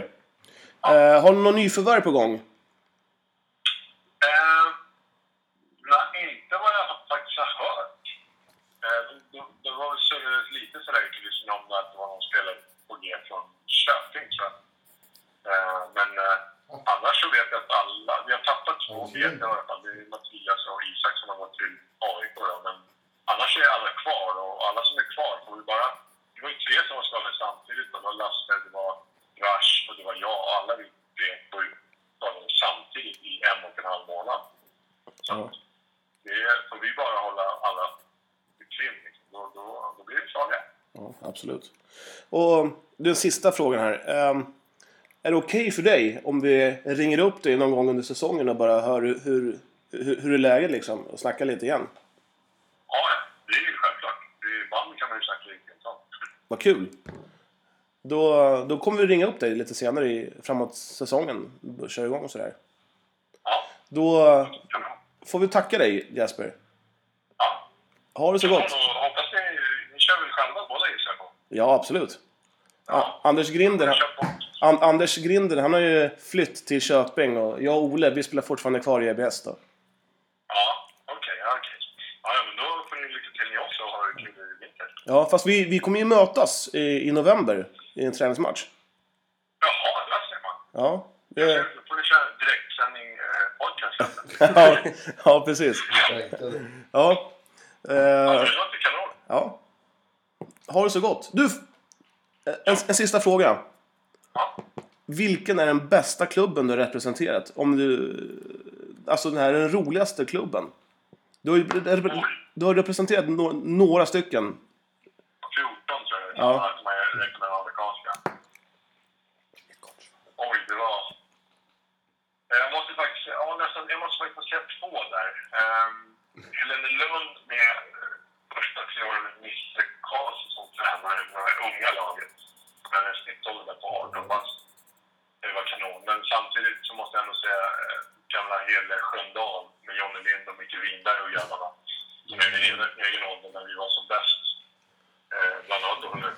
Eh, har ni någon nyförvärv på gång?
Eh, nej, inte vad jag faktiskt har hört. Eh, det- det, det var väl surrades lite sådär i kulisserna om att det var någon spelare på G från Köping, tror jag. Eh, men eh, annars så vet jag att alla... Vi har tappat två G i alla fall. Det är Mattias och Isak som har gått till AIK. Då, men annars är alla kvar och alla som är kvar får vi bara... Det var ju tre som var skadade samtidigt. Det var Lasse, det var Rush och det var jag. Alla vi tre får ju skadade samtidigt i en och en halv månad. Så
Ja.
det är, får vi bara hålla alla i trim, liksom. då, då, då blir vi farliga.
Ja, absolut. Och den sista frågan här. Ehm, är det okej för dig om vi ringer upp dig någon gång under säsongen och bara hör hur, hur, hur, hur är läget liksom? Och snackar lite igen?
Ja, ja, det är ju självklart. Det är- Ibland kan man ju snacka riktigt om.
Vad kul! Då, då kommer vi ringa upp dig lite senare i, framåt säsongen. Kör igång och sådär.
Ja,
Då
kan man.
får vi tacka dig Jasper.
Ja.
Ha det så
Ja,
gott!
då Hoppas ni, ni kör väl själva båda gissar jag på?
Ja, absolut. A- Anders Grinder,
Ni
han,
kör på.
An- Anders Grinder, han har ju flytt till Köping och jag och Ole, vi spelar fortfarande kvar i EBS då.
Ja, okej, ja, okej. Ja, ja, men då får ni lycka till ni också och ha det kul i vinter.
Ja, fast vi, vi kommer ju mötas i, i november i en träningsmatch.
Jaha, där ser man.
Ja, det,
Då får ni köra direktsändning eh, podcast.
ja, ja precis. Ja,
Ja,
eh,
det låter kanon.
ja. Ha det så gott. Du, en, en sista fråga.
Ja.
Vilken är den bästa klubben du har representerat? Om du, alltså den här den roligaste klubben. Du har, ju, du har representerat no, några stycken
14 tror jag.
Ja.
Ja. Som jag räknar med amerikanska. Oj, det var... Eh, Jag måste faktiskt, ja, nästan, jag måste faktiskt säga två där. Um, Helene Lund med eh, första tre åren med Nisse Karlsson som tränare med det här unga laget. Han är snittåldern på 18 bast. Det var kanon. Men samtidigt så måste jag ändå säga eh, gamla Hede Sköndal med Johnny Lind och Micke Winberg och grabbarna. Som är min egen- egen ålder när vi var som bäst eh, bland annat under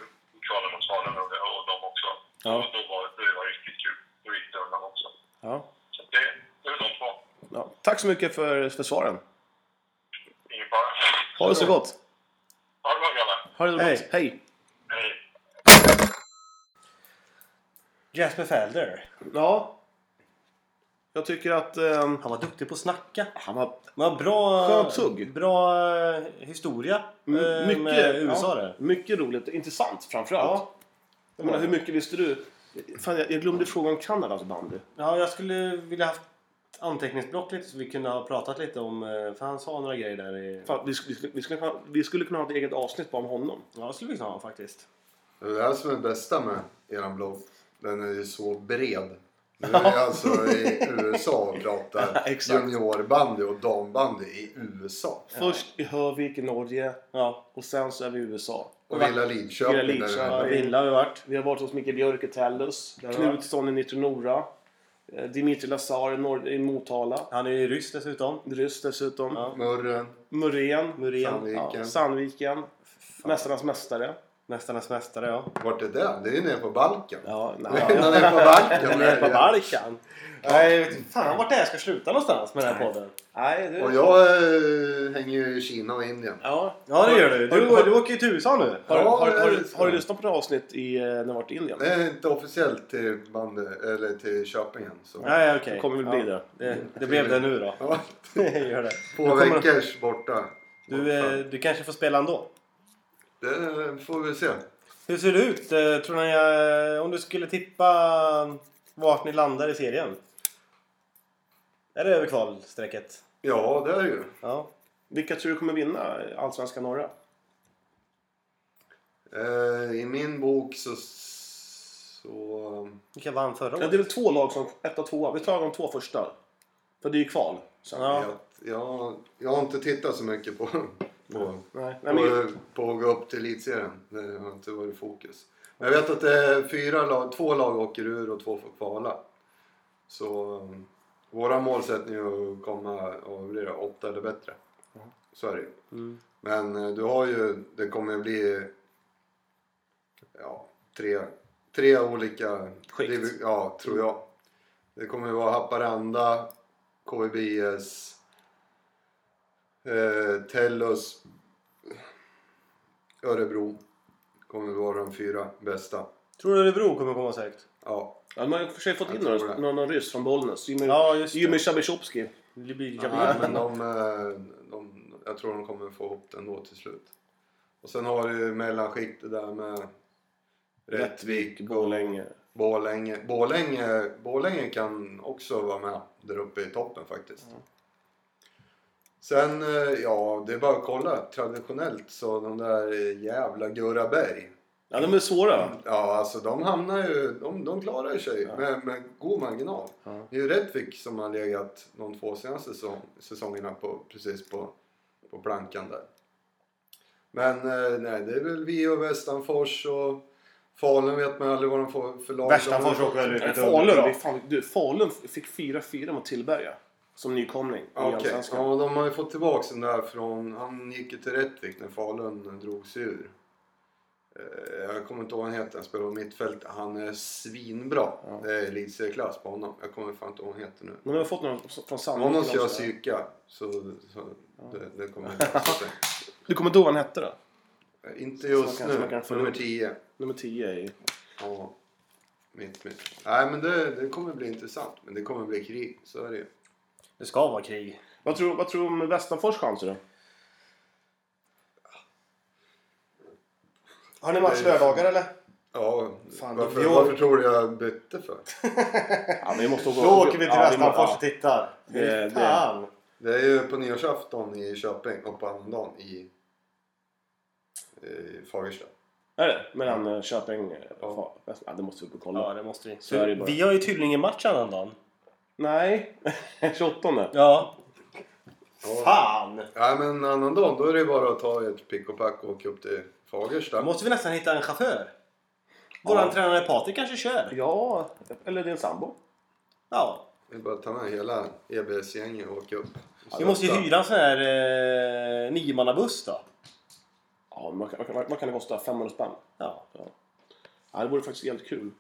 kvalen mot Falun och, och de också.
Ja.
Och då var det var riktigt kul. Då gick det undan också.
Ja.
Så det, det är de två.
Ja. Tack så mycket för, för svaren.
Ingen fara.
Ha det så gott.
Ha det bra grabbar.
Ha det så
Hej.
gott. Hej.
Hej.
Jasper Felder.
Ja. Jag tycker att ehm,
Han var duktig på att snacka.
han var
Han har bra,
Skönt tugg.
bra eh, historia eh,
m- mycket,
med USA
ja,
där.
mycket roligt och intressant framförallt.
Ja.
Jag menar, hur mycket visste du? Fan, jag, jag glömde fråga om Kanadas bandy.
Ja, jag skulle vilja haft anteckningsblock lite så vi kunde ha pratat lite om... eh, För han sa några grejer där. I...
Fan, vi, sk- vi, sk- vi, skulle, kunna- vi skulle kunna ha ett eget avsnitt bara om honom.
Ja, det skulle vi kunna ha faktiskt.
Det är det här som är det bästa med eran blogg. Den är ju så bred. Nu är jag alltså i USA och pratar
Exakt.
juniorbandy och dambandy i USA.
Först i Hörvik i Norge ja. och sen så är vi i USA.
Och Villa Lidköping.
Villa
där
Lidköping.
emellan.
Villa har vi varit. Vi har varit hos Micke Björk i Tellus. Knutsson i Nitronora. eh, Dimitri Lazar i, Nor- i Motala.
Han är ju ryss dessutom.
Ryss dessutom.
Ja.
Murren.
Muren.
Muren.
Sandviken.
Ja, Sandviken. Mästarnas mästare.
Mästarnas mästare ja.
Vart är det? Det är ju nere på Balkan.
Ja,
Den är på Balkan.
Nere på Balkan.
Nej, jag vet inte fan vart det här ska sluta någonstans med den här podden.
Nej,
Och
du.
jag eh, hänger ju i Kina och Indien.
Ja.
Ja det gör du.
Har
Du,
har-
du åker ju till USA nu.
Har,
Ja,
har, har,
det är
har,
så.
har du lyssnat på det avsnitt i, eh, när du varit i Indien?
Det är inte officiellt till, bandy, eller till Köping än. Så.
Nej okej.
Det kommer väl bli
ja.
det.
det. Det blev det nu då.
Ja,
gör det.
två veckors borta.
Du, eh, du kanske får spela ändå.
Det får vi se.
Hur ser det ut? eh, Tror ni, eh, om du skulle tippa mm, vart ni landar i serien? Är det över kvalstrecket?
Ja, det är det ju.
Ja.
Vilka tror du kommer vinna Allsvenskan norra?
Eh, I min bok så... så
Vilka vann förra
Ja,
året?
det är väl två lag som... Ett och tvåa. Vi tar de två första. För det är ju kval. Sen.
Ja.
jag, jag, jag har inte tittat så mycket på, på,
Nej, nej, men,
på, på att gå upp till elitserien. Det har inte varit fokus. Men jag vet att det är fyra lag, två lag åker ur och två får kvala. Så eh, våra målsättning är att komma och bli åtta eller bättre. Så är det ju.
Mm.
Men eh, du har ju, det kommer ju bli ja, tre, tre olika
Skikt.
divi- Ja, tror jag. Det kommer ju vara Haparanda, KVBS, eh, Tellus, Örebro. Kommer vara de fyra bästa.
Tror du Örebro kommer komma säkert?
Ja,
ja, de har ju för sig fått in
Jag tror
någon,
det.
någon, någon ryss från Bollnäs. Jimmy,
Ja, just det.
Jimmy Shabishopski.
Det blir lika
Nej,
bra.
men de, eh, de, jag tror de kommer få ihop det ändå till slut. Och sen har du ju mellanskiktet där med Rättvik,
Borlänge.
Borlänge. Borlänge, Borlänge kan också vara med där uppe i toppen faktiskt. Sen, eh, ja, det är bara att kolla. Traditionellt så de där jävla Gurraberg.
Ja, de är svåra.
Ja, alltså de hamnar ju... De, de klarar ju sig med, med god marginal. Det är ju Rättvik som har legat de två senaste säsong, säsongerna på, precis på, på plankan där. Men eh, nej, det är väl vi och Västanfors och Falun vet man aldrig vad de får för lag.
Västanfors åker väl ut
Nej,
lite
Falun, det är
underbra.
fan, du, Falun fick 4-4 mot Tillberga. Som nykomling i
Okej,
Allsvenskan.
ja de har ju fått tillbaka den där från... Han gick ju till Rättvik när Falun drog sig ur. Eh, Jag kommer inte ihåg vad han heter, han spelar på mittfält. Han är svinbra. Det är elitserieklass på honom. Jag kommer fan inte ihåg vad han heter nu.
Men de har fått någon från
Om någon
Sandviken
ska jag
också.
psyka så, så det, det kommer jag inte att
Du kommer då han hette då?
se. Inte just
kanske man
nu.
kan få
Nummer
upp.
10.
Nummer 10 i...
Ja. Mitt, mitt. Nej men det, det kommer bli intressant. Men det kommer bli krig. Så är det ju.
Det ska vara krig.
Vad tror, vad tror du om Västanfors chanser då?
Har ni match lördagar eller?
Ja,
Fan,
varför,
i år-
varför tror du jag bytte för?
Ja, vi måste
Då åker vi till
ja, må-
Västanfors
ja.
och tittar.
Det- det-
Fan!
Det är ju på nyårsafton i Köping och på annandagen i, i Fagersta.
Är det? Mellan eh, Köping och
Ja.
ja. Ja, det måste vi upp och kolla.
Ja, det måste vi.
Så är det bara.
Vi har ju tydligen en match annan dag.
Nej, 28.
Ja.
Ja.
Fan!
Nej men annandagen då är det bara att ta ett pick och pack och åka upp till Fagersta.
Då måste vi nästan hitta en chaufför. Våran tränare Patrik kanske kör.
Ja, eller din sambo.
Ja.
Det är bara att ta med hela EBS-gänget och åka upp.
Vi måste ju hyra en sån här eh, niomannabuss då.
Ja, man kan, man kan, man kan det kosta 500 spänn.
Ja.
Ja, det vore faktiskt jävligt kul.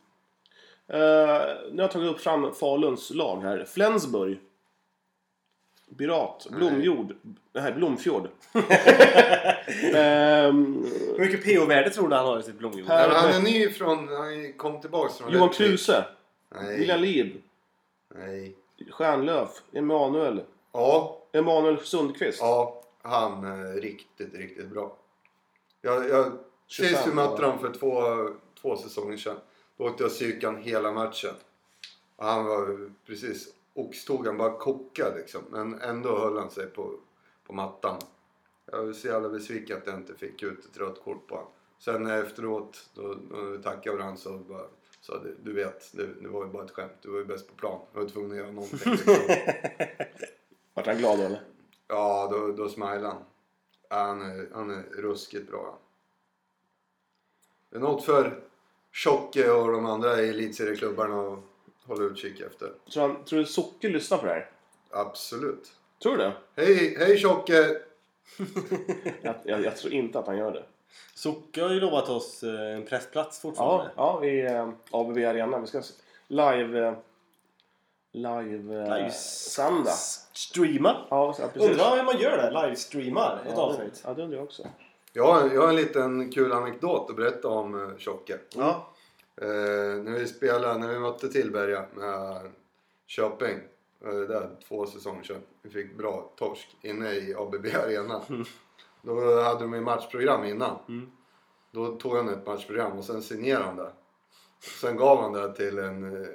Eh, nu har jag tagit upp fram Faluns lag här. Flensburg. Pirat. Blomjord. Nej, Blomfjord. Ehm,
Hur mycket PO-värde tror du han har i sitt blomjord?
Per-
Nej, men han är ny från... Han kom tillbaks från...
Johan
Rättvik.
Kruse. William
Nej.
Liv.
Nej.
Stjärnlöf. Emanuel.
Ja,
Emanuel Sundqvist.
ja. Han är riktigt, riktigt bra. Jag, jag, sist vi
25
mötte
år.
dem för två, två säsonger sedan. Då åkte jag psykan hela matchen. Och han var precis oxtog. Han bara kokade liksom. Men ändå höll han sig på, på mattan. Jag är så jävla besviken att jag inte fick ut ett rött kort på honom. Sen efteråt, då, då tackade varandra så bara, sa du, du vet, det, det var ju bara ett skämt. Du var ju bäst på plan. Du var tvungen att göra någonting. Liksom.
Vart han glad då eller?
Ja, då, då smilade han. Ja, Han är, han är ruskigt bra. han. Det är något för Tjocke och de andra i elitserieklubbarna att hålla utkik efter.
Tror, han, tror du Socke lyssnar på det här?
Absolut.
Tror du det?
Hej, hej Tjocke!
Jag, jag, jag tror inte att han gör det.
Socke har ju lovat oss eh, en pressplats
Ja,
fortfarande.
ja i eh, ABB Arena. Vi ska s- live... Eh, live... Eh,
Live-
sända.
Streama.
Ja, så- ja, precis.
Undrar hur man gör det? Livestreamar ett
ja, det,
avsnitt.
ja, det undrar jag också.
Jag har, jag har en liten kul anekdot att berätta om eh, Tjocke.
Ja.
Eh, när vi spelade, när vi mötte Tillberga med Köping. eh, där, två säsonger sedan. Vi fick bra torsk inne i ABB Arena. Då hade de ju matchprogram innan. Då tog han ett matchprogram och sen signerade han det. Sen gav han det till en, eh,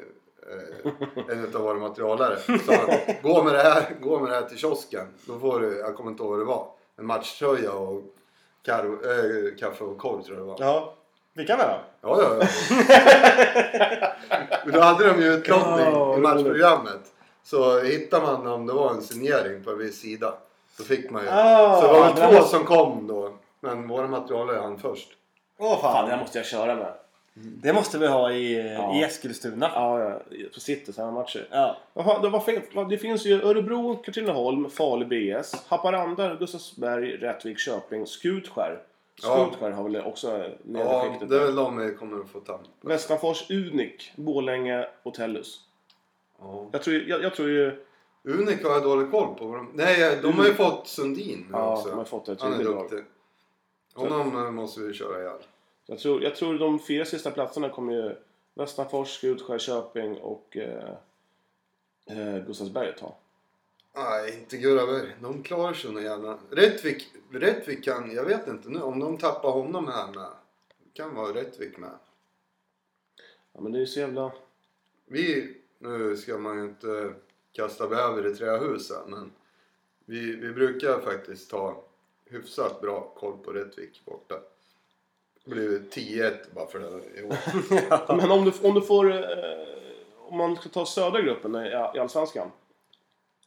eh, en utav våra materialare. Så han, gå med det här, gå med det här till kiosken. Då får du, jag kommer inte ihåg vad det var. En matchtröja och karo, eh, kaffe och korv tror jag det var.
Ja. Fick han det då?
Ja, ja, ja. Men då hade de ju utlottning
Ja,
i matchprogrammet. Så hittade man om det var en signering på en viss sida. Så fick man ju.
Ah,
så det var
det
väl två
var-
som kom då. Men våra material är han först.
Åh
Fan, det
fan.
här måste jag köra med.
Det måste vi ha i, eh,
Ja.
i Eskilstuna.
Ja, ja, på City så här matcher.
Ja.
Jaha, det, var fel. det finns ju Örebro, Katrineholm, Falu BS, Haparanda, Gustavsberg, Rättvik, Köping, Skutskär.
Ja.
Skutskär har väl också
Ja,
nederskiktet.
det är väl de vi kommer att få ta.
Västmanfors, Unik, Borlänge och Tellus.
Ja.
Jag tror, ju- jag, jag tror ju...
Unik har jag dålig koll på. vad de- Nej, de har ju fått Sundin nu
Ja,
också.
de har fått ett
han är
bidrag.
duktig. Honom eh, måste vi köra ihjäl.
Jag tror, jag tror de fyra sista platserna kommer ju Västmanfors, Skutskär, Köping och eh, eh, Gustavsberg att ta.
Nej, inte Guraberg. De klarar sig nog jävla... Rättvik, Rättvik kan... Jag vet inte nu om de tappar honom här med. Kan vara Rättvik med.
Ja, men det är ju så jävla...
Vi... Nu ska man ju inte kasta bäver i trähus här, men... Vi, vi brukar faktiskt ta hyfsat bra koll på Rättvik borta. Det blev 10-1 bara för det i år.
Men om du, om du får... Eh, om man ska ta södra gruppen i, i Allsvenskan.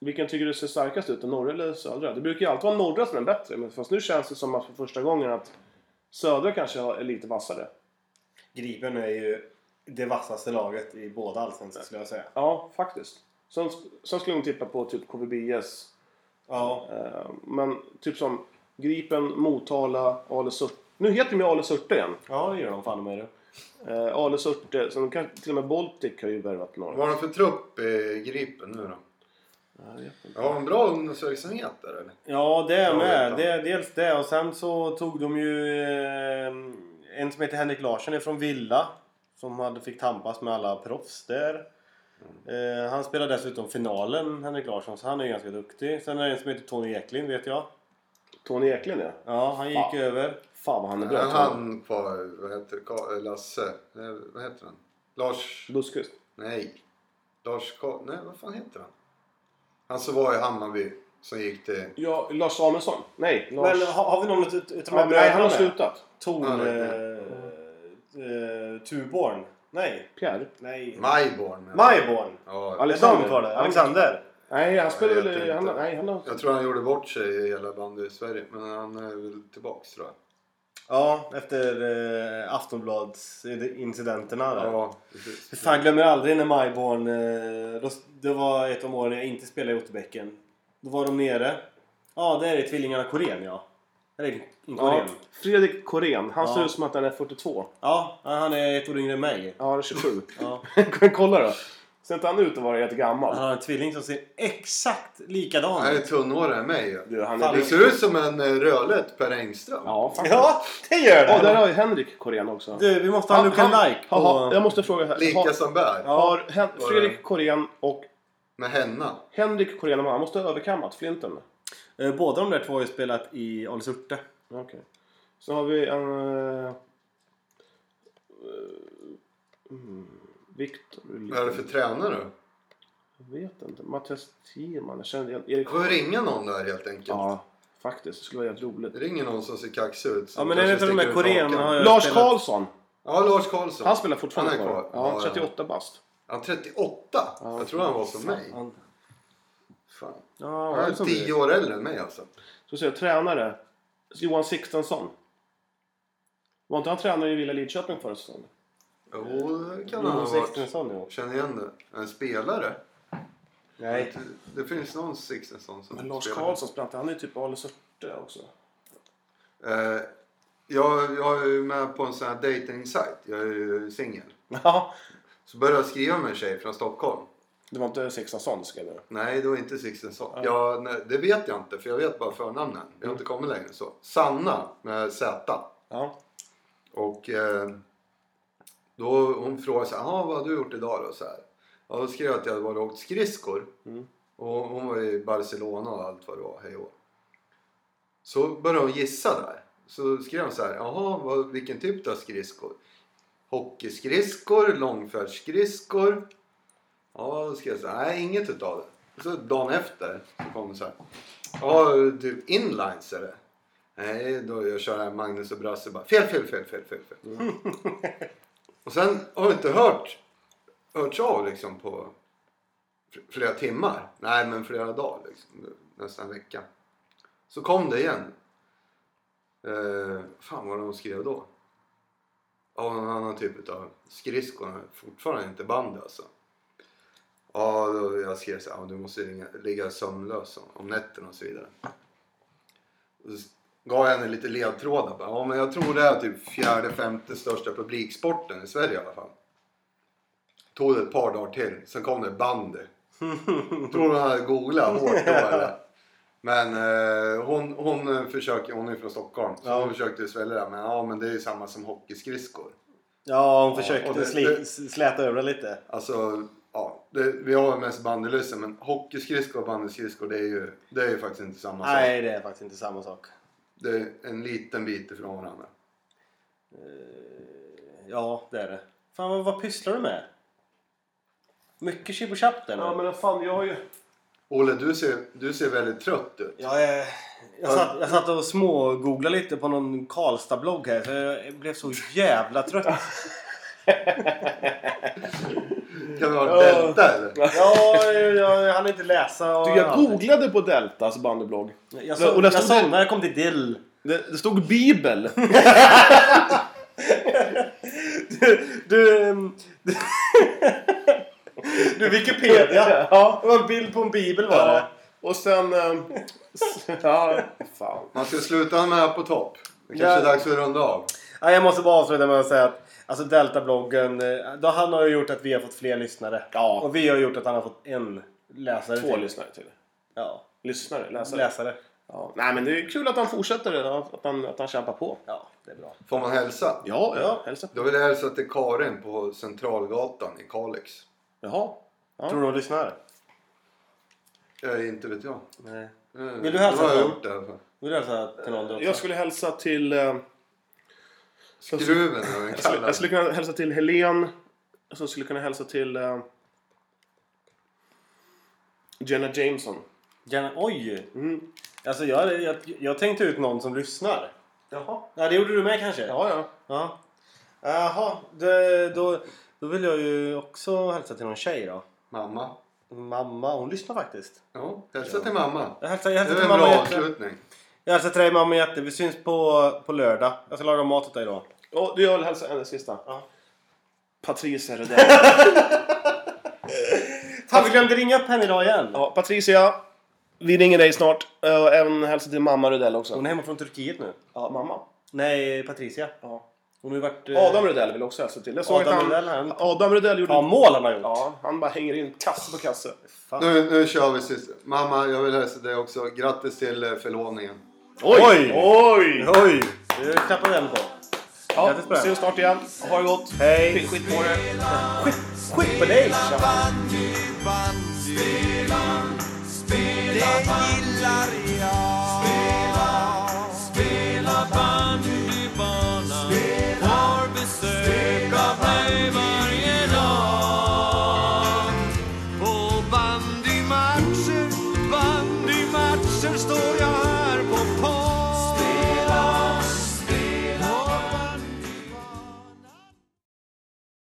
Vilken tycker du ser starkast ut? Den norra eller södra? Det brukar ju alltid vara norra som är bättre. Men fast nu känns det som att för första gången att södra kanske har- är lite vassare.
Gripen är ju det vassaste laget i båda allsvenskan skulle jag säga.
Ja, faktiskt. Sen, sen skulle jag nog tippa på typ KVBS.
Ja.
Eh, men typ som Gripen, Motala, Ale Surte. Nu heter de ju Ale Surte igen.
Ja, det gör de fan med det.
Eh, Ale Surte. Sen kanske, till och med Baltic har ju värvat några.
Vad har de för trupp i Gripen nu då?
Ja, jag vet inte.
Har de bra ungdomsverksamhet där eller?
Ja, det är
Jag
med.
vet
Det, är dels det och sen så tog de ju eh, en som heter Henrik Larsson är från Villa som hade fick tampas med alla proffs där.
Mm.
Eh, han spelar dessutom finalen, Henrik Larsson, så han är ju ganska duktig. Sen är det en som heter Tony Eklind vet jag.
Tony Eklind ja.
Ja, han gick
Fan.
över.
Fan vad han är bra.
Är
Tony.
han kvar? Vad heter det? Ka- eh, Lasse? Nej, vad heter han? Lars?
Buskust.
Nej. Lars Ka- Nej, vad fan heter han? Han som var i Hammarby. Som gick till...
Ja, Lars Samuelsson. Nej, Lars...
Men har, har vi någon ut- ut- utom
ja, nej, han har
med?
slutat.
Torn...
Han har
Eh, eh,
slutat.
Tuborn? Nej.
Pierre?
Nej.
Majborn. menar jag.
Myborn!
Ja,
Alexander var det. Alexander.
Nej, han spelar
Jag vet
väl... Han,
inte.
nej, han har...
jag tror han gjorde bort sig i hela bandet i Sverige. Men han är väl tillbaks tror jag.
Ja, efter eh, Aftonbladsincidenterna där.
Ja, precis.
För fan, jag glömmer aldrig när Myborn... Eh, då, det var ett av åren jag inte spelade i Otterbäcken. Då var de nere. Ja, där är tvillingarna Korén, ja. Där är en
Ja,
Korén.
Fredrik Korén. Han
Ja.
ser ut som att han är 42.
Ja. han är ett år yngre än mig.
Ja, han är 27.
Ja.
Kolla då. Ser inte han ut att vara jättegammal?
Han har en tvilling som ser exakt likadan
Han är
ut.
tunnhårigare än mig ju.
Du, han
Fan,
är...
Det ser ut som en eh, Rödlätt Per Engström.
Ja, faktiskt. Ja,
Ja, det gör det!
där har ju Henrik Korén också.
Du, vi måste ha
Han-
Luka
han-
Like på...
Jaha, jag måste fråga här.
Lika
Har,
som Berg.
har Hen-
Var det-
Fredrik Korén och
Med henna.
Henrik Korén, han måste ha överkammat flinten.
Eh, Båda de där två har ju spelat i Ale Surte.
Okej. Så har vi en... eh, eh, mm, Viktor...
Vad är det för tränare då?
Jag vet inte. Mattias Thiemann. Jag känner igen... Erik...
Får vi ringa någon där helt enkelt?
Ja. Faktiskt, det skulle vara jävligt roligt.
Det ringer någon som ser kaxig ut. som
Ja men en
kanske
utav de
sticker
här
ut
koreanerna
hakan.
har jag
Lars
spelat-
Karlsson!
Ja, Lars Karlsson.
Han spelar fortfarande
Han är
kvar.
kvar.
Ja,
Ja, ja.
38 bast.
Ja, 38. jag tror han var som mig.
Han-
Fan.
Ja,
Han
det är
är
som
tio
det.
år äldre än mig alltså.
Så säger jag, tränare. Johan Sixtensson. Var inte han tränare i Villa Lidköping förra säsongen?
Jo, det kan han ha
Johan
varit.
Sixtensson ja.
Känner igen det. En spelare?
Nej.
Det finns någon Sixtensson som
Men Lars
spelar.
Karlsson spelar inte. Han är ju typ Ale Sörte också.
Eh, jag, jag är ju med på en sån här dating-sajt. Jag är ju singel.
Ja.
Så började jag skriva med en tjej från Stockholm.
Det var inte Sixtensson skrev jag.
Nej, det var inte Sixtensson. Ja, nej, det vet jag inte för jag vet bara förnamnen. Jag har inte kommit längre än så. Sanna med Z.
Ja.
Och eh, då hon frågade så här, "Jaha, vad har du gjort idag då? Så här. Ja, då skrev jag att jag hade varit och åkt skridskor. Och hon var i Barcelona och allt vad det var, hej och hå. Så började hon gissa där. Så skrev hon så här, jaha, vad, vilken typ av skridskor? Hockeyskridskor, långfärdsskridskor. Ja, då skrev jag så här, nej inget utav det. Så dagen efter så kom hon så här, ja, typ inlines är det. Nej, då jag kör här Magnus och Brasse bara fel, fel, fel, fel, fel. fel. och sen har jag inte hört hörts av liksom på fl- flera timmar. Nej, men flera dagar liksom. Nästan en vecka. Så kom det igen. Eh, fan vad de skrev då. Av någon annan typ av skridskor. Fortfarande inte bandy alltså. Ja, då jag skrev så här, "Ja, du måste ringa, ligga sömnlös om- om nätterna och så vidare. Och så gav jag henne lite ledtrådar. Bara, Ja, men jag tror det är typ fjärde, femte största publiksporten i Sverige i alla fall. Tog det ett par dagar till, sen kom det bandy. tror hon hade googlat hårt då eller? Men eh, hon, hon eh, försöker, hon är från Stockholm, så hon försökte svälja det. Men ja, men det är ju samma som hockeyskridskor.
Ja, hon
och
försökte
det-
sli-
det-
släta över det lite.
Alltså, ja, det, vi har mest bandylyssnare men hockeyskridskor och bandyskridskor det är ju, det är ju faktiskt inte samma sak.
Nej, det är faktiskt inte samma sak.
Det är en liten bit ifrån varandra.
Ja, det är det. Fan, vad, vad pysslar du med? Mycket chip och chapp där nu.
Ja men vad fan, jag har ju...
Olle, du ser, du ser väldigt trött ut.
Jag, eh, jag, satt, jag satt och smågooglade lite på någon Karlstad-blogg här för jag blev så jävla trött.
Kan det vara Delta eller?
Ja, jag, jag hann inte läsa och
Du, jag googlade på Deltas bandyblogg.
Jag, so-
och där
jag
stod det-
somnade, jag kom till dill.
Det, det stod Bibel.
Du, du, ehm, du, du Wikipedia.
Ja.
Det var en bild på en bibel var det.
Ja. Och sen... ehm, ja, fan.
Man ska sluta med på topp. Det kanske
Ja.
är dags att runda av.
Ja, jag måste bara avsluta med att säga att alltså Delta-bloggen, eh, då han har ju gjort att vi har fått fler lyssnare.
Ja.
Och vi har gjort att han har fått en läsare
Två lyssnare till.
Ja,
Lyssnare? Läsare?
läsare.
Ja. Nej men det är kul att han fortsätter. Att han, att han kämpar på.
Ja, det är bra.
Får man hälsa?
Ja, ja. Hälsa.
Då vill jag hälsa till Karin på Centralgatan i Kalix.
Jaha. Ja.
Tror du de lyssnar?
Eh, inte vet jag.
Nej.
Eh,
Vill du hälsa
då har jag
till
gjort det i alla fall.
Vill du hälsa till någon du också?
Jag skulle hälsa till... eh,
Skruven eller vad den
Jag skulle, Alltså, jag
kallas.
skulle kunna hälsa till Helen. Och så skulle jag kunna hälsa till... eh, Jenna Jameson.
Gärna, oj!
Mm.
Alltså jag, jag, jag tänkte ut någon som lyssnar.
Jaha.
Ja, det gjorde du med kanske?
Ja, ja.
Ja. Jaha, det, då, då vill jag ju också hälsa till någon tjej då.
Mamma.
Mamma, hon lyssnar faktiskt.
Ja, hälsa till mamma.
Jag hälsar, jag
Det
hälsar
är
till
en
mamma
bra
Jätte.
avslutning.
Jag hälsar till dig mamma Jätte. Vi syns på, på lördag. Jag ska laga mat åt dig då.
Och du, jag vill hälsa en sista.
Ja.
Patrice är det där.
Fan, vi glömde ringa upp henne idag igen.
ja, Patricia, vi ringer dig snart. Eh, Och även hälsa till mamma Rydell också.
Hon är hemma från Turkiet nu.
Ja, mamma.
Nej, Patricia.
Ja.
Hon har ju varit... eh,
Adam Rydell vill också hälsa till. Jag såg
Adam
att han,
Rydell, han-
Adam Rydell gjorde...
Ja, mål han har gjort.
Ja, han bara hänger in kasse på kasse.
Nu, nu kör vi sist. Mamma, jag vill hälsa dig också. Grattis till eh, förlovningen.
Oj!
Oj!
Oj! Nu klappar vi henne på.
Ja,
Grattis på det.
ses snart igen. Ha det gott.
Hej!
Skit, skit på det.
Skit, skit på dig!
På bandymatcher, bandymatcher står jag